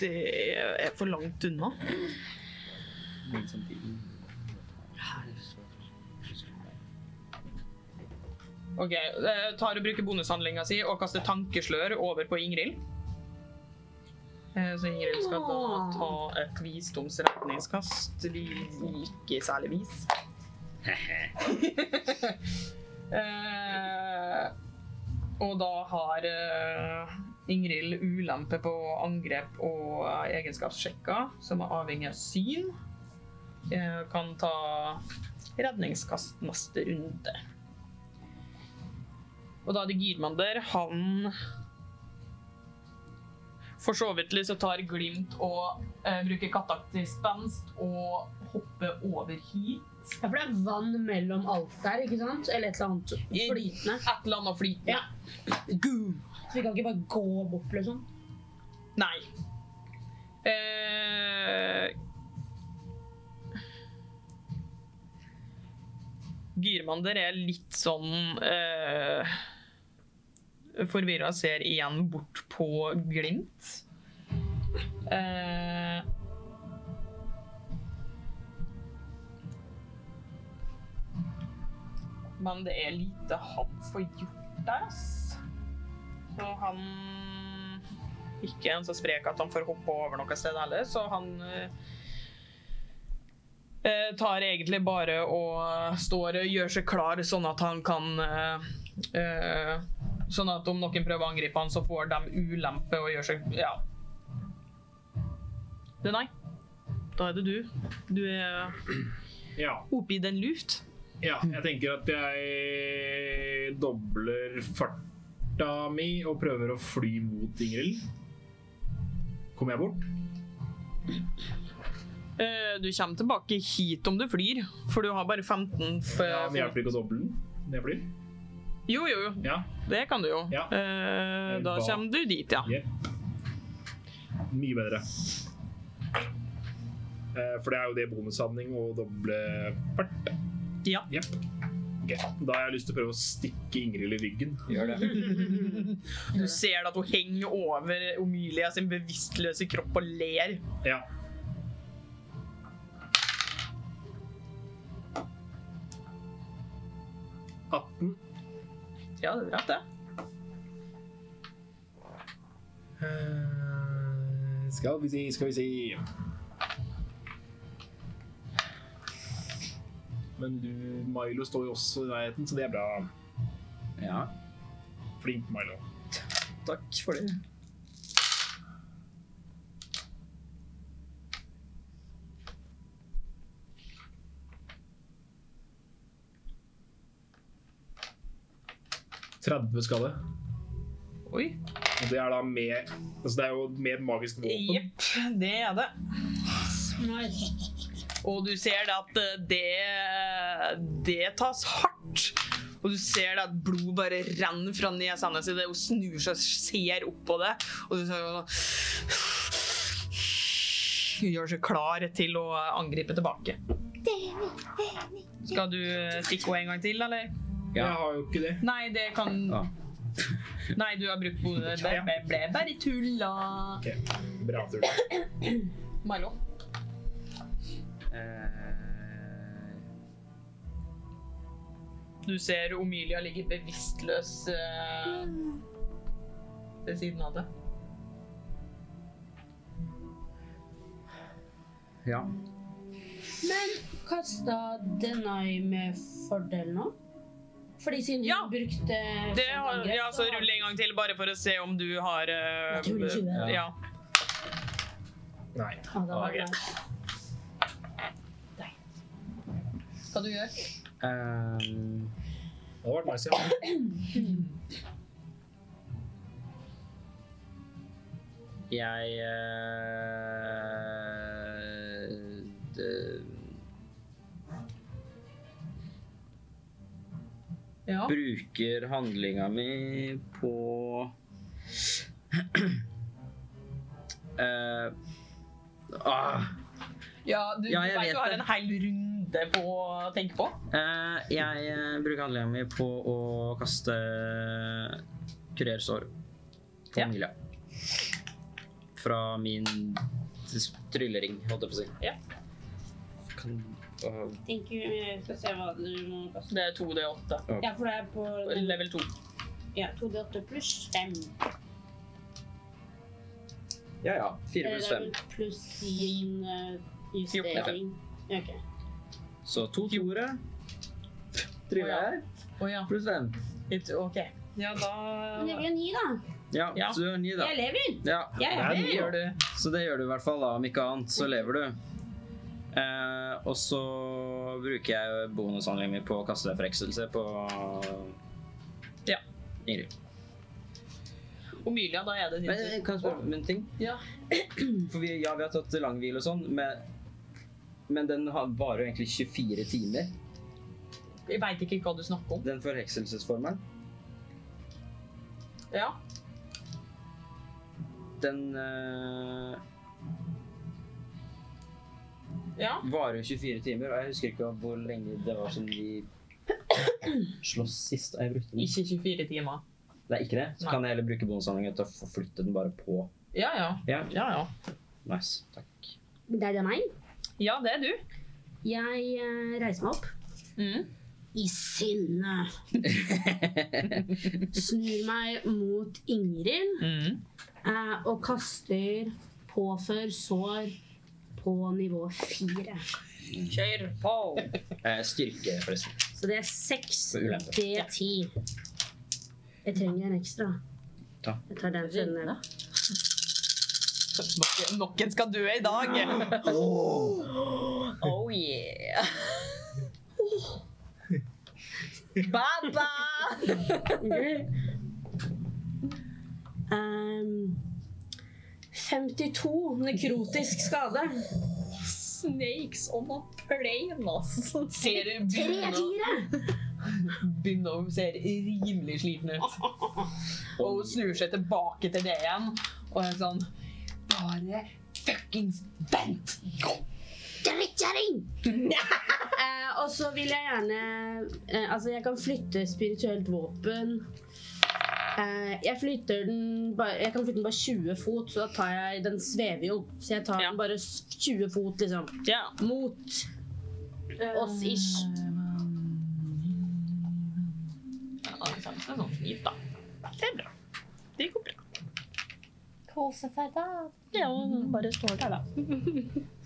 S1: Det er for langt unna.
S5: Men samtidig
S1: Ok, eh, tar og bruker bonushandlinga si og kaster tankeslør over på Ingrid. Eh, Så Ingrid skal da ta et visdomsretningskast. Vi ikke særlig vis. eh, og da har eh, Ingrid ulempe på angrep og eh, egenskapssjekker, som er avhengig av syn. Eh, kan ta redningskast neste runde. Og da er det Gyrmander. Han For så vidt så tar Glimt og eh, bruker kattaktig spenst og hopper over hit.
S4: Ja, for det er vann mellom alt der, ikke sant? Eller et eller annet flytende.
S1: Et eller annet flytende.
S4: Ja. Så vi kan ikke bare gå bort, liksom.
S1: Nei. Eh... Gyrmander er litt sånn eh... forvirra, ser igjen bort på Glimt. Eh... Men det er lite han får gjort der, ass. Så han ikke en så sprek at han får hoppe over noe sted heller, så han eh, eh, tar egentlig bare og står og gjør seg klar sånn at han kan eh, eh, Sånn at om noen prøver å angripe han, så får de ulempe og gjør seg Ja. Det er nei. Da er det du. Du er
S2: Ja.
S1: oppe i den luft.
S2: Ja, jeg tenker at jeg dobler farta mi og prøver å fly mot Ingrid. Kommer jeg bort?
S1: Eh, Du kommer tilbake hit om du flyr, for du har bare 15 f-
S2: Ja, men hjelper det ikke å doble den når jeg flyr?
S1: Jo, jo, jo.
S2: Ja.
S1: Det kan du jo.
S2: Ja.
S1: Eh, Da
S2: Hva?
S1: kommer du dit, ja.
S2: Jepp. Mye bedre. Eh, For det er jo det bonushandling å doble fart.
S1: Ja.
S2: Jepp. Ok, Da har jeg lyst til å prøve å stikke Ingrid i ryggen.
S5: Gjør det.
S1: Du ser at hun henger over Omilia sin bevisstløse kropp og ler.
S2: Ja. Atten.
S1: Ja, det er rett, det.
S2: Eh, Skal vi si, skal vi si Men du, Milo står jo også i nærheten, så det er bra.
S5: Ja,
S2: Flink, Milo.
S5: takk for det.
S2: ved skade.
S1: Oi.
S2: Og det er da med Altså, det er jo med et magisk våpen.
S1: Jepp, det er det. Og du ser det at eh, det, det tas hardt. Og du ser det at blod bare renner fra nesa hennes idet hun snur seg og ser opp på det. Og du ser Hun gjør seg klar til å angripe tilbake. Skal du stikke henne en gang til, eller?
S5: Ja.
S2: Jeg har jo ikke det.
S1: Nei, det kan
S5: Ja.
S1: Nei, du har brukt bodet. Ble, ble, ble bare tulla.
S2: Bra tur.
S1: Milo.
S5: Eh,
S1: Du ser Omilia ligger bevisstløs eh, ved siden av det.
S5: ja.
S4: Men kasta Denai med fordel nå? Fordi siden
S1: Ja.
S4: hun brukte
S1: det har, ja, så rull en gang til, bare for å se om du har eh,
S4: Naturlig tjue.
S1: ja.
S2: Nei.
S4: Ja, det var
S1: Ja, greit.
S4: greit.
S1: Hva du gjør?
S5: Ehm,
S2: Det hadde vært nice, ja.
S5: jeg eh, d-
S1: Ja.
S5: bruker handlinga mi på Eh, ah,
S1: ja, du, du
S5: Ja, jeg
S1: vet
S5: vet
S1: du har
S5: det.
S1: en hel runde på å tenke på.
S5: eh, jeg eh, bruker handlinga mi på å kaste kurersår på
S1: Ja.
S5: Emilia. Fra min s- tryllering, holdt jeg på å si.
S1: Ja.
S5: Kan, åh,
S4: Tenker jeg skal se hva du må kaste.
S1: Det er 2D8.
S4: Ja, for det er på
S1: Level 2.
S4: ja, 2D8 pluss 5.
S5: ja ja.
S1: Eh,
S5: Fire pluss fem.
S4: Pluss din eh, justering. Ok.
S5: Så to toere. Tryller
S1: Å ja.
S5: pluss fem.
S1: Litt- OK. Ja,
S4: Men det
S1: da
S4: blir en ni, da.
S5: Ja,
S1: Ja.
S5: så du har ni, da.
S4: Jeg lever!
S5: Ja,
S4: Jeg
S2: Det er
S4: lever!
S2: ni, ja.
S1: gjør du.
S5: Så det gjør du i hvert fall, da. Om ikke annet, så lever du. Eh, og så bruker jeg bonushandlingen min på å kaste forhekselse på
S1: Ja.
S5: Ingrid.
S1: Omilia, da er det
S5: Men
S1: din tur.
S5: jeg kan jeg spørre om en ting?
S1: Ja.
S5: For vi, ja, vi har tatt langhvil og sånn, men, men den har- varer jo egentlig 24 timer,
S1: Jeg veit ikke hva du snakker om.
S5: den forhekselsesformelen.
S1: Ja.
S5: Den eh,
S1: ja.
S5: varer jo 24 timer, og jeg husker ikke hvor lenge det var siden vi sloss sist. og Jeg brukte den.
S1: Ikke 24 timer.
S5: Det er ikke det. Så
S1: Nei.
S5: kan jeg heller bruke bonushandlingen til å forflytte den bare på.
S1: Ja, ja.
S5: Ja.
S1: Ja, ja.
S5: Nice. Takk.
S4: Det er det meg.
S1: Ja, det er du.
S4: Jeg eh, reiser meg opp.
S1: Mm.
S4: I sinne. Snur meg mot Ingrid
S1: Mm.
S4: eh, og kaster påfør sår på nivå fire.
S6: Kjør på!
S5: Eh, styrke, forresten.
S4: Så det er seks
S5: For ulempe.
S4: D10. Jeg trenger en ekstra.
S5: Ta.
S4: Jeg tar den for den.
S1: Nok- Nok en skal dø i dag.
S9: Oh yeah. Baba!
S4: Ehm, 52 nekrotisk skade.
S9: Snakes on a plane, altså.
S1: Ser du begynner, begynner å se rimelig sliten ut. Og hun snur seg tilbake til det igjen og er sånn Bare fuckings vent!
S4: Drittkjerring! eh, og så vil jeg gjerne eh, Altså, jeg kan flytte spirituelt våpen. Eh, jeg flytter den bare Jeg kan flytte den bare 20 fot, så da tar jeg Den svever jo, så jeg tar
S1: Ja.
S4: den bare s- 20 fot, liksom.
S1: Ja.
S4: Mot oss ish.
S1: Ja, det er sånn fint, da. Det er bra. Det går bra.
S9: Kose seg, da.
S1: Ja, bare står der, da.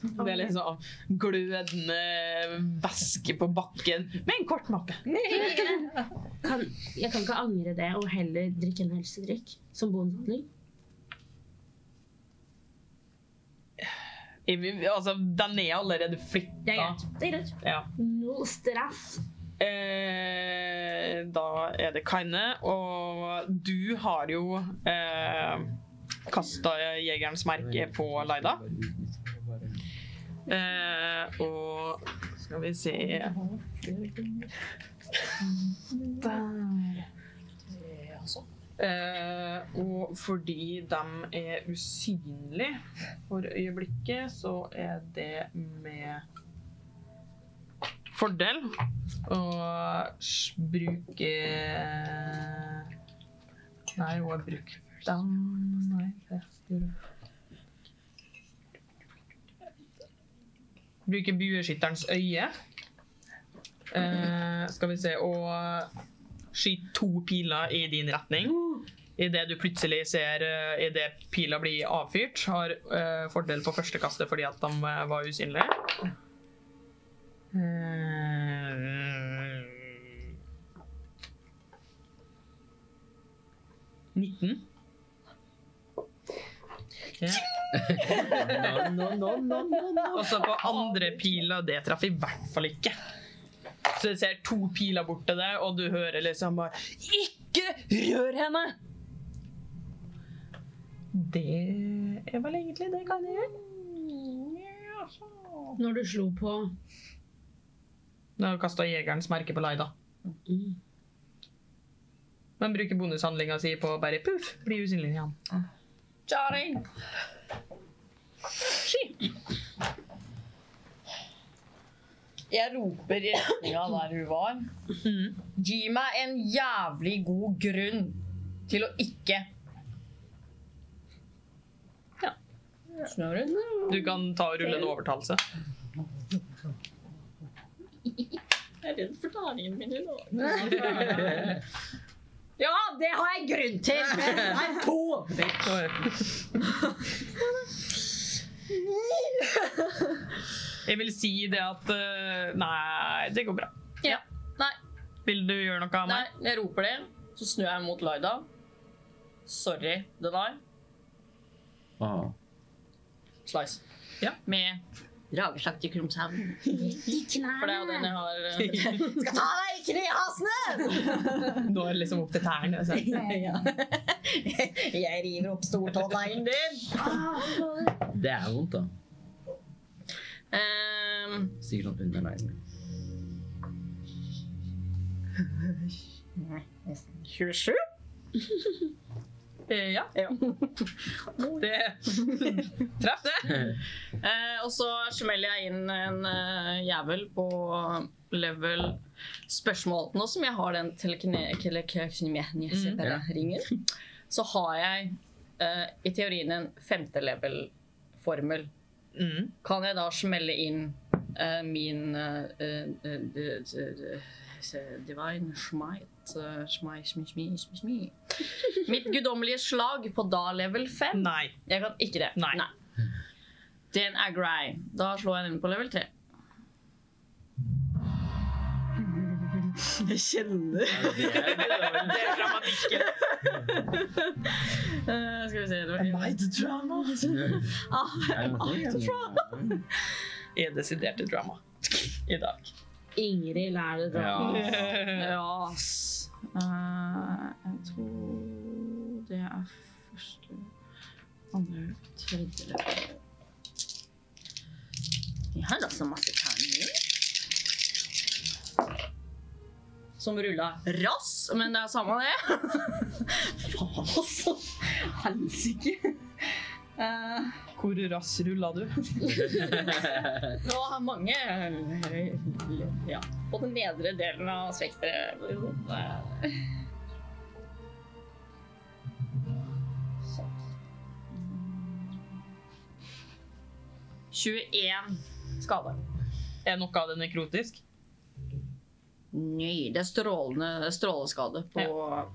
S1: Det er liksom glødende væske på bakken med en kort mappe.
S4: Kan, jeg kan ikke angre det og heller drikke en helsedrikk som bonushandling.
S1: Jeg vil- Altså, den er allerede
S4: Det er
S1: flytta.
S4: greit. Det er greit.
S1: Ja.
S4: Null stress.
S1: Eh, da er det Kaine, og du har jo eh, kasta jegerens merke på Laida. Eh, og skal vi se Eh, og fordi de er usynlige for øyeblikket, så er det med fordel og s- bruke Nei, hun har brukt den. Nei, det gjorde hun. Bruke bueskytterens øye. Eh, skal vi se Og skyte to piler i din retning. Idet du plutselig ser eh, i det pila blir avfyrt, har eh, fordel på første kastet fordi at de eh, var usynlige. Eh, 19. Ja. Og så på andre pila, det traff i hvert fall ikke. Så du ser to piler bort til deg, og du hører liksom bare Ikke rør henne! Det er vel egentlig det kan jeg gjøre.
S4: Når du slo på
S1: Nå har du kasta jegerens merke på Laida. Men bruker bonushandlinga si på å bare puff, bli usynlig igjen.
S6: Jarring! Jeg roper i retninga der hun var. Gi meg en jævlig god grunn til å ikke Ja. Snur hun?
S1: Du kan ta og rulle en overtalelse.
S9: Jeg er redd for taringen min i dag.
S4: Ja, det har jeg grunn til! Men det er to!
S1: Jeg vil si det at eh, Nei, det går bra.
S6: Ja. Nei.
S1: Vil du gjøre noe av
S6: Nei,
S1: meg?
S6: jeg roper det. Så snur jeg mot Laida. Sorry, det der.
S5: Ah.
S6: Slice.
S1: Ja.
S6: Med
S3: Drageslakt i Krumshamn.
S4: I knærne.
S6: For det er jo den jeg har eh,
S3: Skal ta deg i knehasene!
S1: Nå er det liksom opp til tærne. Så.
S3: Jeg river opp stortåneglen din.
S5: Det er vondt, da.
S6: ehm,
S5: Sikkert sånn under neglen.
S3: 27?
S6: eh, Ja. Det Treff det. Eh, og så smeller jeg inn en eh, jævel på level spørsmål. Nå som jeg har den
S1: Mm.
S6: telekinesien-ringen, så har jeg eh, i teorien en femte level-formel.
S1: Mm.
S6: Kan jeg da smelle inn eh, min eh, eh, eh, d- d- d- s- Divine smite eh, smi, smi, smi, smi, smi. Mitt guddommelige slag på da level 5.
S1: Nei.
S6: Jeg kan ikke det.
S1: Nei.
S6: Den er grei. Da slår jeg den på level 3.
S3: alle kjenner.
S2: Det er det.
S9: Eh, skal vi se det var
S3: Am I the drama? Ah.
S1: er desidert et drama i dag.
S9: Ingrid lærer det.
S5: Ja.
S1: Eh,
S9: Ja, ass. Eh, jeg tror det er første, andre, tredje level. Vi har altså masse terninger. Som rulla rass, men det er samme det. Faen, altså. Helsike. Eh,
S1: Hvor rass rulla du?
S9: Nå har mange
S6: eh,
S9: ja, på den nedre delen av spekteret.
S6: eh,
S9: Sånn. 21 skader.
S1: Er noe av det nekrotisk?
S6: Nei, det er strålende stråleskade på,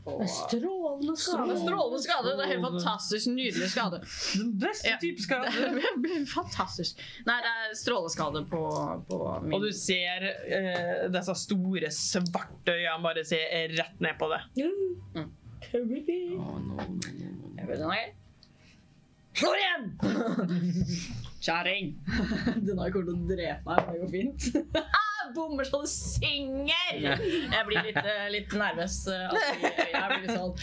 S6: på
S4: Strålende
S6: Strålende, strålende skade. Det er helt fantastisk nydelig skade.
S1: Den beste
S6: Ja.
S1: type skade.
S6: Det blir Fantastisk. Nei, det er stråleskade på, på min
S1: Og du ser eh, disse store, svarte øynene bare se rett ned på det.
S6: Jeg vet den er gøy. Slå igjen! Kjæring!
S8: Den har kommet til å drepe meg, men det går fint.
S6: Jeg Ah, bommer så det synger! Jeg blir litt, eh, litt nervøs. eh, alltid. Jeg blir litt sånn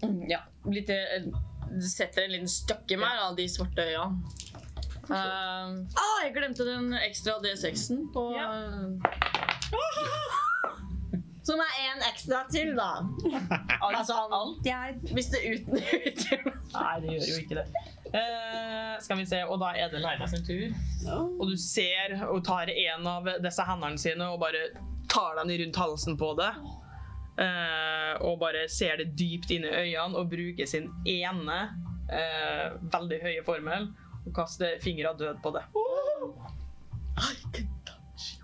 S6: Mm, Ja. Litt eh, Det setter en liten støkk i meg, da, de svarte øya. Um, ah, jeg glemte den ekstra D6-en på eh, Som er én ekstra til, da. Altså alt jeg Hvis det uten utgjør
S1: Nei, det gjør jo ikke det. Eh, skal vi se, og da er det Leila sin tur. Og du ser og tar en av disse hendene sine og bare tar den rundt halsen på det. Eh, og bare ser det dypt inn i øynene og bruker sin ene eh, veldig høye formel og kaster fingra død på det.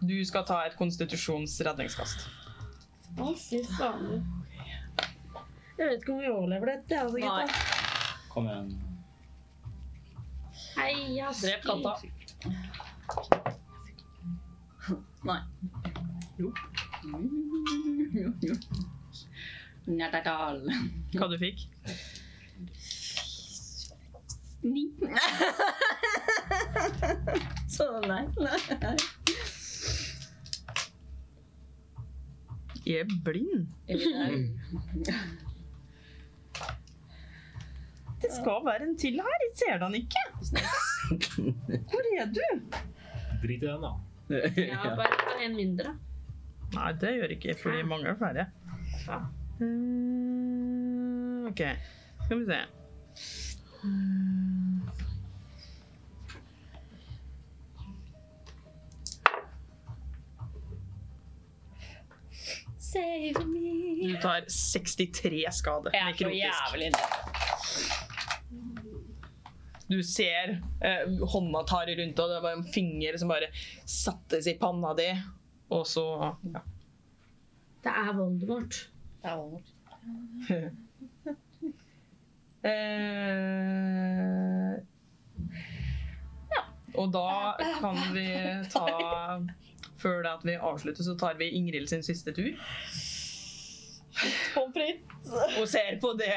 S1: Du skal ta et konstitusjonsredningskast.
S4: Jeg vet ikke om vi overlever dette. Altså, gutta.
S5: Kom igjen.
S4: Hei, jeg har
S6: Drep katta. Nei.
S1: Jo.
S6: Jo, jo. Nerdagal.
S1: Hva du fikk?
S6: Ni. Så nei. nei.
S1: Jeg er blind. Det skal være en til her. Jeg ser den ikke. Hvor er du?
S2: Drit i den, da.
S4: Ja, bare ta en mindre.
S1: Nei, det gjør ikke jeg, fordi jeg mangler flere.
S4: Ja.
S1: Eh, OK, skal vi se.
S4: Save me.
S1: Du tar 63 skade.
S6: Jeg er så
S1: nekrotisk.
S6: jævlig
S1: Du ser eh, hånda tar rundt, og det var en finger som bare sattes i panna di. Og så ja.
S4: Det er Voldemort.
S1: Eh, ja. Og da kan vi ta Før det at vi avslutter, så tar vi Ingrid sin siste tur.
S6: Pommes frites.
S1: og ser på det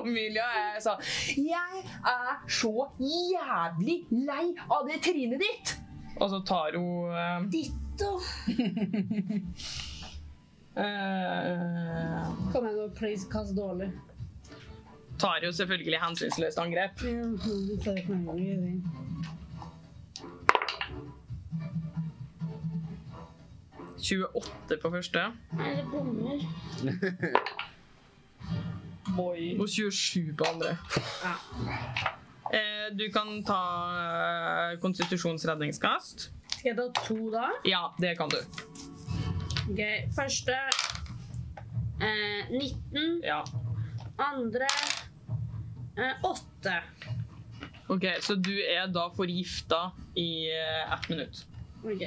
S1: Omilia er sånn Jeg er så jævlig lei av det trynet ditt! Og så tar hun eh,
S4: Ditto.
S1: eh,
S8: Kom igjen, nå, please, kast dårlig.
S1: Tar jo selvfølgelig hensynsløst angrep.
S8: Ja, du sa det for mange ganger, jeg vet.
S1: 28 på første.
S4: Nei, det bommer.
S1: Og 27 på andre. Eh, du kan ta eh, konstitusjonsredningskast.
S4: Skal jeg ta to da?
S1: Ja, det kan du.
S4: Ok, første eh, 19.
S1: Ja.
S4: Andre eh, 8.
S1: Ok, Så du er da forgifta i eh, ett minutt.
S4: Ok.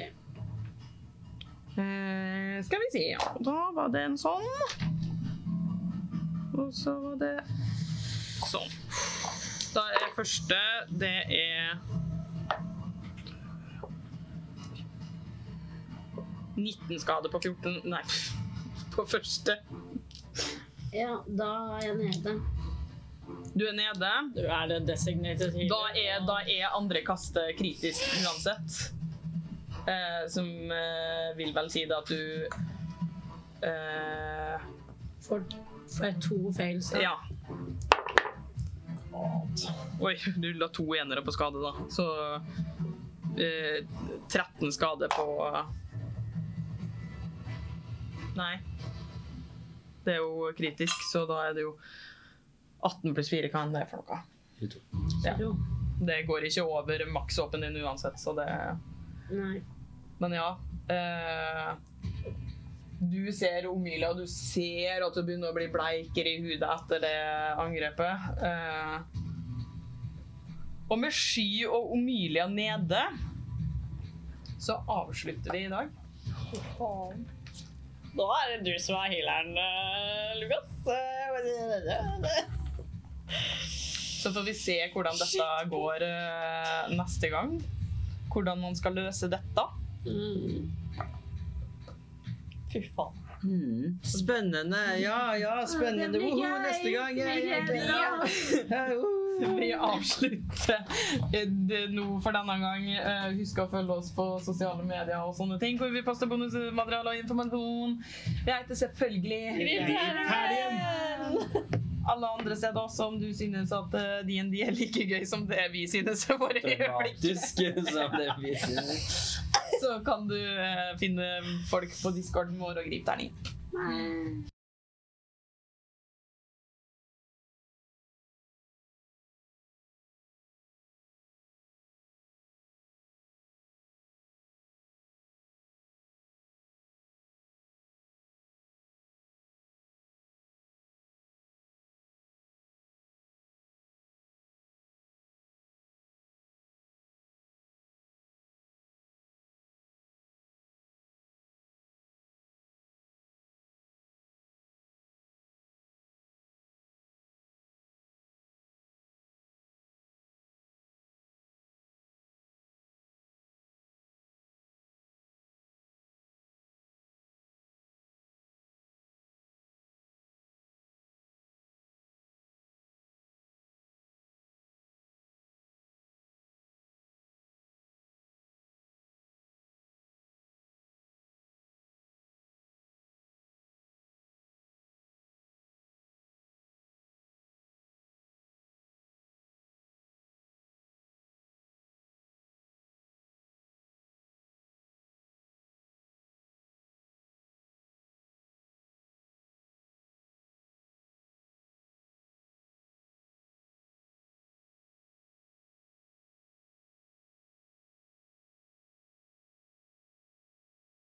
S1: Eh, skal vi se. Og da var det en sånn. Og så var det sånn. Da er første Det er 19 skade på 14 Nei, på første.
S4: Ja, da er jeg nede.
S1: Du er nede.
S10: Du er det designated healer.
S1: Da er, da er andre kastet kritisk uansett. Eh, som eh, vil vel si da at du eh,
S10: For, for to fails.
S1: Ja. Oi, du la to enere på skade, da. Så eh, 13 skade på Nei. Det er jo kritisk, så da er det jo 18 pluss 4. Hva enn det er for noe? Ja. Det går ikke over makshåpen din uansett, så det
S4: Nei.
S1: men ja. Eh, du ser Omila, og du ser at du begynner å bli bleikere i hudet etter det angrepet. Eh, og med Sky og Omilia nede, så avslutter vi i dag.
S10: Da er det du som er healeren, eh, Lukas. Eh,
S1: Så får vi se hvordan dette går eh, neste gang. Hvordan man skal løse dette.
S10: Fy faen.
S5: Hmm. Spennende. Ja, ja, spennende.
S4: blir
S5: Woho,
S4: gøy.
S5: neste gang. Jeg, jeg,
S4: Det blir gøy.
S1: Vi avslutter eh, det nå for denne gang. Eh, Husk å følge oss på sosiale medier og sånne ting, hvor vi poster bonusmateriale og informasjon. Jeg heter selvfølgelig alle andre steder også, om du synes at eh, D&D er like gøy som det vi synes for øyeblikk.
S5: Dramatisk som det vises.
S1: Så kan du eh, finne folk på discorden vår og gripe terning.